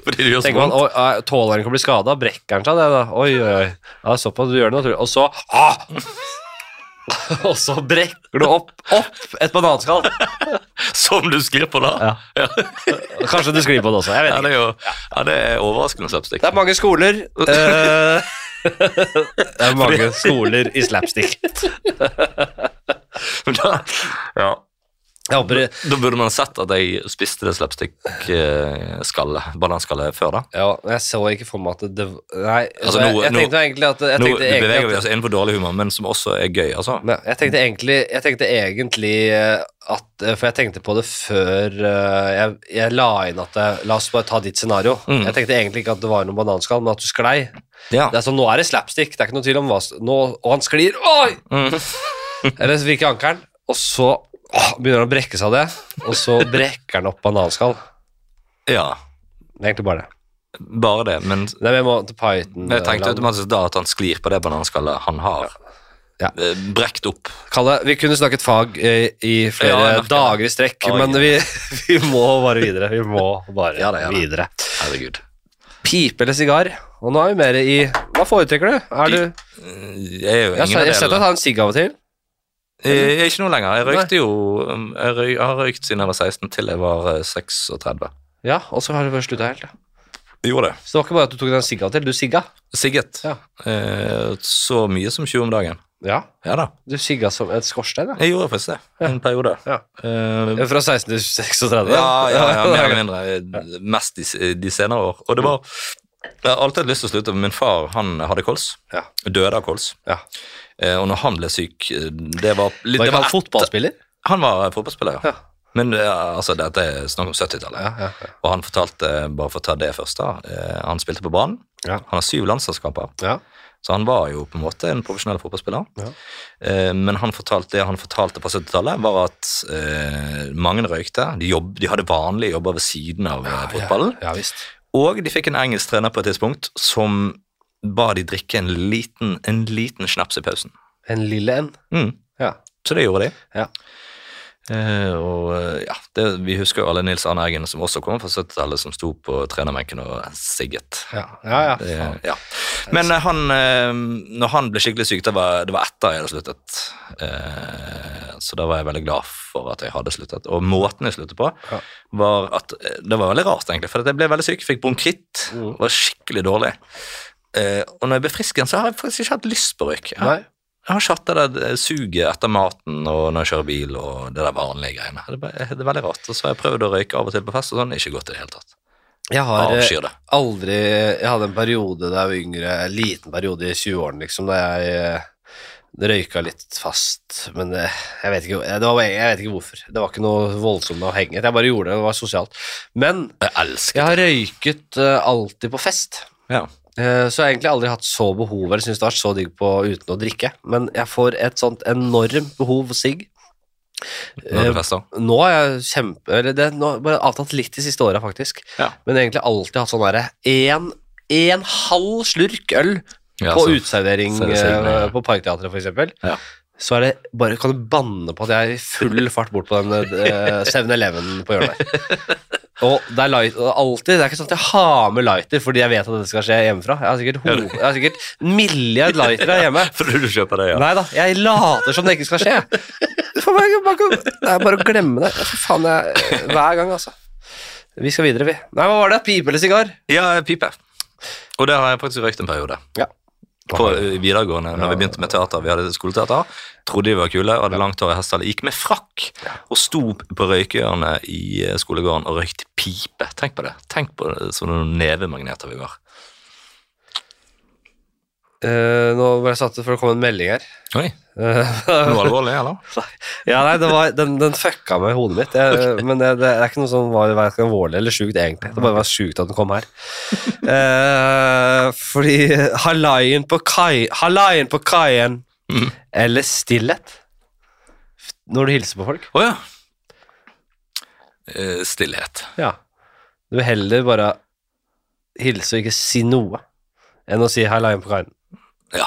Speaker 2: Fordi det gjør så
Speaker 1: Tenker man, oi,
Speaker 2: vondt.
Speaker 1: ah, Tåleren kan bli skada. Brekker han seg? Det, da? Oi, oi, oi. Ja, såpass. Du gjør det naturlig. Og så ah! [laughs] Og så brekker du opp, opp et bananskall.
Speaker 2: Som du sklir på da.
Speaker 1: Kanskje du sklir på det også. Jeg vet
Speaker 2: Ja,
Speaker 1: ikke.
Speaker 2: det er jo ja, det er overraskende slapstick.
Speaker 1: Det er mange skoler. eh, [laughs] det er mange skoler i slapstick.
Speaker 2: Men da, ja.
Speaker 1: Jeg håper
Speaker 2: da burde man sett at jeg spiste det slapstick-skallet, bananskallet, før da.
Speaker 1: Ja, jeg så ikke for meg at det Nei,
Speaker 2: Altså,
Speaker 1: så jeg,
Speaker 2: nå-
Speaker 1: jeg
Speaker 2: nå-
Speaker 1: tenkte egentlig at jeg
Speaker 2: Nå
Speaker 1: tenkte egentlig
Speaker 2: beveger vi
Speaker 1: at,
Speaker 2: oss inn på dårlig humor, men som også er gøy, altså.
Speaker 1: nei, jeg tenkte egentlig, jeg tenkte egentlig eh, at eh, For jeg tenkte på det før eh, jeg, jeg la inn at jeg, La oss bare ta ditt scenario.
Speaker 2: Mm.
Speaker 1: Jeg tenkte egentlig ikke at det var noen bananskall, men at du sklei.
Speaker 2: Ja.
Speaker 1: Det er sånn, Nå er det slapstick. Det er ikke noe tvil om hva s- nå, Og han sklir. Oi!
Speaker 2: Mm.
Speaker 1: [laughs] Eller så virker ankeren, og så åh, begynner han å brekke seg av det. Og så brekker han opp bananskall.
Speaker 2: ja.
Speaker 1: Det er egentlig bare det.
Speaker 2: Bare det, men
Speaker 1: Det er vi må til Python.
Speaker 2: jeg tenkte
Speaker 1: eh, land.
Speaker 2: automatisk da at han sklir på det bananskallet han har.
Speaker 1: Ja.
Speaker 2: Eh, Brekt opp.
Speaker 1: Kalle, vi kunne snakket fag eh, i
Speaker 2: Ja, jeg
Speaker 1: flere
Speaker 2: merker det.
Speaker 1: dager i strekk,
Speaker 2: Oi.
Speaker 1: men vi, [laughs] vi må bare videre. Vi må bare
Speaker 2: Ja da, ja da.
Speaker 1: videre.
Speaker 2: Herregud.
Speaker 1: Pipe eller sigar? Og nå er vi mer i Hva foretrekker du? Er du
Speaker 2: Jeg er jo
Speaker 1: jeg har
Speaker 2: ingen
Speaker 1: se- jeg har
Speaker 2: av
Speaker 1: sett deg
Speaker 2: delene.
Speaker 1: ta en sigg av og til.
Speaker 2: Jeg er ikke noe lenger. Jeg røykte jo um, Jeg røy, jeg har røykt siden jeg var 16 til jeg var eh, 36.
Speaker 1: Ja, og så har du bare slutta helt. ja.
Speaker 2: Jeg gjorde det.
Speaker 1: Så det var ikke bare at du tok den sigg av og til, du sigga.
Speaker 2: Sigget.
Speaker 1: Ja.
Speaker 2: Eh, Så mye som 20 om dagen.
Speaker 1: Ja,
Speaker 2: Ja da.
Speaker 1: du sigga som et skorstein, ja.
Speaker 2: Jeg gjorde faktisk det en periode.
Speaker 1: Ja.
Speaker 2: Eh,
Speaker 1: Fra 16 til 36?
Speaker 2: ja, ja, ja, mer
Speaker 1: [laughs]
Speaker 2: eller mindre. eh, Mest de, s- de senere år. Og det var Jeg har alltid hatt lyst til å slutte, men min far han hadde kols.
Speaker 1: Ja.
Speaker 2: Døde av kols.
Speaker 1: Ja.
Speaker 2: Eh, Og når han ble syk eh, Det var, litt-
Speaker 1: Var ikke
Speaker 2: det var
Speaker 1: han fotballspiller?
Speaker 2: Han var fotballspiller, ja.
Speaker 1: Ja.
Speaker 2: Men eh, altså, dette er snakk om 70-tallet.
Speaker 1: Ja, ja, ja.
Speaker 2: Og han fortalte, bare for å ta det først da, eh, han spilte på banen.
Speaker 1: Ja.
Speaker 2: Han har syv landslagskamper,
Speaker 1: ja.
Speaker 2: så han var jo på en måte en profesjonell fotballspiller.
Speaker 1: Ja.
Speaker 2: Eh, Men han fortalte, det han fortalte på 70-tallet, var at eh, mange røykte. De, jobb, de hadde vanlige jobber ved siden av eh, fotballen.
Speaker 1: Ja, visst.
Speaker 2: Og de fikk en engelsk trener på et tidspunkt som ba de drikke en liten, en liten snaps i pausen.
Speaker 1: En lille en.
Speaker 2: Mm.
Speaker 1: Ja.
Speaker 2: Så det gjorde de.
Speaker 1: Ja.
Speaker 2: Eh, og eh, ja, det, Vi husker jo alle Nils Arne Eggen, som også kom fra 70-tallet, som sto på trenerbenken og sigget.
Speaker 1: Ja, ja. ja.
Speaker 2: Det, ja. Men eh, han, eh, når han ble skikkelig syk, det var, det var etter jeg hadde sluttet. Eh, så da var jeg veldig glad for at jeg hadde sluttet. Og måten jeg sluttet på,
Speaker 1: Ja.
Speaker 2: var at eh, Det var veldig rart, egentlig, for at jeg ble veldig syk, fikk bronkitt,
Speaker 1: Mm.
Speaker 2: var skikkelig dårlig. Eh, og når jeg ble frisk igjen, så har jeg faktisk ikke hatt lyst på røyk. Jeg har
Speaker 1: Nei.
Speaker 2: Jeg har ikke hatt det der eh, suget etter maten og når jeg kjører bil og det der vanlige greiene. Det er, bare, eh, det er veldig rart. Og så har jeg prøvd å røyke av og til på fest, og sånn. Ikke godt i det hele tatt.
Speaker 1: Jeg har eh,
Speaker 2: Avskyr det.
Speaker 1: aldri Jeg hadde en periode da jeg var yngre, en liten periode i 20-årene, liksom, da jeg eh, røyka litt fast, men det, jeg, vet ikke, det var, jeg vet ikke hvorfor. Det var ikke noe voldsomt avhengighet. Jeg bare gjorde det, det var sosialt. Men
Speaker 2: Jeg elsker
Speaker 1: jeg har røyket eh, alltid på fest.
Speaker 2: Ja.
Speaker 1: Eh, Så jeg har egentlig aldri hatt så behov eller synes det har vært så digg på uten å drikke. Men jeg får et sånt enormt behov for sigg.
Speaker 2: Når du fester.
Speaker 1: Nå har jeg kjempe... Eller det nå, har jeg bare avtatt litt de siste åra, faktisk.
Speaker 2: Ja.
Speaker 1: Men egentlig alltid hatt sånn derre én en halv slurk øl
Speaker 2: Ja,
Speaker 1: på
Speaker 2: så-
Speaker 1: uteservering
Speaker 2: så er det sigg,
Speaker 1: eh,
Speaker 2: ja.
Speaker 1: på Parkteatret, f.eks.
Speaker 2: Ja.
Speaker 1: Så er det bare, kan du banne på at jeg er i full fart bort på den
Speaker 2: [laughs]
Speaker 1: eh, 7-Eleven på hjørnet. Og det er light, og alltid, det er ikke sånn at jeg har med lighter fordi jeg vet at det skal skje hjemmefra. Jeg har sikkert, ho jeg har sikkert en milliard lightere hjemme.
Speaker 2: [laughs] Fordi du kjøper det, ja.
Speaker 1: Nei da, jeg later som det ikke skal skje. For meg, bare, det er bare å glemme det. Fy faen, jeg, hver gang, altså. Vi skal videre, vi. Nei, hva var det? Pipe eller sigar?
Speaker 2: Ja, pipe. Og det har jeg faktisk røykt en periode.
Speaker 1: Ja.
Speaker 2: På eh, videregående, når vi begynte med teater. Vi hadde skoleteater. Trodde vi var kule, hadde langt hår i hestehale. Gikk med frakk og sto på røykehjørnet i eh, skolegården og røykte pipe. Tenk på det. Tenk på det som noen nevemagneter vi var.
Speaker 1: Eh, nå ble jeg satt ut for det kom en melding her.
Speaker 2: Oi,
Speaker 1: Eh,
Speaker 2: [laughs] noe alvorlig, eller?
Speaker 1: ja, nei, det var, den, den fucka med hodet mitt. Jeg, Men det, det er ikke noe som var verken alvorlig eller sjukt, egentlig. Det bare var sjukt at den kom her. Eh, fordi halaien på kai- Halaien på kaien
Speaker 2: Mhm.
Speaker 1: eller stillhet når du hilser på folk.
Speaker 2: Å ja. Eh, Stillhet.
Speaker 1: Ja. Du vil heller bare hilse og ikke si noe enn å si 'halaien på kaien'.
Speaker 2: Ja.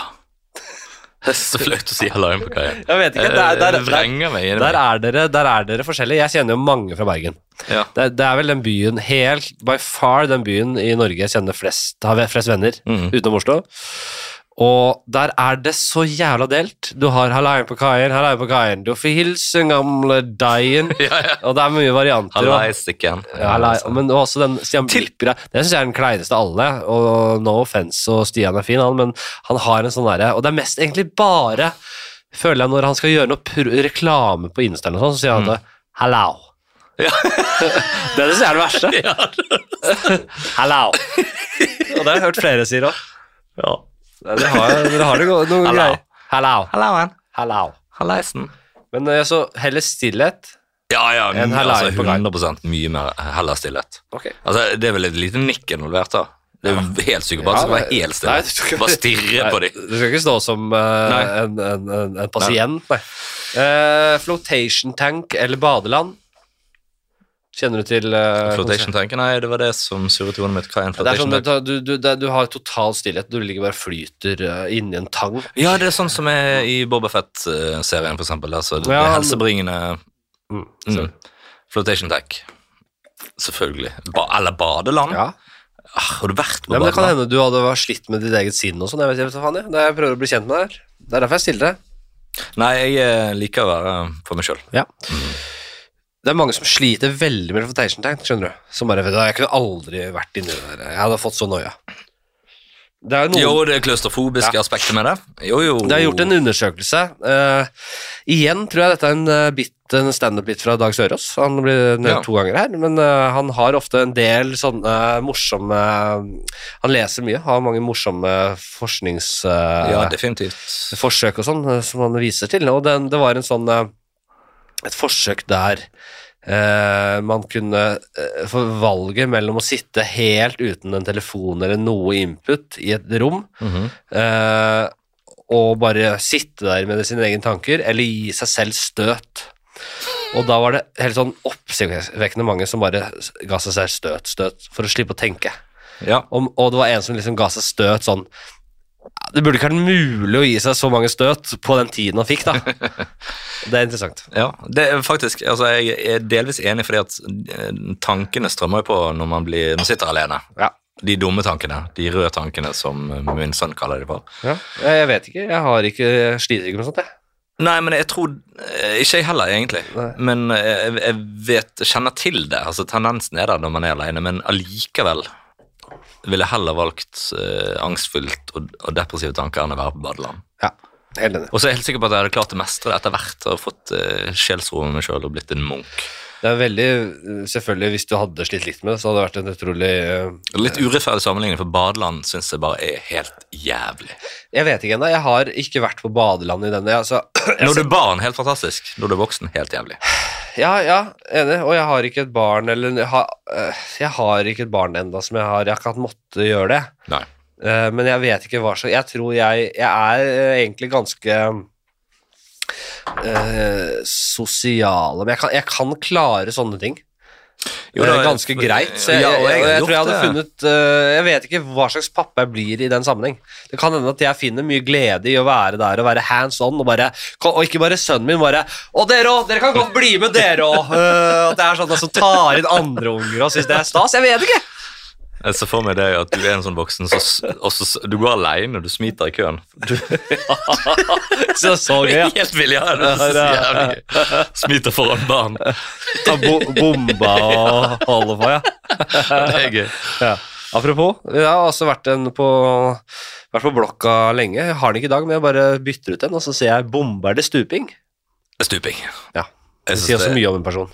Speaker 2: Det er så flaut å si alarm på kaia.
Speaker 1: Jeg vet ikke, det er, det er,
Speaker 2: Jeg vrenger meg inn i
Speaker 1: Der er dere, der er dere forskjellige. Jeg kjenner jo mange fra Bergen.
Speaker 2: Ja.
Speaker 1: Det, er- det er vel den byen, helt by far den byen i Norge jeg kjenner flest, har flest venner,
Speaker 2: Mhm.
Speaker 1: utenom Oslo. Og der er det så jævla delt. Du har halaien på kaien, halaien på kaien. Du får hilse gamle deien.
Speaker 2: Ja, ja.
Speaker 1: Og det er mye varianter. og-
Speaker 2: Hallaisiken.
Speaker 1: ja,
Speaker 2: [laughs]
Speaker 1: altså. halai- men også den Stian
Speaker 2: Til-
Speaker 1: Blipp-greia. Det syns jeg er den kleineste av alle. Og no offense, og Stian er fin, han, men han har en sånn derre Og det er mest egentlig bare, føler jeg, når han skal gjøre noe pr reklame på Insta eller noe sånt, så sier han det halal.
Speaker 2: Ja.
Speaker 1: [laughs] det er det som er det [laughs] verste. halal. Og det har jeg hørt flere sier òg.
Speaker 2: Ja.
Speaker 1: Dere har, dere har det go- noen
Speaker 2: Halal.
Speaker 1: greier. Halal.
Speaker 2: Hallauen.
Speaker 1: Halal.
Speaker 2: Hallaisen.
Speaker 1: Men eh, så heller stillhet.
Speaker 2: Ja, ja,
Speaker 1: En
Speaker 2: mye-
Speaker 1: halai
Speaker 2: altså
Speaker 1: på gang.
Speaker 2: 100 mye mer eh, heller stillhet.
Speaker 1: Ok.
Speaker 2: Altså, det er vel et lite nikk involvert, da. Det er jo helt psykopatisk å
Speaker 1: Ja,
Speaker 2: være
Speaker 1: det-
Speaker 2: helt
Speaker 1: Nei, du skal-
Speaker 2: stille. Bare stirre på
Speaker 1: Nei,
Speaker 2: dem.
Speaker 1: Du skal ikke stå som eh,
Speaker 2: Nei.
Speaker 1: en, en, en, en pasient. Nei. Eh, flotation tank eller badeland? Kjenner du til eh,
Speaker 2: Flotation tanken, nei, det var det som surret i hodet mitt. Hva er en
Speaker 1: Det er
Speaker 2: flotation
Speaker 1: sånn
Speaker 2: tank?
Speaker 1: at du, du, det- du har total stillhet. Du ligger bare og flyter eh, inni en tang.
Speaker 2: Ja, det er sånn som er i Bobafett-serien, for eksempel. Altså, det
Speaker 1: Ja,
Speaker 2: er helsebringende
Speaker 1: Mm.
Speaker 2: mm. Flotation tank. Selvfølgelig. Ba eller badeland.
Speaker 1: Ja.
Speaker 2: Ah, Har du vært på
Speaker 1: Nei, men det kan
Speaker 2: badeland?
Speaker 1: hende du hadde vært slitt med ditt eget sinn og sånn. Jeg vet, jeg vet hva faen jeg. Det er jeg prøver å bli kjent med der. Det er derfor jeg stiller deg.
Speaker 2: Nei, jeg eh, liker å være for meg sjøl.
Speaker 1: Det er mange som sliter veldig med flotation tank, skjønner du. Som bare vet du, jeg kunne aldri vært inni det der. Jeg hadde fått så noia. Det er jo noen
Speaker 2: Jo, det klaustrofobiske aspektet med det. Jo, jo.
Speaker 1: Oh. Det er gjort en undersøkelse. Eh, igjen tror jeg dette er en, eh, bit, en standup-bit fra Dag Sørås. Han blir nevnt
Speaker 2: Ja.
Speaker 1: to ganger her, men eh, han har ofte en del sånne eh, morsomme eh, Han leser mye, har mange morsomme eh,
Speaker 2: Ja,
Speaker 1: forskningsforsøk
Speaker 2: definitivt.
Speaker 1: og sånn eh, som han viser til. Og den, det var en sånn eh, et forsøk der eh, man kunne eh, få valget mellom å sitte helt uten en telefon eller noe input i et rom,
Speaker 2: Mhm.
Speaker 1: Eh, og bare sitte der med sine egne tanker, eller gi seg selv støt. Og da var det helt sånn oppsiktsvekkende mange som bare ga seg selv støt, støt, for å slippe å tenke.
Speaker 2: Ja.
Speaker 1: Om, og det var en som liksom ga seg støt sånn «Ja, Det burde ikke vært mulig å gi seg så mange støt på den tiden han fikk, [laughs] da. Det er interessant.
Speaker 2: Ja, det er faktisk, altså Jeg er delvis enig, fordi at eh, tankene strømmer jo på når man, blir, når man sitter alene.
Speaker 1: Ja.
Speaker 2: De dumme tankene, de røde tankene, som eh, min sønn kaller det for.
Speaker 1: Ja, jeg vet ikke. Jeg har ikke jeg sliter ikke med sånt, jeg.
Speaker 2: Nei, men jeg tror eh, Ikke jeg heller, egentlig.
Speaker 1: Nei.
Speaker 2: Men eh, jeg, jeg vet, kjenner til det. altså Tendensen er der når man er alene, men allikevel ville jeg heller valgt eh, angstfylt og, og depressive tanker enn å være på badeland.
Speaker 1: Ja. Helt enig.
Speaker 2: Og så er jeg helt sikker på at jeg hadde klart å mestre det etter hvert og fått uh, sjelsro med meg sjøl og blitt en munk.
Speaker 1: Det er veldig, selvfølgelig, Hvis du hadde slitt litt med det, så hadde det vært en utrolig eh,
Speaker 2: Litt urettferdig sammenligning, for badeland syns jeg bare er helt jævlig.
Speaker 1: Jeg vet ikke ennå. Jeg har ikke vært på badeland i denne. Altså, [clears throat] jeg,
Speaker 2: Når du er barn, helt fantastisk. Når du er voksen, helt jævlig.
Speaker 1: ja, ja, enig. Og jeg har ikke et barn eller jeg har, eh, jeg har ikke et barn enda som jeg har Jeg har ikke hatt måtte gjøre det.
Speaker 2: Nei.
Speaker 1: Eh, men jeg vet ikke hva slags Jeg tror jeg Jeg er eh, egentlig ganske eh, sosiale Men jeg kan, jeg kan klare sånne ting.
Speaker 2: Jo,
Speaker 1: det
Speaker 2: da,
Speaker 1: er ganske
Speaker 2: for-
Speaker 1: greit. Så jeg,
Speaker 2: Eh, Ja,
Speaker 1: jeg,
Speaker 2: og jeg
Speaker 1: jeg, tror
Speaker 2: har
Speaker 1: jeg
Speaker 2: gjort
Speaker 1: hadde funnet eh, Jeg vet ikke hva slags pappa jeg blir i den sammenheng. Det kan hende at jeg finner mye glede i å være der og være hands on, og, bare, og ikke bare sønnen min bare Å, dere òg! Dere kan godt bli med, dere òg! [laughs] Eh, at det er sånn at som tar inn andre unger og syns det er stas. Jeg vet ikke!
Speaker 2: Jeg ser for meg det at du er en sånn voksen så, s- og så, s- Du går aleine, du smiter i køen. Du,
Speaker 1: Så, så gøy, ja.
Speaker 2: Helt villig, ja. Det er så jævlig gøy. Smiter foran barn.
Speaker 1: Ta bo bomba og holde på, ja.
Speaker 2: Det er gøy.
Speaker 1: ja. Apropos, jeg har også vært, en på, vært på blokka lenge. Jeg har den ikke i dag, men jeg bare bytter ut den, og så ser jeg 'bomber det stuping'.
Speaker 2: Stuping.
Speaker 1: Ja.
Speaker 2: Jeg
Speaker 1: Det
Speaker 2: synes
Speaker 1: sier også
Speaker 2: det-
Speaker 1: mye om en person.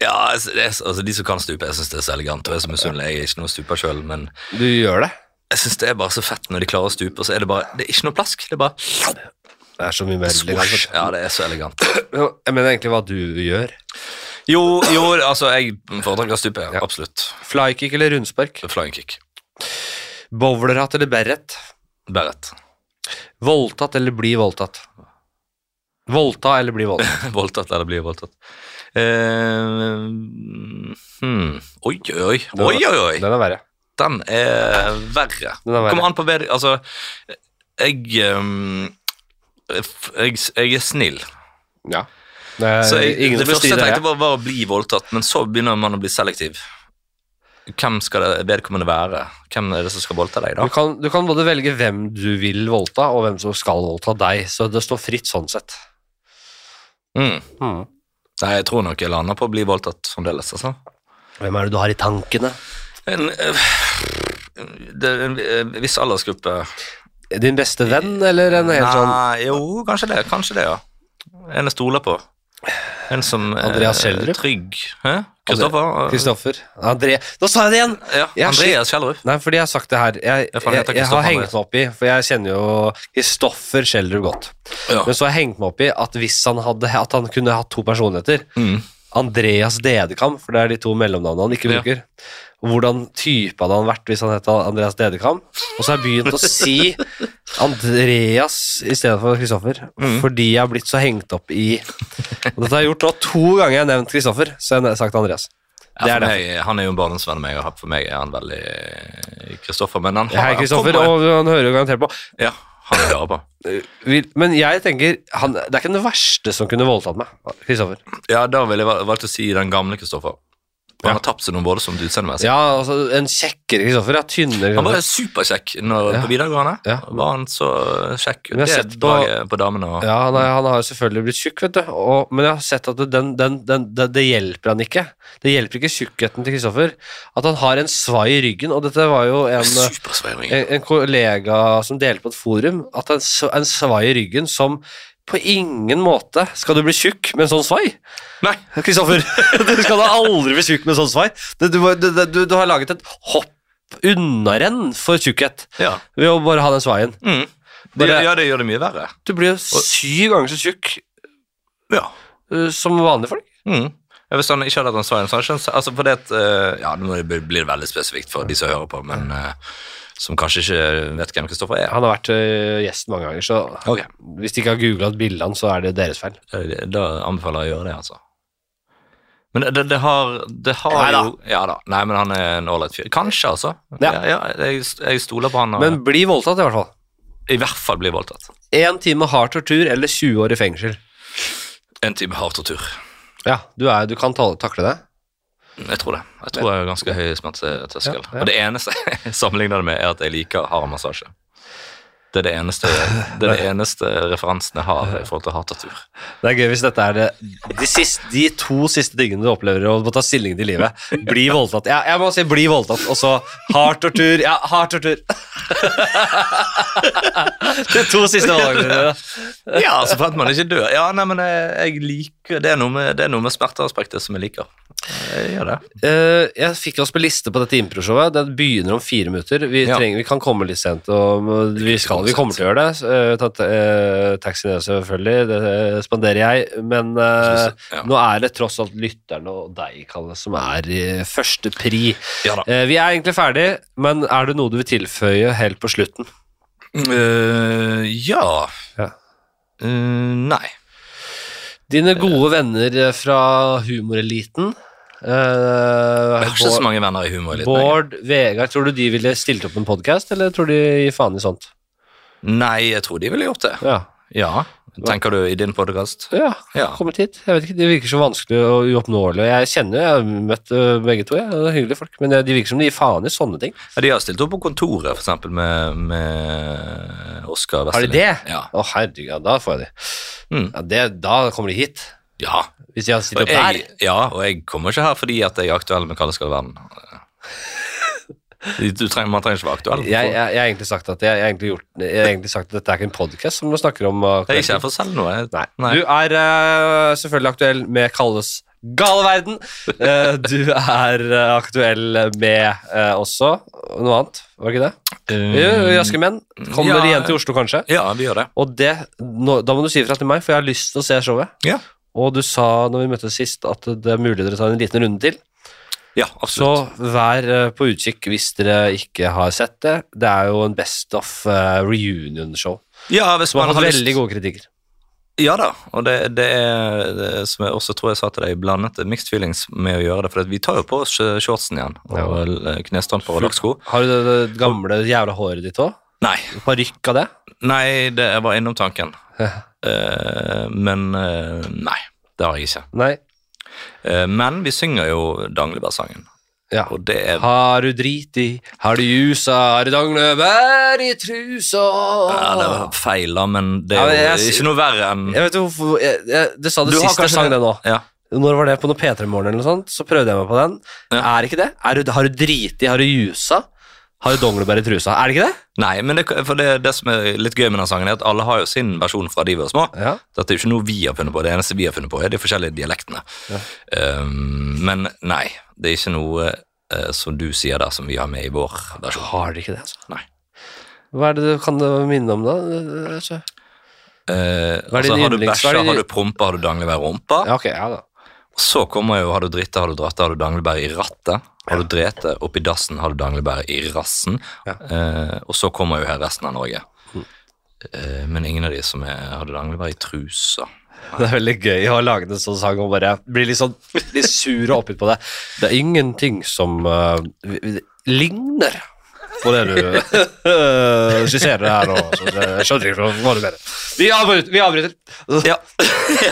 Speaker 2: Ja, altså, det er, så- altså De som kan stupe, jeg syns det er så elegant. Og jeg er så misunnelig. Jeg er ikke noe stuper sjøl, men
Speaker 1: Du gjør det.
Speaker 2: jeg syns det er bare så fett når de klarer å stupe, og så er det bare Det er ikke noe plask. Det er bare
Speaker 1: Det er så mye mer
Speaker 2: swoosh. Ja, det er så elegant.
Speaker 1: Jeg mener egentlig hva du gjør.
Speaker 2: Jo, jo, altså, jeg foretrekker å stupe.
Speaker 1: Ja.
Speaker 2: Absolutt.
Speaker 1: Flykick eller rundspark?
Speaker 2: Flying kick.
Speaker 1: Bowlerhatt eller beret?
Speaker 2: Beret.
Speaker 1: Voldtatt eller bli voldtatt? Voldta eller bli voldtatt?
Speaker 2: [laughs] Voldtatt eller blir voldtatt. Eh, hmm. Oi, oi, oi. oi, oi, oi.
Speaker 1: Den er verre.
Speaker 2: Den er verre.
Speaker 1: Den er verre.
Speaker 2: Kommer an på bedre Altså, jeg ehm, f- jeg, jeg er snill.
Speaker 1: Ja. Det er
Speaker 2: Så jeg,
Speaker 1: Eh, ingen
Speaker 2: det
Speaker 1: som vil
Speaker 2: første
Speaker 1: si
Speaker 2: jeg
Speaker 1: det.
Speaker 2: tenkte, var, var å bli voldtatt, men så begynner man å bli selektiv. Hvem skal det vedkommende være? Hvem er det som skal voldta deg,
Speaker 1: Du
Speaker 2: da?
Speaker 1: kan, du kan både velge hvem du vil voldta, og hvem som skal voldta deg. Så det står fritt sånn sett.
Speaker 2: Mm. Nei, jeg tror nok jeg lander på å bli voldtatt fremdeles, altså.
Speaker 1: Hvem er det du har i tankene?
Speaker 2: En, øh, det er en øh, viss aldersgruppe
Speaker 1: Din beste venn, eller en helt sånn
Speaker 2: Nei, jo, kanskje det. Kanskje det, ja. En jeg stoler på. En som er
Speaker 1: Andreas Schjelderup?
Speaker 2: trygg. Hæ? Kristoffer?
Speaker 1: Kristoffer? André Nå sa jeg det igjen!
Speaker 2: Ja,
Speaker 1: Jeg er
Speaker 2: Andreas Schjelderup.
Speaker 1: Nei, fordi jeg har sagt det her. Jeg,
Speaker 2: Ja,
Speaker 1: jeg,
Speaker 2: for han
Speaker 1: jeg,
Speaker 2: heter
Speaker 1: har
Speaker 2: Kristoffer
Speaker 1: hengt meg opp i, for jeg kjenner jo Kristoffer Schjelderup godt.
Speaker 2: Ja.
Speaker 1: Men så har jeg hengt meg opp i at hvis han hadde At han kunne hatt to personligheter
Speaker 2: Mm.
Speaker 1: Andreas Dedekam, for det er de to mellomnavnene han ikke
Speaker 2: Ja.
Speaker 1: bruker. Hvordan type hadde han vært hvis han het Andreas Dedekam? Og så har jeg begynt å si Andreas i stedet for Kristoffer,
Speaker 2: Mm.
Speaker 1: fordi jeg har blitt så hengt opp i Og dette har jeg gjort nå to ganger jeg har nevnt Kristoffer, så jeg har jeg sagt Andreas. Det
Speaker 2: Ja,
Speaker 1: er
Speaker 2: for
Speaker 1: det.
Speaker 2: meg, han er jo en barndomsvenn av meg, og han- for meg er han veldig Kristoffer. Men han har
Speaker 1: Hei,
Speaker 2: han
Speaker 1: Kristoffer,
Speaker 2: kommer-
Speaker 1: og han hører jo garantert på.
Speaker 2: Ja, han hører på.
Speaker 1: vil, men jeg tenker han, Det er ikke den verste som kunne voldtatt meg. Kristoffer.
Speaker 2: Ja, da ville jeg val- valgt å si den gamle Kristoffer. Han
Speaker 1: Ja.
Speaker 2: har tapt seg noen både som utseendemessig.
Speaker 1: Ja, altså En kjekkere Kristoffer. Ja, tynnere.
Speaker 2: Han var
Speaker 1: Kristoffer.
Speaker 2: superkjekk når, på videregående.
Speaker 1: Ja.
Speaker 2: Var han så kjekk?
Speaker 1: Men jeg har
Speaker 2: Det
Speaker 1: sett på-
Speaker 2: draget på damene og
Speaker 1: Ja, han, er, han har selvfølgelig blitt tjukk, vet du. Og, men jeg har sett at det, den, den, den, det, det hjelper han ikke. Det hjelper ikke tjukkheten til Kristoffer. At han har en svai i ryggen. Og dette var jo en
Speaker 2: Supersveiring.
Speaker 1: en, en kollega som delte på et forum at en, s- en svai i ryggen som på ingen måte skal du bli tjukk med en sånn svai.
Speaker 2: Nei.
Speaker 1: Kristoffer, [laughs] du skal da aldri bli tjukk med en sånn svai. Det- Du, må- du, du, du har laget et hopp unnarenn for tjukkhet
Speaker 2: Ja.
Speaker 1: ved å bare ha den svaien.
Speaker 2: Mm.
Speaker 1: Bare-
Speaker 2: Det, gjør- ja, det gjør det mye verre.
Speaker 1: Du blir jo syv ganger så tjukk
Speaker 2: Ja.
Speaker 1: uh, som vanlige folk.
Speaker 2: Mm. Ja, Hvis han ikke hadde hatt den svaret, så hadde han skjønt altså fordi at, eh, Ja, nå blir blir det veldig spesifikt for de som hører på, men eh, som kanskje ikke vet hvem Kristoffer er.
Speaker 1: Han har vært uh, gjest mange ganger, så
Speaker 2: Ok.
Speaker 1: hvis de ikke har googla bildene, så er det deres feil.
Speaker 2: Eh, Da anbefaler jeg å gjøre det, altså. Men det, det har, det har
Speaker 1: Nei da.
Speaker 2: jo Ja da. Nei, men han er en ålreit fyr. Kanskje, altså.
Speaker 1: Ja.
Speaker 2: Ja, ja, jeg, jeg stoler på han. Og,
Speaker 1: Men bli voldtatt, i hvert fall.
Speaker 2: I hvert fall blir voldtatt.
Speaker 1: Én time hard tortur eller 20 år i fengsel.
Speaker 2: En time hard tortur.
Speaker 1: Ja, du, er, du kan ta, takle det.
Speaker 2: Jeg tror det. Jeg tror jeg har ganske høy smerteterskel.
Speaker 1: Ja, ja.
Speaker 2: [laughs] Og det eneste jeg sammenligner det med, er at jeg liker hard massasje. Det er det eneste, det [laughs] er det eneste referansen jeg har i forhold til hatatur.
Speaker 1: Det er gøy hvis dette er det, de, siste, de to siste tingene du opplever og må ta stilling til i livet. Bli voldtatt. Ja, jeg må si bli voldtatt, og så hard tortur. Ja, hard tortur. [laughs] De to siste valgene dine.
Speaker 2: Ja, så fant man ikke dør. Ja, nei, men jeg, jeg liker det er, noe med, det er noe med smerteaspektet som jeg liker. Jeg gjør det.
Speaker 1: Eh, jeg fikk oss på liste på dette improshowet. Det begynner om fire minutter. Vi,
Speaker 2: Ja.
Speaker 1: trenger, vi kan komme litt sent, og vi, skal, vi kommer til å gjøre det. Eh, tatt, eh, taxi ned, selvfølgelig. Det eh, spanderer jeg. Men eh,
Speaker 2: Ja.
Speaker 1: nå er det tross alt lytterne og deg, Kalle, som er i første pri.
Speaker 2: Ja da.
Speaker 1: Eh, vi er egentlig ferdig, men er det noe du vil tilføye helt på slutten?
Speaker 2: Eh, ja
Speaker 1: Ja.
Speaker 2: Eh, Nei.
Speaker 1: Dine gode venner fra humoreliten. eh,
Speaker 2: Jeg har ikke så mange venner i humor. Litt lenger.
Speaker 1: Bård, Vegard, tror du de ville stilt opp en podkast, eller tror de gir faen i sånt?
Speaker 2: Nei, jeg tror de ville gjort det.
Speaker 1: Ja.
Speaker 2: Ja. Tenker du i din podkast?
Speaker 1: ja,
Speaker 2: Ja.
Speaker 1: kommet hit. Jeg vet ikke, De virker så vanskelig og uoppnåelige. og Jeg kjenner jo, jeg har møtt øh, begge to, jeg. Det er hyggelige folk. Men øh, de virker som de gir faen i sånne ting.
Speaker 2: Ja, de har stilt opp på kontoret, for eksempel, med, med Oskar
Speaker 1: Har
Speaker 2: Westerlin.
Speaker 1: de det?
Speaker 2: Ja.
Speaker 1: Å, herregud, ja, da får jeg de.
Speaker 2: Mm.
Speaker 1: Ja, det, da kommer de hit.
Speaker 2: ja.
Speaker 1: Hvis de har stilt
Speaker 2: Og
Speaker 1: opp
Speaker 2: jeg,
Speaker 1: der.
Speaker 2: ja, og jeg kommer ikke her fordi at jeg er aktuell med Kalle skal verden. Du trenger, man trenger ikke være aktuell.
Speaker 1: Jeg, jeg, jeg har egentlig sagt at jeg, jeg, har egentlig gjort, jeg har egentlig sagt at dette er ikke en podkast som vi snakker om. øh,
Speaker 2: jeg er ikke her for å selge noe. Jeg,
Speaker 1: Nei.
Speaker 2: Nei.
Speaker 1: Du er eh, selvfølgelig aktuell med Kalles gale verden. Eh, du er eh, aktuell med eh, også noe annet, var det ikke det? Jo, Raske menn. Kommer
Speaker 2: Mm. Ja.
Speaker 1: igjen til Oslo, kanskje.
Speaker 2: Eh, ja, vi gjør det.
Speaker 1: Og det, nå, da må du si ifra til meg, for jeg har lyst til å se showet.
Speaker 2: Ja,
Speaker 1: Og du sa når vi møttes sist at det er mulig dere tar en liten runde til.
Speaker 2: ja
Speaker 1: Så
Speaker 2: absolutt.
Speaker 1: vær eh, på utkikk hvis dere ikke har sett det. Det er jo en Best of eh, reunion-show.
Speaker 2: ja, hvis
Speaker 1: Som
Speaker 2: man
Speaker 1: har
Speaker 2: har
Speaker 1: fått
Speaker 2: lyst
Speaker 1: veldig gode kritikker.
Speaker 2: Ja da, og det, det er det er som jeg også tror jeg sa til deg, blandet mixed feelings med å gjøre det. For at vi tar jo på oss eh, shortsen igjen, og eh, knestramper og lakksko.
Speaker 1: Har du det, det gamle jævla håret ditt òg?
Speaker 2: Nei,
Speaker 1: Parykk av det?
Speaker 2: nei, det jeg var innom tanken.
Speaker 1: [laughs] Ja.
Speaker 2: Eh, men eh, nei, det har jeg ikke.
Speaker 1: Nei.
Speaker 2: Eh, men vi synger jo Danglebærsangen,
Speaker 1: Ja.
Speaker 2: og det er
Speaker 1: Har du drit i, har du jusa, har du danglebær i trusa
Speaker 2: ja, det var feil, da, men det
Speaker 1: Ja,
Speaker 2: er
Speaker 1: men
Speaker 2: jo
Speaker 1: jeg-
Speaker 2: ikke noe verre enn
Speaker 1: Jeg vet ikke hvorfor jeg, jeg, Det sa det
Speaker 2: Du har
Speaker 1: siste
Speaker 2: kanskje
Speaker 1: sang, det nå.
Speaker 2: ja.
Speaker 1: Når var det? På noe P3-morgen eller noe sånt? Så prøvde jeg meg på den.
Speaker 2: Ja.
Speaker 1: Er ikke det? Er du, har du driti, har du jusa, har du donglebær i trusa? Er det ikke det?
Speaker 2: Nei, men det, for det, det som er litt gøy med den sangen, er at alle har jo sin versjon fra de var små.
Speaker 1: Ja.
Speaker 2: Dette er jo ikke noe vi har funnet på. Det eneste vi har funnet på, er de forskjellige dialektene.
Speaker 1: Ja.
Speaker 2: Um, men nei, det er ikke noe eh, som du sier der, som vi har med i vår versjon.
Speaker 1: Har du ikke det, altså?
Speaker 2: Nei.
Speaker 1: Hva er det du kan minne om, da? Altså,
Speaker 2: Eh,
Speaker 1: Hva er
Speaker 2: altså,
Speaker 1: din
Speaker 2: har du
Speaker 1: yndlings- hva
Speaker 2: bæsja,
Speaker 1: er din-
Speaker 2: har du prompa, har du danglebær i rumpa?
Speaker 1: Ja, ok, ja da.
Speaker 2: Så kommer jo har du dritta, har du dratta, har du danglebær i rattet? Har du drete oppi dassen, har du danglebær i rassen?
Speaker 1: Ja. Mm.
Speaker 2: Eh, og så kommer jo her resten av Norge. Eh, men ingen av de som er, har du danglebær i trusa.
Speaker 1: Det er veldig gøy å lage en sånn sang og bare bli litt sånn litt sur og oppgitt på det. Det er ingenting som eh, vi- vi- ligner på det du eh, skisserer her nå. så Jeg skjønner ikke hva du mener. Vi avbryter. Vi avbryter.
Speaker 2: [laughs] Ja.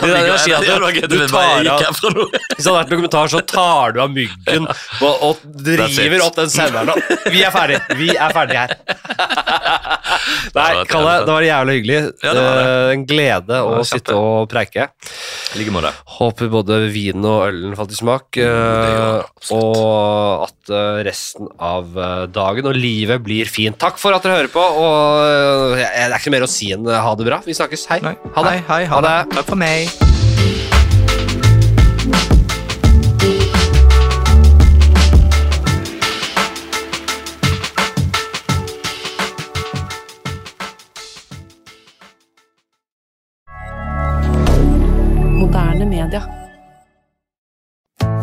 Speaker 1: det er å si at du- du tar av-
Speaker 2: herfra nå.
Speaker 1: Hvis det hadde vært dokumentar, så tar du av myggen og, og driver opp den saueren. og Vi er ferdig. Vi er ferdig her. Nei, Kalle, det var jævlig hyggelig.
Speaker 2: Ja, det var det.
Speaker 1: Eh, En glede
Speaker 2: var
Speaker 1: å sitte og preike.
Speaker 2: I like måte.
Speaker 1: Håper både vinen og ølen falt i smak,
Speaker 2: Mm, gjør det,
Speaker 1: eh, og at eh, resten av eh, dagen og livet blir fint. Takk for at dere hører på, og eh, det er ikke mer å si enn eh, ha det bra. Vi snakkes. Hei.
Speaker 2: Nei.
Speaker 1: Ha det.
Speaker 2: Hei, hei, ha,
Speaker 1: Ha det.
Speaker 2: det. Takk for meg.
Speaker 3: Moderne media.